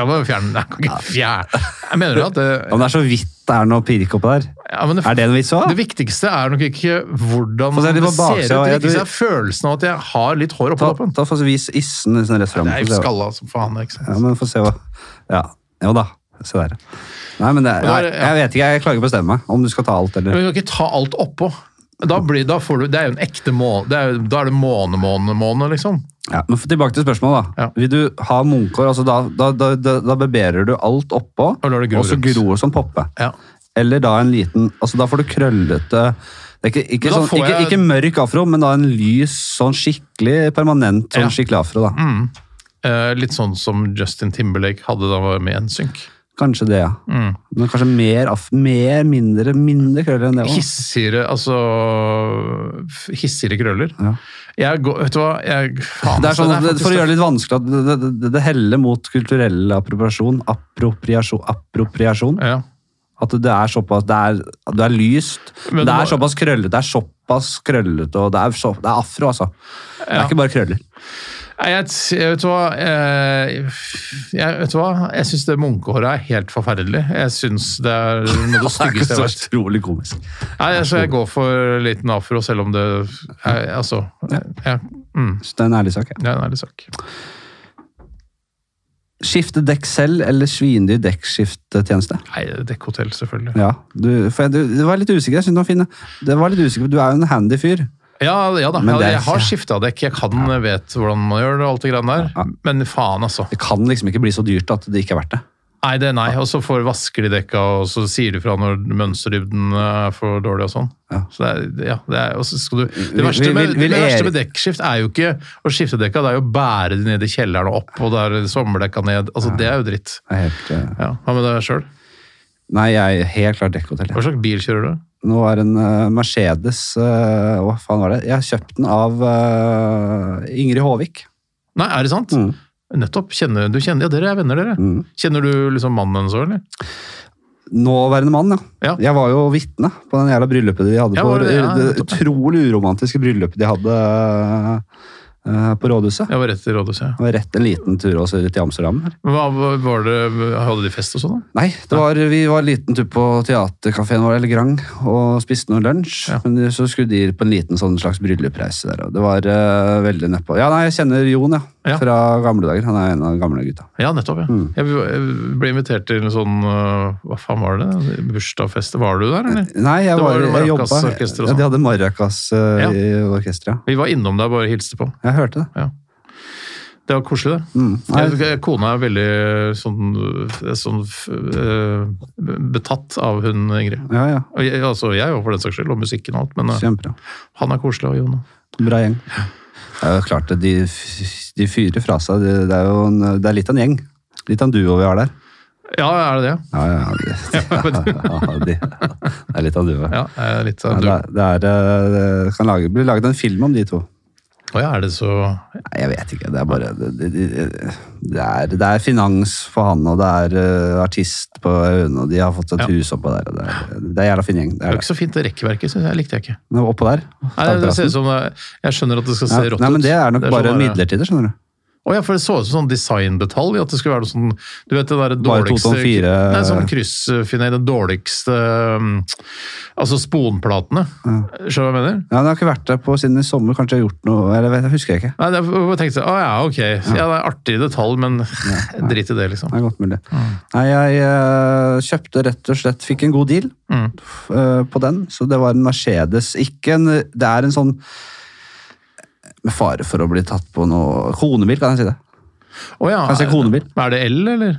Da må du fjerne det. Kan ikke fjerne. Jeg mener du at det,
Om det er så vidt det er noe pirk oppå der.
ja, men
Er det en vits òg?
Det viktigste er nok ikke hvordan
Få se litt
det
på
ser ut,
baksida,
det
jeg
viktigste
tror-
er følelsen av at jeg har litt hår oppå
Ta,
toppen.
ta for vis issen liksom, rett fram.
Det er
Få
jo
se hva-
skalla som faen. ikke sant?
Ja, men få se hva Ja, jo da. Se der. Nei, men det, er-
Men det er-
nei, jeg vet ikke, jeg klarer ikke å bestemme meg om du skal ta alt eller
Men du kan ikke ta alt oppå. Da, blir, da får du, Det er jo en ekte måne. Det er, jo- da er det måne, måne, måne, liksom.
Ja, men Tilbake til spørsmålet. da.
Ja.
Vil du ha munkehår? Altså, da, da, da, da, da barberer du alt oppå,
Og lar det gro
så
rundt.
gror det som poppe.
Ja.
Eller da en liten altså Da får du krøllete Det er ikke, ikke,
Men da
sånn,
får
ikke,
jeg-
ikke mørk afro, men da en lys, sånn skikkelig permanent sånn
Ja.
skikkelig afro. da.
Eh, litt sånn som Justin Timberlake hadde da han var med i NSYNC. Mm.
Kanskje det, ja. Men kanskje mer, af mer mindre, mindre krøller enn det òg.
Hissigere Altså f- Hissigere krøller.
Ja.
Jeg går Vet du hva jeg, faen,
Det er
altså,
sånn, at-
faktisk-
for å gjøre det litt vanskelig at det, det, det, det heller mot kulturell appropriasjon. Appropriasjon. appropriasjon.
ja.
At det er såpass Det er, det er lyst.
Men
det
nå-
er såpass krøllete. Det er såpass krøllete, og det er, så, det er afro, altså. Det er
Ja.
ikke bare krøller.
Nei, jeg, t- jeg vet du hva eh, Jeg, vet du hva? Jeg syns det munkehåret er helt forferdelig. Jeg syns det er noe av det styggeste jeg har vært.
utrolig komisk.
Nei, altså, jeg går for liten afro, selv om det er, Altså ja, mm,
Så det er en ærlig sak. Ja.
det er en ærlig sak.
Skifte dekk selv eller svindyr dekkskiftetjeneste?
Nei, dekkhotell, selvfølgelig.
Ja, du, for jeg, du, det var litt usikker. Jeg synes det var fin. Det var litt usikker, for Du er jo en handy fyr.
Ja, ja da.
Men det er-
jeg, jeg har skifta dekk. Jeg kan vet hvordan man gjør det, og alt det greiene der. Men faen, altså.
Det kan liksom ikke bli så dyrt at det ikke er verdt det.
Nei, det er nei. Og så får vasker de dekka, og så sier de fra når mønsterdybden er for dårlig og sånn.
Ja.
Så det er, ja, det er, og så skal du,
Vil-
det verste med,
vil- vil
det verste
Erik-
med dekkskift er jo ikke å skifte dekka, det er jo å bære de ned i kjelleren og opp, og det er sommerdekka ned. Altså, det er jo dritt.
Det er helt, eh,
Ja, Hva med deg sjøl?
nei, jeg er helt klart dekkhotell. jeg.
Hva slags bil kjører du?
Nå er en eh, Mercedes eh, Hva faen var det? Jeg har kjøpt den av eh, Ingrid Håvik.
Nei, er det sant?
Mm.
Nettopp. Kjenner, du kjenner, ja, dere er venner, dere.
Mm.
Kjenner du liksom mannen hennes òg, eller?
Nåværende mann, ja.
Ja.
Jeg var jo vitne på den jævla bryllupet de hadde
Ja,
på,
var det det? Ja,
det
nettopp.
utrolig uromantiske bryllupet de hadde eh, på rådhuset.
Jeg var rett i rådhuset.
Det var rett en liten tur også til Amsterdam. her.
Hva, hva- var det, hadde de fest og sånn? da?
Nei, det var, vi var en liten tur på teaterkafeen vår, eller Grang, og spiste noe lunsj.
Ja.
Men så skulle de på en liten sånn slags bryllupsreise der, og det var eh, veldig nedpå. Ja, nei, jeg kjenner Jon, ja.
Ja.
Fra gamle dager. Han er en av de gamle gutta.
Ja, nettopp. ja.
Mm.
Jeg jeg ble invitert til en sånn øh, Hva faen var det? Bursdagsfest. Var du der, eller?
Nei, jeg
Det
var,
var jo
jeg jobba.
Maracas-orkester
Ja,
og sånn.
de hadde maracas eh,
Ja.
i orkesteret.
Vi var innom der og bare hilste på.
ja. Jeg hørte det.
Det var koselig, det.
Mm. Nei,
Jeg, jeg- kona er veldig sånn, øh, sånn f- øh, betatt av hun Ingrid.
ja, ja.
Og jeg, altså, jeg òg, for den saks skyld, og musikken og alt. Men øh,
Kjempebra.
han er koselig, og Jon òg.
Bra gjeng. Det er jo klart at de, f- de fyrer fra seg. Det, det er jo en, det er litt av en gjeng. Litt av en duo vi har der.
Ja, er det det?
Ja, ja, ja. De, ja, de, det er litt av en duo.
Ja, jeg er litt
Ja, det,
av du.
er, det, er, eh, det kan lage, bli laget en film om de to.
Å ja, er det så
Nei, jeg vet ikke. Det er bare Det, det, det, det, er, det er finans for han, og det er eh, artist på Aune, og de har fått et
Ja.
hus oppå der. og Det er, det er jævla fin gjeng.
Det
Det
er jo
er det.
ikke så fint, det rekkverket syns jeg. Likte jeg ikke.
Men Oppå der.
Nei, det ser ut som det er, Jeg skjønner at det skal se
ja,
rått ut.
nei, men det er nok
sånn
bare
der-
midlertidig, skjønner du.
Å ja, for det så ut som sånn designdetalj. At det skulle være noe sånn Du vet det derre
Bare
dårligste
2,4.
Nei, sånn kryssfinale. Den dårligste um, Altså sponplatene. Skjønner du hva jeg mener?
Ja, det har ikke vært der på siden i sommer. Kanskje jeg har gjort noe eller jeg vet, jeg husker ikke.
Nei, det, jeg tenkte Å ja, ok. Ja, det er artig detalj, men drit i det, liksom.
Det er godt mulig. Nei, jeg eh, kjøpte rett og slett Fikk en god deal
Mm.
f- eh, på den, så det var en Mercedes. Ikke en Det er en sånn Med fare for å bli tatt på noe Konebil, kan jeg si det.
Å ja.
Kan jeg si konebil?
Er det el, eller?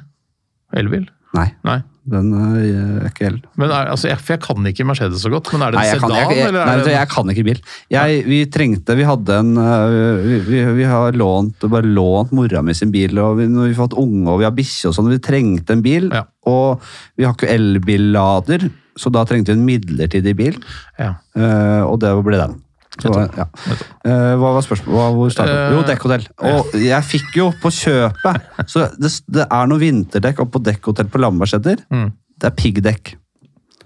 Elbil?
Nei,
Nei.
den eh, er ikke el.
Men er, altså, jeg, for jeg kan ikke Mercedes så godt, men er det
Nei,
en
jeg kan,
sedan,
jeg, jeg,
eller
nei,
er
vet du,
det
jeg kan ikke bil. Jeg, vi trengte Vi hadde en øh, Vi, vi, vi har lånt bare lånt mora mi sin bil, og vi, når vi har fått unge og vi har bikkje og sånn. Vi trengte en bil,
Ja.
og vi har ikke elbillader, så da trengte vi en midlertidig bil,
ja.
øh, og det ble den. Så, ja. Eh, hva var spørsmålet? Hva, hvor startet vi?
Eh,
Jo, dekkhotell. Og jeg fikk jo på kjøpet Så det, det er noe vinterdekk, og på dekkhotell på Lambertseter,
Mm.
det er piggdekk.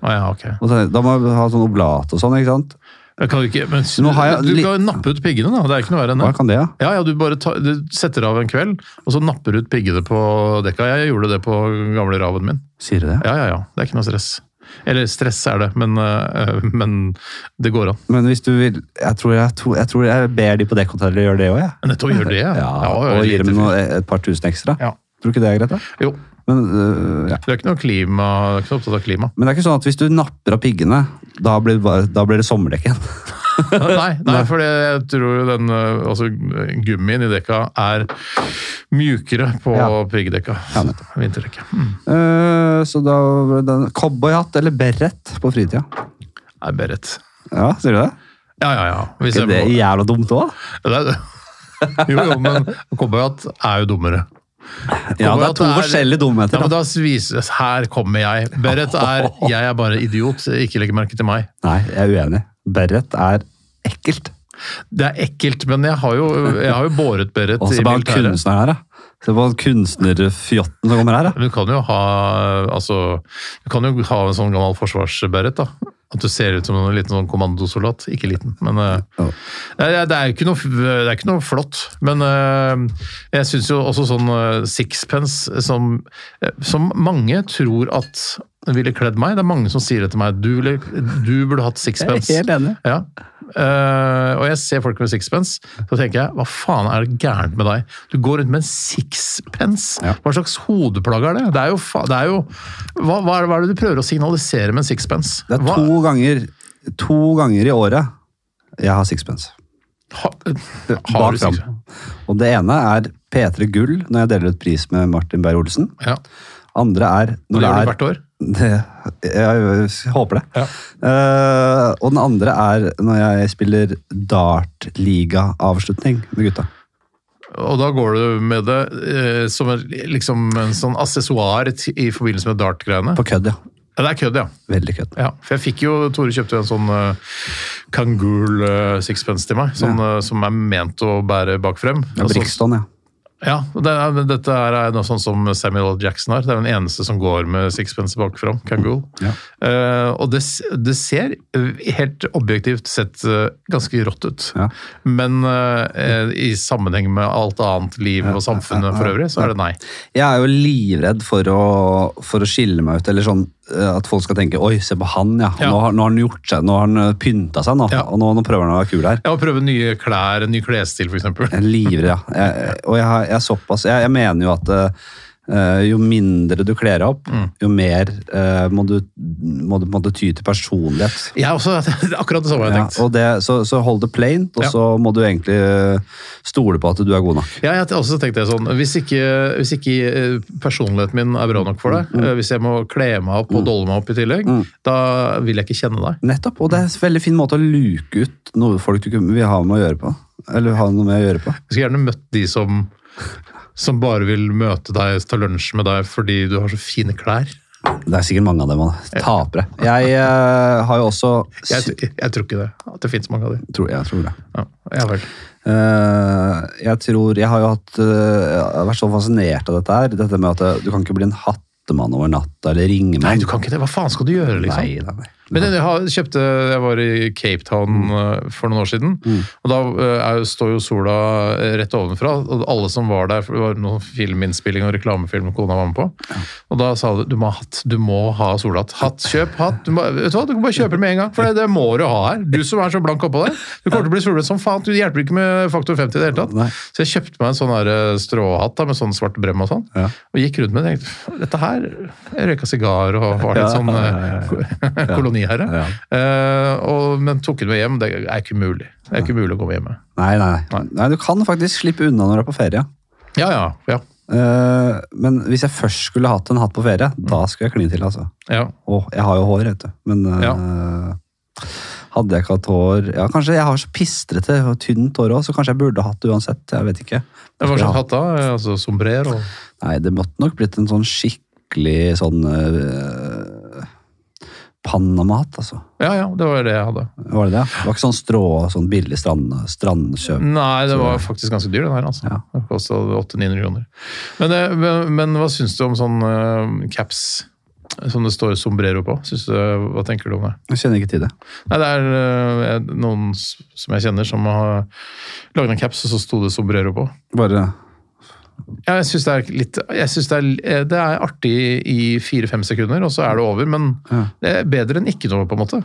Å ja, ok.
Og så- Da må jeg ha sånn oblat og sånn, ikke sant?
Jeg kan ikke, men
Nå har jeg
du
litt-
kan jo nappe ut piggene, da. Det er ikke noe verre enn det.
Hva kan det, ja?
Ja, ja, du bare tar- du setter av en kveld, og så napper du ut piggene på dekka. Jeg gjorde det på gamle raven min.
Sier du det?
Ja, ja, ja. Det er ikke noe stress. Eller stress er det, men, øh, men det går an.
Men hvis du vil Jeg tror jeg, to- jeg, tror jeg ber de på dekkhotellet gjøre det òg, jeg.
Nettopp gjør det.
Ja,
jeg er
og gir
lite
dem
fyr.
noe, et par tusen ekstra.
Ja.
Tror du ikke det er greit, da?
Jo,
Men, øh, ja.
du er ikke noe klima, du er ikke noe opptatt av klima.
Men det er ikke sånn at hvis du napper av piggene, da blir, det bare, da blir det sommerdekk igjen.
Nei, nei for jeg tror den, øh, altså, gummien i dekka er mjukere på
Ja.
piggdekka.
Ja,
Vinterdekka. Mm.
Øh, så da ble det en Cowboyhatt eller beret på fritida.
Nei, Berit.
Ja, Sier du det?
Ja, ja, ja. Hvis
Er
jeg
det
må.
jævla dumt òg?
Det er, jo, jo, men cowboyhatt er jo dummere.
Ja, det er
Cowboyhatt
to forskjellige
Ja,
dumheter.
men
da.
da vises Her kommer jeg. Berit er Jeg er bare idiot. Ikke legg merke til meg.
Nei, jeg er uenig. Berret er ekkelt.
Det er ekkelt, men jeg har jo, jeg har jo båret Berit
Og
i
så bare han
militæret.
kunstneren her, da. Se på han kunstnerfjotten som kommer her, da.
Men Du kan jo ha altså, du kan jo ha en sånn gammel forsvarsberet. da. At du ser ut som en liten sånn kommandosoldat. Ikke liten, men eh,
Ja.
det, er- det, er ikke noe, det er ikke noe flott. Men eh, jeg syns jo også sånn eh, sixpence som, eh, som mange tror at ville kledd meg. Det er mange som sier det til meg. Du, ville, du burde hatt
Jeg
sixpence.
er helt enig.
Ja. Eh, og jeg ser folk med sixpence, så tenker jeg hva faen er det gærent med deg? Du går rundt med en sixpence!
Ja.
Hva slags hodeplagg er det? Det er jo, fa det er jo hva, hva, er det, hva er det du prøver å signalisere med en sixpence?
Det er
Hva-
to ganger, to ganger i året jeg har sixpence.
Ha, har
Bak
du
fram.
sixpence?
Og det ene er P3 Gull når jeg deler ut pris med Martin Beyer-Olsen.
Ja.
Andre er
Det
når det
gjør du
er
hvert år.
det, jeg, håper det. Eh, og den andre er når jeg spiller dartligaavslutning med gutta.
Og da går du med det eh, som en, liksom en sånn accessoar t- i forbindelse med dart-greiene.
På kødd, ja.
Ja, det er kødd, ja.
Veldig kødd.
Ja, for jeg fikk jo, Tore kjøpte jo en sånn uh, Kangool eh, sixpence til meg, sånn, eh, som er ment å bære bak frem.
Ja,
Altså,
Brixton, ja.
ja, det er, men dette er er noe sånn som Samuel L. Jackson har. Det er jo den eneste som går med sixpence bak frem, Kangool.
Ja.
Eh, og det, s- det ser eh, helt objektivt sett eh, ganske rått ut.
Ja.
Men eh, eh, i sammenheng med alt annet liv og samfunnet for øvrig, så er det nei.
Jeg er jo livredd for å, for å skille meg ut, eller sånn eh, at folk skal tenke 'oi, se på han, ja'.
Ja.
Nå, har, nå har han gjort seg, nå har han eh, pynta seg, nå,
Ja.
og nå, nå prøver han å være kul her.
Ja, å prøve nye klær, en ny klesstil for eksempel.
Jeg er livredd, ja. Jeg, jeg- og jeg, har- jeg er såpass Jeg, jeg mener jo at eh, jo mindre du kler deg opp,
Mm.
jo mer eh, må du, må du på en måte ty til personlighet.
Jeg er også, det er akkurat det samme jeg har
Ja,
tenkt.
og det, så, så hold det plaint, og
Ja.
så må du egentlig eh, stole på at du er god nok.
Ja, jeg har også tenkt det sånn. Hvis ikke, hvis ikke eh, personligheten min er bra nok for deg, eh, hvis jeg må kle meg opp og dolle meg opp i tillegg, da vil jeg ikke kjenne deg.
Nettopp, og det er en veldig fin måte å luke ut noe folk du ikke vil ha med å gjøre på. Eller ha noe med å gjøre på.
Jeg skulle gjerne møtt de som, som bare vil møte deg, ta lunsj med deg fordi du har så fine klær.
Det er sikkert mange av dem. altså. Tapere. Jeg eh, har jo også
Jeg, tr- jeg tror ikke det. At det finnes mange av de.
tror, Jeg tror det.
Ja, ja vel.
Eh, jeg tror Jeg har jo hatt eh, jeg har vært så fascinert av dette her. Dette med at eh, du kan ikke bli en hattemann over natta eller
Nei,
ringemann.
du kan ikke det. Hva faen skal du gjøre, liksom?
Nei, nei, nei.
Men jeg har, kjøpte, jeg var i Cape Town
Mm.
eh, for noen år siden, og da eh, er, står jo sola eh, rett ovenfra, og alle som var der, for det var noen filminnspilling og reklamefilm kona var med på, og da sa du, du må ha hatt, du må ha solhatt. Hatt, kjøp hatt. Du, må, vet du hva, du kan bare kjøpe det med en gang, for det, det må du ha her. Du som er så blank oppå deg, du kommer til å bli solbrent som faen, du hjelper ikke med faktor 50 i det hele tatt.
Nei.
Så jeg kjøpte meg en sånn der eh, stråhatt da, med sånn svart brem og sånn,
Ja.
og gikk rundt med det, og tenkte, dette her, jeg røyka sigar og var litt
Ja,
sånn
ja, ja,
eh, koloniherre.
Ja.
Eh, og, men tok hun meg hjem, det er ikke mulig. Det er ikke mulig å komme hjemme.
Nei, nei, nei. nei, du kan faktisk slippe unna når du er på ferie.
Ja, ja, ja.
Eh, men hvis jeg først skulle hatt en hatt på ferie, da
Mm.
skulle jeg kline til, altså.
ja.
Åh, jeg har jo hår, vet du. Men eh, hadde jeg ikke hatt hår Ja, kanskje jeg har så pistrete og tynt hår òg, så kanskje jeg burde hatt det uansett. Jeg vet ikke.
Det var sånn hatt da, eh, altså sombrero.
Nei, det måtte nok blitt en sånn skikkelig sånn uh, Panama-hatt, altså.
Ja, ja, det var det jeg hadde.
Var det det? Det var ikke sånn strå, sånn billig strand, strandkjøp.
Nei, det var faktisk ganske dyr, den her. altså.
Ja.
Det kosta 800-900 kroner. Men, eh, men, men hva syns du om sånn eh, caps som det står sombrero på? Syns du, hva tenker du om det?
Jeg kjenner ikke til det.
Nei, det er eh, noen s- som jeg kjenner, som har lagd en caps, og så sto det sombrero på.
Bare
Ja, jeg syns det er litt jeg synes det, er, eh, det er artig i fire-fem sekunder, og så er det over. Men
Ja.
det er bedre enn ikke noe, på en måte.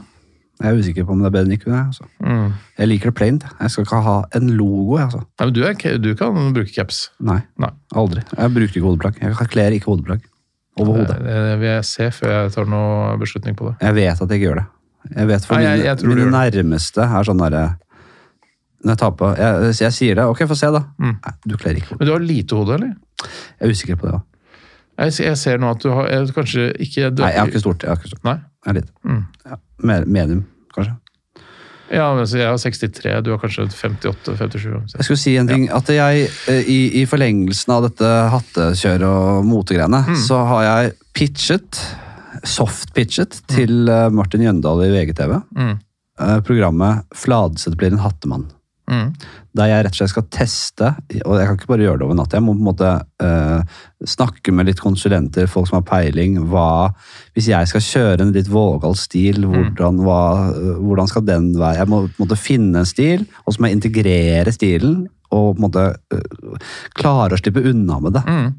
Jeg er usikker på om det er bedre enn ikke. jeg, Altså.
Mm.
Jeg liker det plaint. jeg. Jeg skal ikke ha en logo, jeg, altså.
Nei, men du, er, k- du kan bruke caps.
Nei.
Nei.
Aldri. Jeg bruker ikke hodeplagg. Jeg kler ikke hodeplagg. Overhodet.
Det det vil jeg se før jeg tar noe beslutning på det.
Jeg vet at jeg ikke gjør det. Jeg vet for
Nei, jeg-
mine,
jeg tror du
mine
gjør
nærmeste er sånn derre Når jeg tar på jeg, jeg sier det. Ok, få se, da.
Mm.
Nei, du kler ikke hodet.
Men du har lite hode, eller?
Jeg er usikker på det òg.
Jeg, s- jeg ser nå at du har jeg, kanskje ikke du,
Nei, jeg har ikke stort. Jeg har ikke stort.
Nei?
Jeg er lite.
Mm.
Ja. Med- Medium, kanskje.
Ja, men så jeg har 63, du har kanskje 58-57.
Jeg skulle si en ting, at jeg eh, i, i forlengelsen av dette hattekjøret og motegreiene,
Mm.
så har jeg pitchet, soft-pitchet, til eh, Martin Jøndal i VGTV.
Mm.
eh, Programmet 'Fladseth blir en hattemann'.
Mm.
Der jeg rett og slett skal teste, og jeg kan ikke bare gjøre det over natt, jeg må på en måte eh, snakke med litt konsulenter, folk som har peiling, hva Hvis jeg skal kjøre en litt vågal stil,
Mm.
hvordan, hva, eh, hvordan skal den være? Jeg må på en måte finne en stil, og så må jeg integrere stilen, og på en måte eh, klare å slippe unna med
Mm.
det.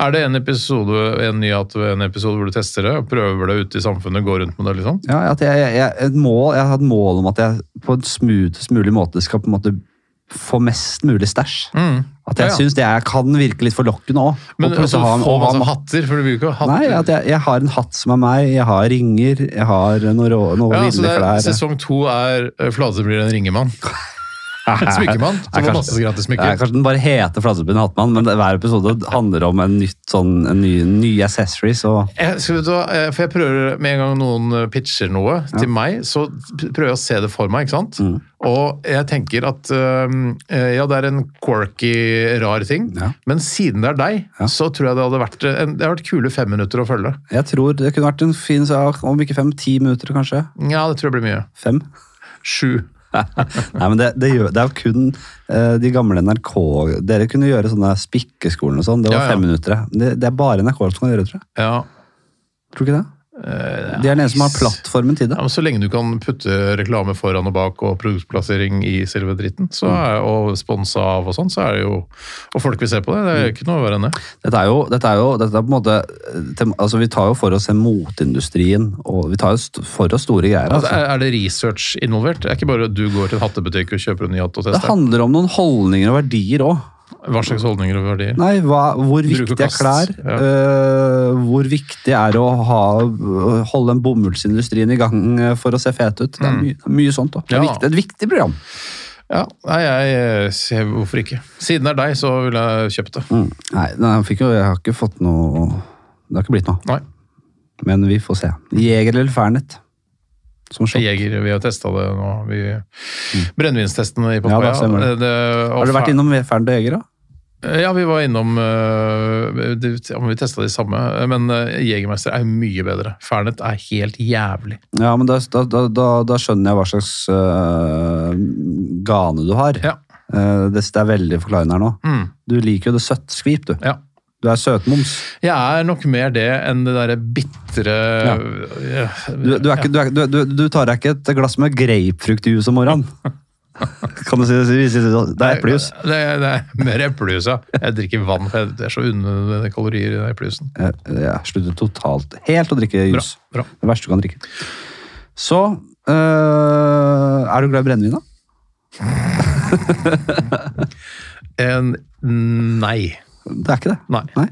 Er det en episode, en ny at en episode hvor du tester det, og prøver det ute i samfunnet, går rundt med det, liksom?
Ja, at jeg, jeg, jeg, et mål, jeg har et mål om at jeg på en smoothest mulig måte skal på en måte få mest mulig stæsj.
Mm.
At jeg
Ja, ja.
synes det er, kan virke litt forlokkende òg.
Men altså, få masse hatter, for du bruker jo ikke hatter.
Nei, at jeg, jeg har en hatt som er meg, jeg har ringer, jeg har noen rå, noe
ja, så
ville
det er,
klær.
sesong to er eh, Flate blir en ringemann. En smykkemann
Nei,
som får masse gratis
Nei,
smykker.
kanskje den bare heter Flatsebyen Hattmann, men det- hver episode handler om en nytt sånn, en ny, nye accessories. Og,
Jeg, skal vet du, hva, eh, for jeg prøver Med en gang noen eh, pitcher noe til meg, så p- prøver jeg å se det for meg. ikke sant?
Mm.
Og jeg tenker at øhm, eh, ja, det er en quirky, rar ting,
Ja.
men siden det er deg, så tror jeg det hadde vært eh, en, det hadde vært kule fem minutter å følge.
jeg tror det kunne vært en fin sak om ikke fem, ti minutter kanskje.
Ja, det tror jeg blir mye.
Fem.
Sju.
Nei, men det, det, gjør, det er jo kun eh, de gamle NRK Dere kunne gjøre sånne spikkeskolen og sånn. Det var
Ja, ja.
fem minutter. Det, det er bare NRK som kan gjøre det, tror jeg.
Ja.
Tror du ikke det?
Eh,
De er den eneste som har plattformen til det.
ja, men Så lenge du kan putte reklame foran og bak og produktplassering i selve dritten, så
Mm.
er, og sponse av og sånn, så er det jo Og folk vil se på det. Det
Mm.
er jo ikke noe verre enn det.
Dette er jo, dette er jo dette er på en måte eh, tem- altså Vi tar jo for oss en moteindustrien, og vi tar jo st for oss store greier.
Altså,
Altså.
er, er det research involvert? Det er ikke bare at du går til en hattebutikk og kjøper en ny hatt og
Det
tester?
handler om noen holdninger og verdier òg.
Hva slags holdninger og verdier?
Nei, hva, hvor
Bruk og
viktig er
kast,
klær?
ja.
øh, hvor viktig er det å ha, holde den bomullsindustrien i gang eh, for å se fet ut? Det er mye, mye sånt. Da. Det er
Mm. Ja.
viktig, et viktig program.
Ja, nei, jeg eh, ser hvorfor ikke. Siden det er deg, så ville jeg kjøpt det.
Mm. Nei, nei jeg, fikk jo, jeg har ikke fått noe Det har ikke blitt noe.
Nei,
Men vi får se. Jeger eller Fernet? Som shot.
Jeger, vi har testa det nå. Vi, Brennevinstestene i
Mm. Ja, da
Papaya.
stemmer det. Har du vært innom Fernet og Jeger, da?
Ja, vi var innom eh, det- ja, men Vi testa de samme, men eh, Jegermeister er mye bedre. Fernet er helt jævlig.
Ja, men da, da, da, da, da skjønner jeg hva slags øh, gane du har.
Ja.
Eh, det, det er veldig forklarende her nå.
Mm.
Du liker jo det søttskvip, du.
Ja.
Du er søtmoms.
Jeg er nok mer det enn det derre bitre ja.
Du, du, er ikke, du, er, du, du, du tar deg ikke et glass med grapefruktjuice om morgenen. kan du si, si, si, si sånn? Det er eplejus.
Det, er- det er mer eplejus, ja. Jeg drikker vann, for det er så unødvendige kalorier i den eplejusen.
Jeg, jeg slutter totalt helt å drikke
Bra.
jus.
bra.
Det verste du kan drikke. Så øh, Er du glad i brennevin, da?
En, nei.
Det er ikke det.
nei.
Nei.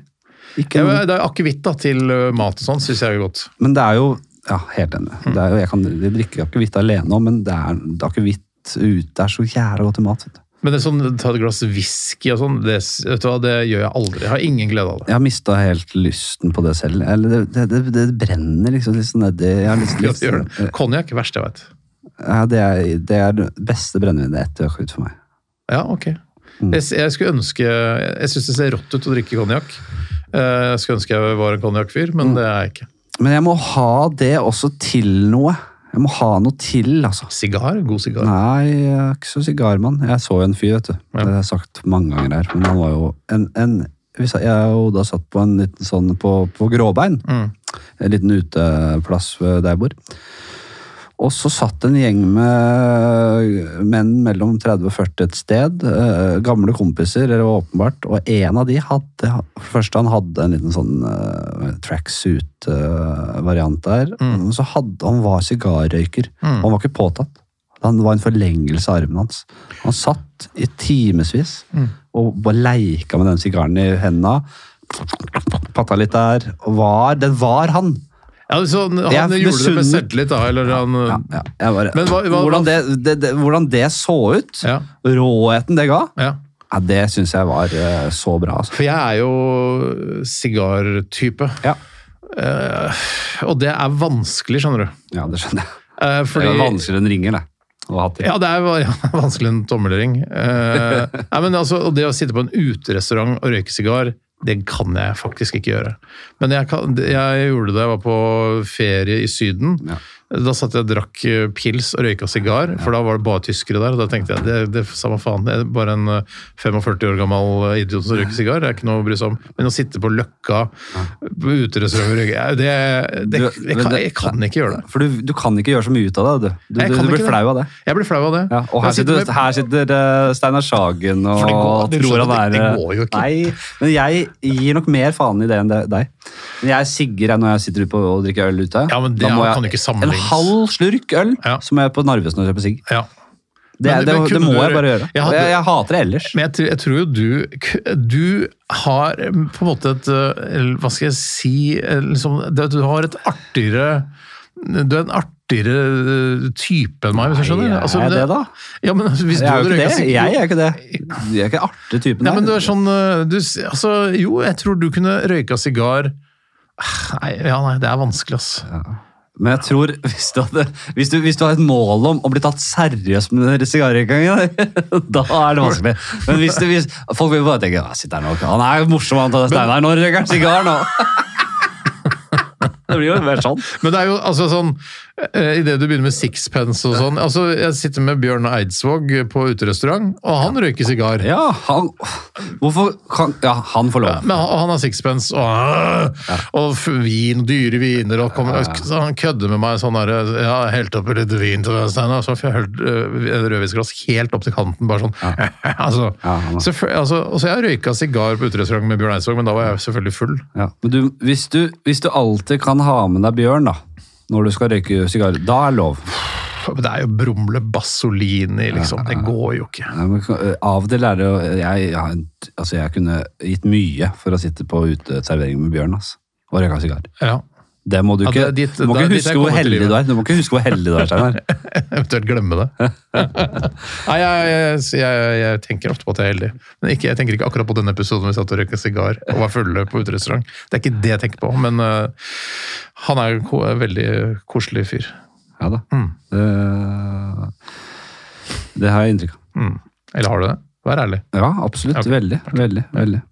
Ikke
Ja,
noe.
men det er akevitt da, til ø, mat og sånn, syns jeg er godt.
Men det er jo Ja, helt enig. Det er jo, jeg kan jeg drikker akevitt alene òg, men det er det er akevitt ute. Det er så jævla godt til mat. vet du.
Men det er sånn, ta et glass whisky og sånn, det, s- vet du hva, det gjør jeg aldri. Jeg har ingen glede av det.
Jeg har mista helt lysten på det selv. Eller det, det, det, det brenner liksom litt sånn nedi. Jeg har lyst
Ja, det
til
gjør det. Konjakk, verst jeg veit.
ja, det, er, det er det beste brennevinet etter akevitt for meg.
Ja, ok. Jeg, s- jeg skulle ønske Jeg syns det ser rått ut å drikke konjakk. Eh, Jeg skulle ønske jeg var en konjakkfyr, men det er jeg ikke.
Men jeg må ha det også til noe. Jeg må ha noe til, altså.
Sigar? God sigar.
Nei, jeg er ikke så sigarmann. Jeg så jo en fyr, vet du. Det har jeg sagt mange ganger her. Men han var jo en, en vi sa- Jeg og Oda satt på en liten sånn på, på gråbein.
Mm.
En liten uteplass eh, ved der jeg bor. Og så satt en gjeng med menn mellom 30 og 40 et sted. eh, Gamle kompiser, eller åpenbart. Og en av de hadde For det første, han hadde en liten sånn eh, tracksuit-variant der. Men så hadde han var sigarrøyker. Han var ikke påtatt. Han var en forlengelse av armen hans. Han satt i timevis og bare leika med den sigaren i henda. Patta litt der. Og var Det var han!
Ja, så han
Jeg
han gjorde det med
misunner-
selvtillit, da? Eller han
Ja, ja. Jeg bare,
Men hva- hva-
hvordan, det, det, det, hvordan det så ut,
Ja.
råheten det ga,
ja.
ja, det syns jeg var eh, så bra. Altså.
For jeg er jo sigartype.
Ja.
Eh, og det er vanskelig, skjønner du.
ja, det skjønner jeg.
Eh,
Det
fordi
var vanskeligere enn ringer, det. og hatt det.
Ja, det er va- ja, vanskelig en tommelring. Eh, nei, men altså, og det å sitte på en uterestaurant og røyke sigar, det kan jeg faktisk ikke gjøre. Men jeg, kan, jeg gjorde det da jeg var på ferie i Syden.
Ja.
Da satt jeg og drakk eh, pils og røyka sigar, for da var det bare tyskere der. Og da tenkte jeg det, det samme faen, det er bare en eh, 45 år gammel eh, idiot som røyker sigar. Det er ikke noe å bry seg om. Men å sitte på Løkka på uterestaurant og røyke, eh, det, det,
Du-
jeg,
men
kan,
det-
jeg kan ikke gjøre det.
For du, du kan ikke gjøre så mye ut av det. Du, du,
Jeg
du,
kan
du
ikke
blir flau av det.
Jeg blir flau av det.
Ja, og her
Jeg sitter
sitter,
med-
her sitter eh, Steinar Sagen og
For det går- det
tror
skjønner
han er eh,
du, det går jo ikke.
Nei, men jeg gir nok mer faen i det enn det- deg. Men jeg sigger jeg når jeg sitter ute på og drikker øl ute.
Ja, men det
Da må
kan jo ikke
En
sammenlignes.
halv slurk øl,
Ja.
så må jeg på Narvesen og kjøpe sigg.
Ja.
Det,
Men-
er- det,
men
det
kunne
må
du-
jeg bare gjøre.
Jeg
Og
hadde-
jeg, jeg hater det ellers.
Men jeg, tr- jeg tror jo du k- Du har em, på en måte et eh, eller Hva skal jeg si eh, liksom, det, Du har et artigere Du er en artigere eh, type enn meg, hvis du skjønner? Altså,
Nei, er jeg det da?
Ja, men altså, hvis
Jeg
du
er jo ikke
hadde
det.
røyka sig-
Jeg er ikke det. Jeg er ikke artig typen.
Nei,
der.
men du er sånn eh, du, s- altså, Jo, jeg tror du kunne røyka sigar Ah, Nei, ja, nei, det er vanskelig, ass.
Men jeg tror, hvis du, hadde, hvis, du, hvis du har et mål om å bli tatt seriøst med den sigarrøykingen, da er det vanskelig. Men hvis du, hvis, folk vil bare tenke «Ja, sitt her nå, han er jo morsom, han tar Steinar, nå røyker han sigar nå. Det blir jo mer sånn.
Men det er jo altså sånn eh, Idet du begynner med sixpence og sånn altså Jeg sitter med Bjørn Eidsvåg på uterestaurant, og han røyker sigar.
Ja, han, hvorfor kan, ja, han får lov.
Men han, og han har sixpence og, og f- vin, dyre viner og kommer, så Han kødder med meg sånn der Jeg har helt oppi litt vin til deg, Steinar. Så får jeg helt, øh, et rødvinsglass helt opp til kanten, bare sånn. altså,
Ja, han er-
selvfølgelig- altså, og så jeg har røyka sigar på uterestaurant med Bjørn Eidsvåg, men da var jeg selvfølgelig full.
Ja, men du, hvis, du, hvis du alltid kan ha med deg Bjørn da, når du skal røyke sigar, da er lov.
Men det er jo brumle Bassolini, liksom. Det går jo ikke.
Nei, men kan- eh, Av og til er det jo jeg, jeg, har en- altså jeg kunne gitt mye for å sitte på uteservering med Bjørn ass, og røyke en sigar.
Ja.
Det må du
Ja,
ikke,
det er dit-
du må
det er
ikke
dit jeg
huske hvor
kommer til
heldig
livet.
du er. Du må ikke huske hvor heldig du er, Steinar.
Eventuelt glemme det. Nei, jeg, jeg, jeg, jeg tenker ofte på at jeg er heldig. Men ikke, jeg tenker ikke akkurat på denne episoden vi satt og røyka sigar og var fulle på uterestaurant. Det er ikke det jeg tenker på, men øh, han er jo en ko- en veldig koselig fyr.
Ja da. Det, det har jeg inntrykk av.
Mm. Eller har du det? Vær ærlig.
Ja, absolutt.
Ok.
Veldig, veldig, veldig.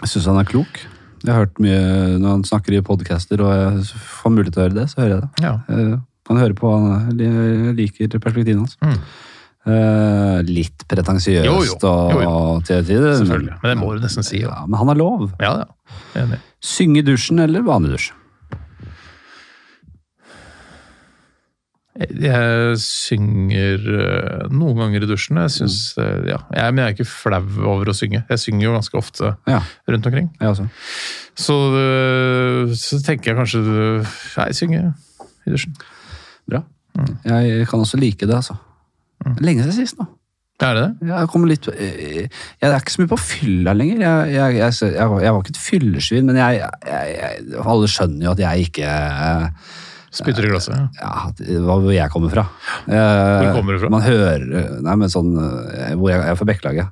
Jeg syns han er klok. Jeg har hørt mye når han snakker i podcaster, og jeg får mulighet til å høre det, så hører jeg det.
Ja.
Eh, Kan høre på han, jeg liker perspektivene hans.
Mm.
Eh, litt pretensiøst
Jo, jo.
og-
Jo, jo.
og til tider.
Selvfølgelig. Men det må du nesten si. Ja,
Ja, men han har lov.
ja. ja. Enig.
Synge i dusjen eller vanlig dusj?
Jeg, jeg synger øh, noen ganger i dusjen. Jeg syns øh, Ja. Jeg, men jeg er ikke flau over å synge. Jeg synger jo ganske ofte
Ja,
rundt omkring.
jeg også.
Så, øh, så tenker jeg kanskje øh, Nei, synge i dusjen.
Bra.
Mm.
Jeg kan også like det, altså. Lenge siden sist, nå.
Er det det?
Jeg, kommer litt, eh, jeg er ikke så mye på fylla lenger. Jeg, jeg, jeg, jeg, var- jeg var ikke et fyllesvin, men jeg, jeg, jeg, alle skjønner jo at jeg ikke ja,
Spytter i glasset. ja.
at- Hva hvor jeg kommer fra. Eh,
Hvor kommer du fra?
Man hører Nei, men sånn eh, hvor Jeg jeg er fra Bekkelaget.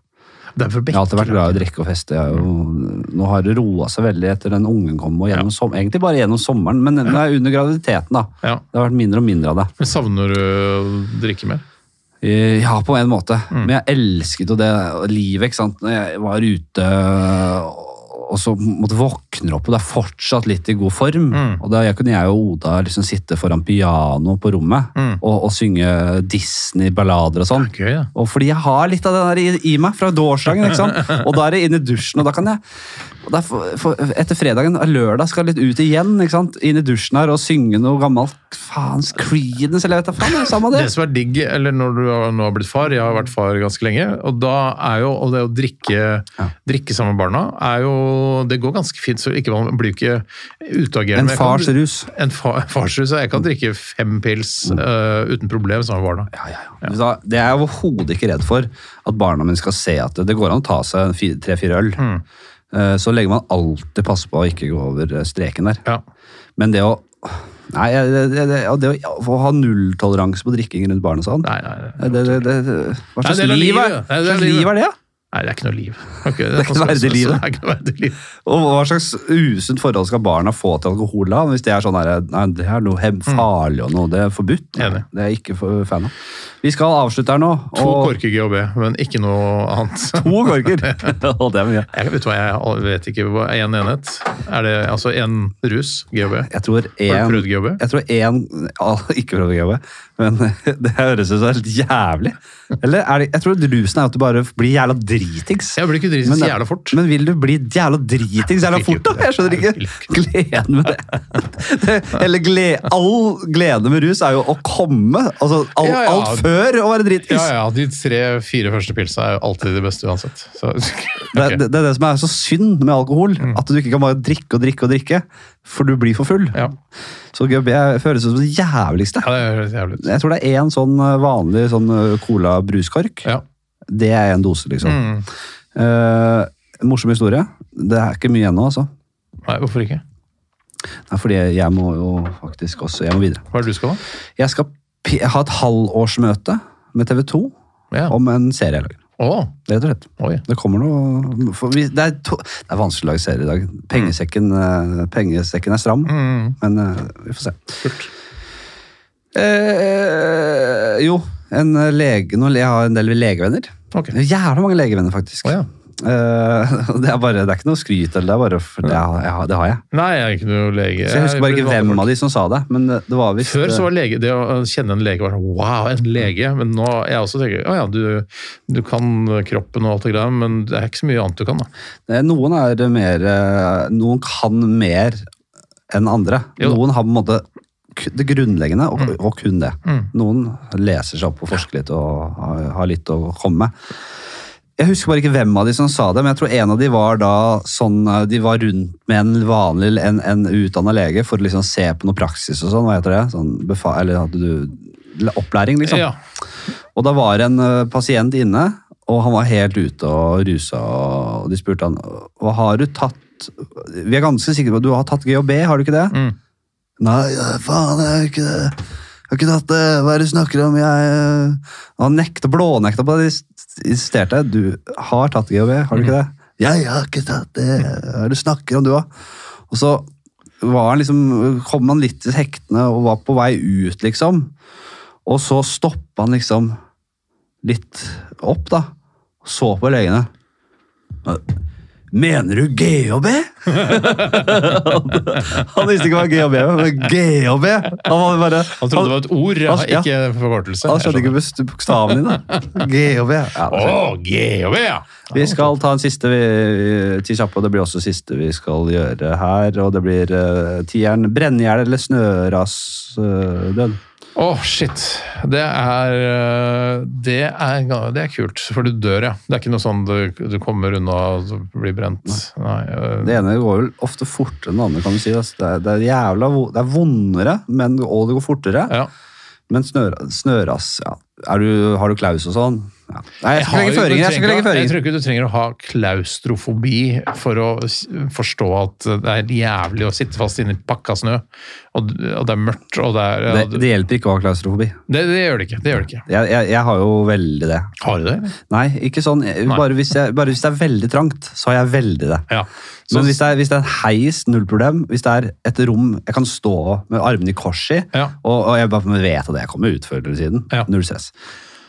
Det er for
Jeg har alltid vært glad i å drikke og feste. Jeg er jo, nå har det roa seg veldig etter den ungen kom, og gjennom, som- egentlig bare gjennom sommeren, men nå er jeg under graviditeten, da.
Ja.
Det har vært mindre og mindre av det.
Men savner du å drikke mer?
Eh, Ja, på en måte.
Mm.
Men jeg elsket jo det livet, ikke sant. Når jeg var ute og så på en måte våkner opp, og det er fortsatt litt i god form.
Mm.
Og da jeg- kunne jeg og Oda liksom sitte foran piano på rommet
Mm.
og, og synge Disney-ballader og sånn.
Gøy, ja.
Og fordi jeg har litt av det der i, i meg fra gårsdagen, ikke sant? Og da er det inn i dusjen, og da kan jeg og da for, for, Etter fredagen, lørdag, skal jeg litt ut igjen, ikke sant? Inn i dusjen her og synge noe gammelt faens Creedence, eller jeg vet da faen, det er samme det.
Det som er digg, eller når du har- nå har blitt far, jeg har vært far ganske lenge, og da er jo og det å drikke, drikke sammen med barna, er jo Det går ganske fint, så ikke, man blir ikke utagerende.
En
men jeg kan-
fars rus.
En fa, farsrus. ja. Jeg kan drikke fem pils øh, uten problem sammen med barna.
Ja, ja, ja. Da, det er jeg overhodet ikke redd for, at barna mine skal se at det, det går an å ta seg tre-fire øl. Eh, Så legger man alltid passe på å ikke gå over eh, streken der.
Ja.
Men det å Nei, det, det, det, og det å å ha nulltoleranse på drikking rundt barna sånn
Nei, nei, nei.
det, det, det, det, Hva
Nei,
slags
det er
liv er
livet. Nei, det er
slags
livet.
liv er det?
Nei, Nei, det er ikke noe liv. Ok, det, er sånn
ikke noe verdig liv,
Det
da.
er ikke noe verdig liv.
Og hva slags usunt forhold skal barna få til alkohol da? Hvis det er sånn her, nei, det er noe hem- farlig og noe, det er forbudt.
Mm. Enig.
Det er jeg ikke for fan av. Vi skal avslutte her nå.
To
og-
korker GHB, men ikke noe annet.
To korker! Å, det er mye.
Jeg vet, hva, jeg vet ikke hva én en enhet Er det altså én rus? GHB?
Jeg tror
Har du prøvd
en...
GHB?
Jeg tror én Ikke prøvd GHB, men det høres ut som helt jævlig. Eller er det, jeg tror rusen er at du bare blir jævla dritings.
Jeg blir ikke dritt så jævla fort.
Men vil du bli jævla dritings jævla
Jeg vil
fort, da?
ikke det.
Jeg skjønner
Jeg
ikke
vil
gleden med det. det eller glede, all glede med rus er jo å komme. Altså all,
Ja, ja.
alt før å være dritings.
Ja, ja, de tre-fire første pilsa er jo alltid de beste uansett. Så,
Det,
ok. Mm.
det, det er det som er så synd med alkohol. At du ikke kan bare drikke og drikke og drikke, for du blir for full.
Ja.
Så GHB føles ut som det jævligste.
ja, det høres jævlig ut.
Jeg tror det er én sånn eh, vanlig sånn eh, cola-bruskork.
Ja.
Det er én dose, liksom.
Mm.
Eh, morsom historie. Det er ikke mye ennå, altså.
Nei, hvorfor ikke?
Nei, fordi jeg må jo faktisk også Jeg må videre.
Hva er det du skal, da?
Jeg skal p- ha et halvårsmøte med TV 2
Ja.
om en serie jeg lager.
Å,
Rett og slett.
oi.
Det kommer noe for vi, det, er to, det er vanskelig å lage serie i dag. Pengesekken, eh, pengesekken er stram,
Mm.
men eh, vi får se. Eh, jo, en eh, lege, nå, jeg har en del legevenner.
Ok.
Det er Jævla mange legevenner, faktisk.
Å, ja.
Eh, det, er bare, det er ikke noe skryt, eller det er bare for det, har- jeg har- det har jeg.
Nei, jeg er ikke noe lege.
Så jeg husker bare ikke hvem av de som sa det, men eh, det det var visst
Før så var lege, det å kjenne en lege var sånn wow, en lege. Men nå jeg også tenker å ja, du, du kan kroppen og alt det greia, men det er ikke så mye annet du kan, da.
Eh, Noen er mer eh, Noen kan mer enn andre.
Jo.
Noen har på en måte ku- det grunnleggende, og, og kun det. Noen leser seg opp og forsker litt og har, har litt å komme med. Jeg husker bare ikke hvem av de som sa det, men jeg tror en av de var da sånn eh, De var rundt med en vanlig en, en utdanna lege for å liksom se på noe praksis og sånn. Hva heter det? Sånn befa eller hadde du Opplæring, liksom.
Ja.
Og da var en ø, pasient inne, og han var helt ute og rusa. Og de spurte han hva har du tatt Vi er ganske sikre på at du har tatt GHB, har du ikke det?
Mm.
Nei, ja, faen, jeg har ikke det. Jeg har ikke tatt det. Hva er det du snakker om? Jeg eh, ø, Han nekta, blånekta på det. De insisterte. Du har tatt GHB, har du ikke det? Mm. Jeg har ikke tatt det. Hva er det du snakker om, du, da? Og så var han liksom, kom han litt til hektene og var på vei ut, liksom. Og så stoppa han liksom litt opp, da. Og så på legene. Mener du GHB? han visste ikke hva GHB var, men GHB Han var bare
Han trodde det var et ord, ja,
han- ja.
ikke en forkortelse.
han skjønte ikke best- bokstaven din, da. GHB. Ja,
Å, GHB, ja!
vi skal ta en siste vi- til kjappe, og det blir også siste vi skal gjøre her. Og det blir uh, tieren brennjern eller eh, snørasdød.
Å, shit. Det er, øh, det, er, ga- det er kult, for du dør, ja. Det er ikke noe sånn du, du kommer unna og så blir brent. Nei, øh,
det ene går vel ofte fortere enn det andre, kan du si. ass. Det er, det er jævla vo- det er vondere, men, og det går fortere.
ja.
Men snør, snøras, ja. Er du, har du klaus og sånn? Ja. Nei, jeg skal legge
har jo- du
føringer. Jeg skal
trenger-
legge
Jeg
føringer.
tror ikke du trenger å ha klaustrofobi for å s- forstå at det er jævlig å sitte fast inne i pakka snø, og, d- og det er mørkt, og det er ja,
Det,
du-
det hjelper ikke å ha klaustrofobi.
det, det gjør det ikke. Det gjør det ikke.
Jeg, jeg, jeg har jo veldig det.
Har du det? eller?
Nei, ikke sånn. Jeg- Bare hvis, jeg, bare hvis det er veldig trangt, så har jeg veldig det.
Ja. Så,
Men hvis det, er, hvis det er en heis, null problem. Hvis det er et rom jeg kan stå med armene i kors i,
Ja.
og, og jeg bare vet at jeg kommer ut før eller siden,
Ja.
null stress.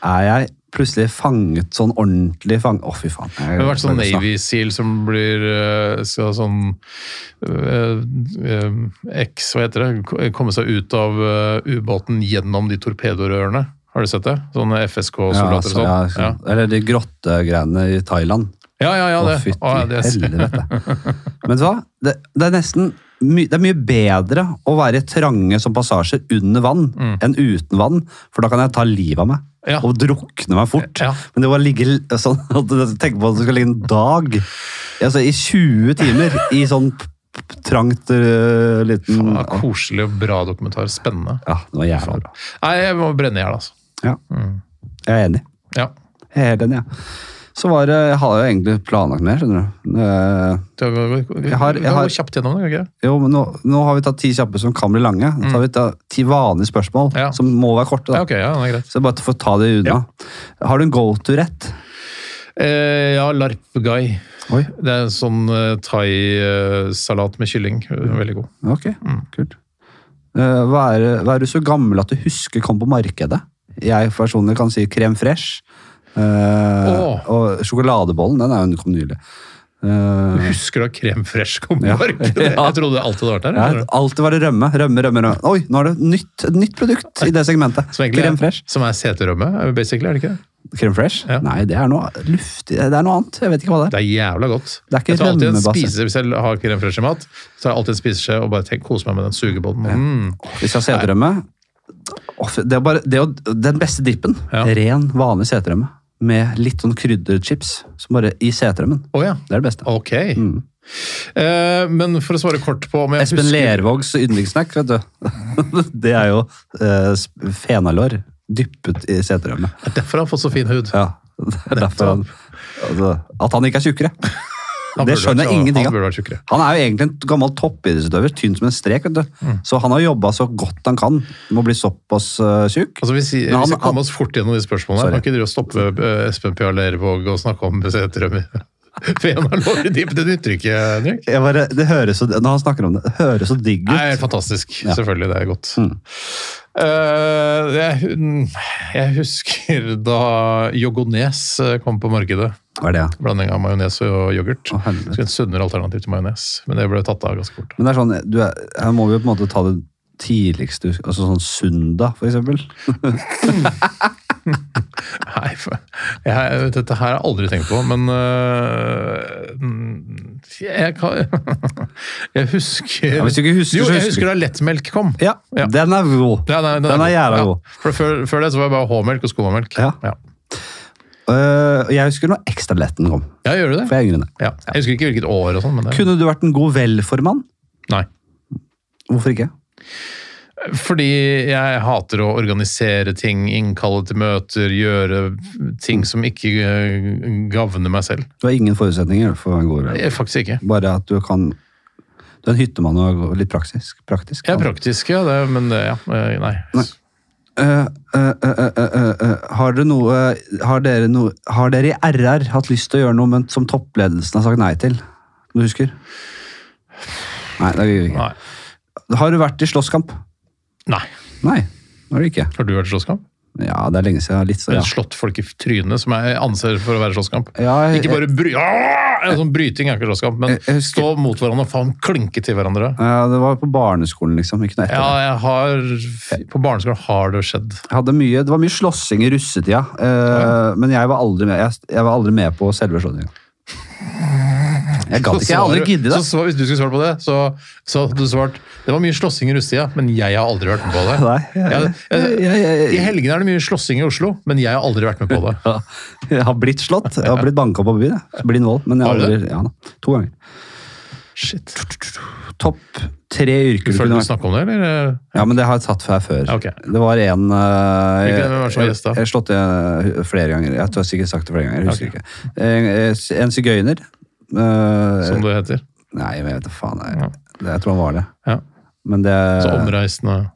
Er jeg plutselig fanget sånn ordentlig fang... Å, fy faen. Jeg,
det har vært sånn
jeg-
Navy Seal som blir øh, skal sånn øh, øh, X, hva heter det, Ko- eh, komme seg ut av øh, ubåten gjennom de torpedorørene. Har du sett det? Sånne
Ja,
FSK-soldater
så, ja,
og sånn.
sånn. Eller de grottegreiene i Thailand.
Ja, ja, ja.
Å,
det.
fytti
Å, ja, det er-
helvete. Men vet du hva? Det, det er nesten my, det er mye bedre å være i trange som passasjer under vann enn uten vann, for da kan jeg ta livet av meg.
Mm. Ja.
Og drukne meg fort.
Ja.
Men det var ligge l- sånn at du tenker på at du skal ligge en dag altså i 20 timer i sånn p- p- trangt øh, liten
Ja, koselig og bra dokumentar. Spennende.
Ja, det var jævla
Faen.
bra.
Nei, jeg må brenne i hjel, altså.
Ja.
Mm.
Jeg er enig.
Ja.
Jeg er helt enig, ja. Så var det Jeg har jo egentlig planlagt mer, skjønner du. Eh,
Du har- du kan
Jeg har- jeg
gå
har-
kjapt gjennom det, kan ikke det?
Jo, men nå, nå har vi tatt ti kjappe som kan bli lange. Nå tar vi ta ti vanlige spørsmål
Mm. Ja.
som må være korte.
Ja,
da.
ok, ja, det er greit.
Så bare for å ta det unna. Har du en go-to-rett?
Eh, ja, larp-guy.
Oi.
Det er en sånn eh, thai-salat med kylling. Veldig god.
Ok,
Mm.
kult. Eh, Hva er, hva er du så gammel at du husker kom på markedet? Jeg personlig kan si krem fresh. eh,
Åh.
Og sjokoladebollen, den er jo kom nylig. Eh,
Husker du at krem fresh kom på
Ja.
markedet? Jeg trodde det alltid hadde vært der.
ja,
eller?
alltid var det rømme, rømme, rømme. rømme. Oi, nå er det et nytt, et nytt produkt i det segmentet.
Som, egentlig,
Krem fresh.
som er seterømme, basically. er det ikke det?
Krem fresh?
Ja.
Nei, det er noe luftig. Det er noe annet. Jeg vet ikke hva det er.
Det er jævla godt.
Det er ikke
jeg tar alltid en
rømmebasert.
spiseskje, Hvis jeg har krem fresh i mat, så tar jeg alltid en spiseskje og bare tenk, koser meg med den sugebåten. Mm.
Hvis jeg har seterømme Åh, Det er bare det er jo den beste dippen.
Ja.
Ren, vanlig seterømme. Med litt sånn krydderchips som bare i seterømmen.
Å ja,
Det er det beste.
ok. Eh, men for å svare kort på om jeg
Mm. Espen
husker
Lervågs yndlingssnack, vet du. Det er jo eh, sp- fenalår dyppet i seterømme.
Det er Derfor har han fått så fin hud.
Ja. Det er derfor han altså, At han ikke er tjukkere.
Han
Det
burde
skjønner
vært-
jeg ingenting
Han
av.
burde vært tjukkere.
Han er jo egentlig en gammel toppidrettsutøver, tynn som en strek. vet du. Så han har jobba så godt han kan med å bli såpass uh, tjukk.
Altså, vi, sier,
Men han-
vi skal komme oss fort gjennom de spørsmålene. her.
Sorry.
Kan ikke drive og stoppe eh, Espen Pia Lervåg og snakke om seterømme? For en har lov i dypet det nytter ikke, Henrik.
Jeg bare, det høres så, når han snakker om det, det høres så digg ut.
Det er fantastisk. Selvfølgelig, det er godt.
Mm.
Eh, jeg, jeg husker da Yogones eh, kom på markedet.
Hva er det, ja?
Blanding av majones og yoghurt.
Å, helvete.
Skulle en sunnere alternativ til majones, men det ble tatt av ganske fort.
Men det er sånn, du er, her må vi jo på en måte ta det tidligste, altså sånn søndag for eksempel.
Nei, for, jeg, dette her har jeg aldri tenkt på, men øh, mm, jeg, kan, jeg husker
Ja, hvis du ikke husker,
Jo,
så husker
jeg
du.
husker da lettmelk kom.
Ja,
Ja.
den er god.
Ja, nei,
Den er jævla
ja.
god.
For før, før det så var det bare H-melk og skomamelk.
Ja.
Ja.
Øh, og jeg husker når ekstra letten kom,
Ja, gjør du det?
for jeg er yngre enn deg.
Ja. Jeg husker ikke hvilket år og sånn, men det
Kunne du vært en god velformann?
Nei.
Hvorfor ikke?
Fordi jeg hater å organisere ting, innkalle til møter, gjøre ting som ikke øh, gagner meg selv.
Du har ingen forutsetninger for å være en god velformann.
Jeg, faktisk ikke.
Bare at du kan... Du er en hyttemann og litt praktisk. praktisk
Jeg er praktisk, ja, det, men det, ja, øh, nei.
Øh, øh, øh, øh, øh, øh. har, dere noe, har, dere noe, har dere i RR hatt lyst til å gjøre noe men som toppledelsen har sagt nei til? Du husker? Nei, det gjør vi ikke.
nei.
Har du vært i slåsskamp?
Nei.
Nei, det har du ikke.
Har du vært i slåsskamp?
Ja, det er lenge siden. Litt, så,
Ja.
ja.
Slått folk i trynet, som jeg anser for å være slåsskamp?
Ja, jeg-
ikke bare bry... Ah! En sånn bryting er ikke slåsskamp, men
Jeg- jeg husker-
stå mot hverandre og faen klinke til hverandre.
Ja, det var på barneskolen, liksom. Ikke noe etter. det.
Ja, jeg har På barneskolen har det skjedd.
Jeg Hadde mye, det var mye slåssing i russetida, eh, men jeg var aldri med, jeg, jeg var aldri med på selve slåssinga. Jeg gadd ikke. Jeg har aldri
Svaret-
giddet
så
det.
svar- Hvis du skulle svart på det, så så hadde du svart Det var mye slåssing i russetida, men jeg har aldri vært med på det.
Nei, jeg-
Jeg- jeg-
jeg- jeg-
I helgene er det mye slåssing i Oslo, men jeg har aldri vært med på det.
Ja, Jeg har blitt slått. Jeg har blitt banka på byen. jeg. Blind vold. Men jeg har
Har du
aldri, ja, da, to ganger.
Shit.
Topp tre yrker du
Føler
kunne
du
vært
snakke om det, eller?
Ja, men det har jeg tatt her før.
Ja, ok.
Det var en eh,
Hvilken
jeg,
hvem var det som var
jeg,
gjest da?
jeg slått det flere ganger. Jeg tror jeg sikkert sagt det flere ganger. Jeg husker
Ok.
ikke. En, en sigøyner. eh,
Som det heter.
Nei, men jeg vet da faen. Jeg,
Ja.
det, jeg tror han var det.
Ja.
Men det,
Så omreisende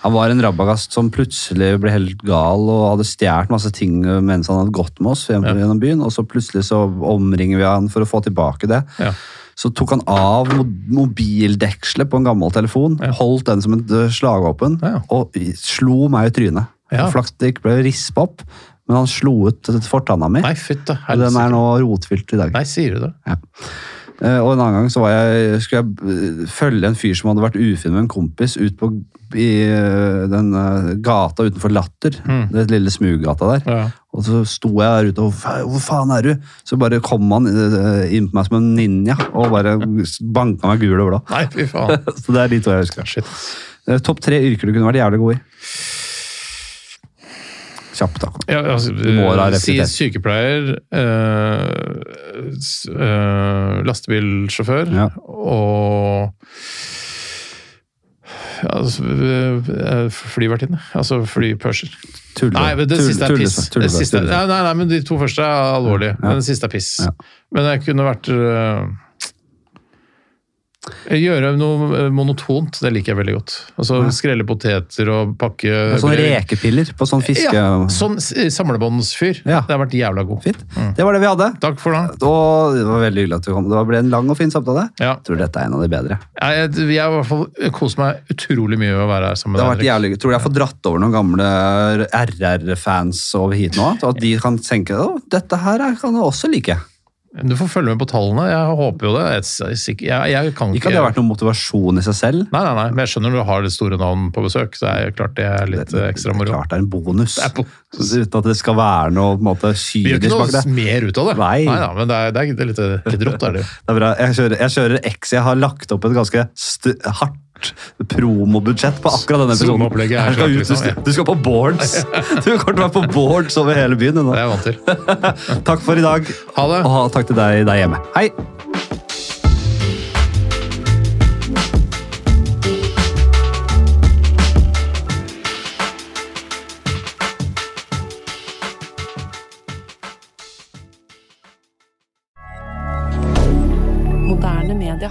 han var en rabagast som plutselig ble helt gal og hadde stjålet masse ting mens han hadde gått med oss gjennom gjennom byen, og så plutselig så omringer vi han for å få tilbake det.
ja.
Så tok han av mo- mobildekselet på en gammel telefon, holdt den som et ø, slagvåpen,
Ja.
og i- slo meg i trynet.
Ja.
Og Flaks det ikke ble rispa opp, men han slo ut fortanna mi.
Nei, fytte
og den
helsike.
er nå rotfylt i dag.
Nei, sier du det?
Eh, Og en annen gang så var jeg, skulle jeg eh, følge en fyr som hadde vært ufin med en kompis ut på i eh, den eh, gata utenfor Latter. Det lille smuggata der.
Mm. Ja.
Og så sto jeg der ute og "Fa- Hvor faen er du? Så bare kom han eh, inn på meg som en ninja og bare banka meg gul og blå.
Nei, fy faen.
Så det er de to jeg husker.
Shit.
Eh, Topp tre yrker du kunne vært jævlig god i. Kjapt, da.
Ja, altså,
må da
eh, si
reflektere.
sykepleier, eh, s- eh, lastebilsjåfør
Ja.
og ja, altså, eh, eh, flyvertinne. Altså flypørser.
Tulle.
Nei, men det
Tulle-
siste er
tulle-
piss.
tulle-
Det siste,
tulle-
nei, nei, nei, men De to første er alvorlige, men den siste er piss.
Ja.
Men jeg kunne vært eh, Gjøre noe eh, monotont, det liker jeg veldig godt. Altså Skrelle poteter og pakke
Sånne sånn rekepiller på sånn fiske...
Ja, sånn s- samlebåndsfyr.
Ja.
Det har vært jævla god.
Fint. Det var det vi hadde.
Takk for det.
Og det var veldig hyggelig at du kom. Det ble en lang og fin samtale.
Ja.
Jeg tror dette er en av de bedre.
Jeg, jeg, jeg har i hvert fall kost meg utrolig mye med å være her sammen
Det har vært
med deg. Henrik.
jævlig gøy. Tror du jeg får dratt over noen gamle RR-fans over hit nå? Og at de kan tenke at dette her er- kan jeg også like.
Du får følge med på tallene. Jeg håper jo det. Jeg, er sikker- jeg, jeg kan
Ikke
ikke
at det har vært noen motivasjon i seg selv.
Nei, nei, nei, men jeg skjønner du har det store navn på besøk, så det er jo klart det er litt eh, ekstra moro.
Klart det er en bonus.
Det er bonus.
Uten at det skal være noe på en måte,
Vi gjør
kynisk
ikke
bak det.
noe mer ut av det.
Nei.
Neida, men det er, det er, det er litt, litt rått, er det jo.
Det er bra. Jeg kjører, jeg kjører X. Jeg har lagt opp et ganske st hardt promobudsjett på akkurat denne
Som
episoden.
opplegget er
Jeg skal
klart,
ut,
liksom, ja.
du, du skal på boards! Du kommer til å være på boards over hele byen. du, Nå.
Det er jeg vant til.
Takk for i dag,
Ha det.
og takk til deg der hjemme. Hei!
Moderne media.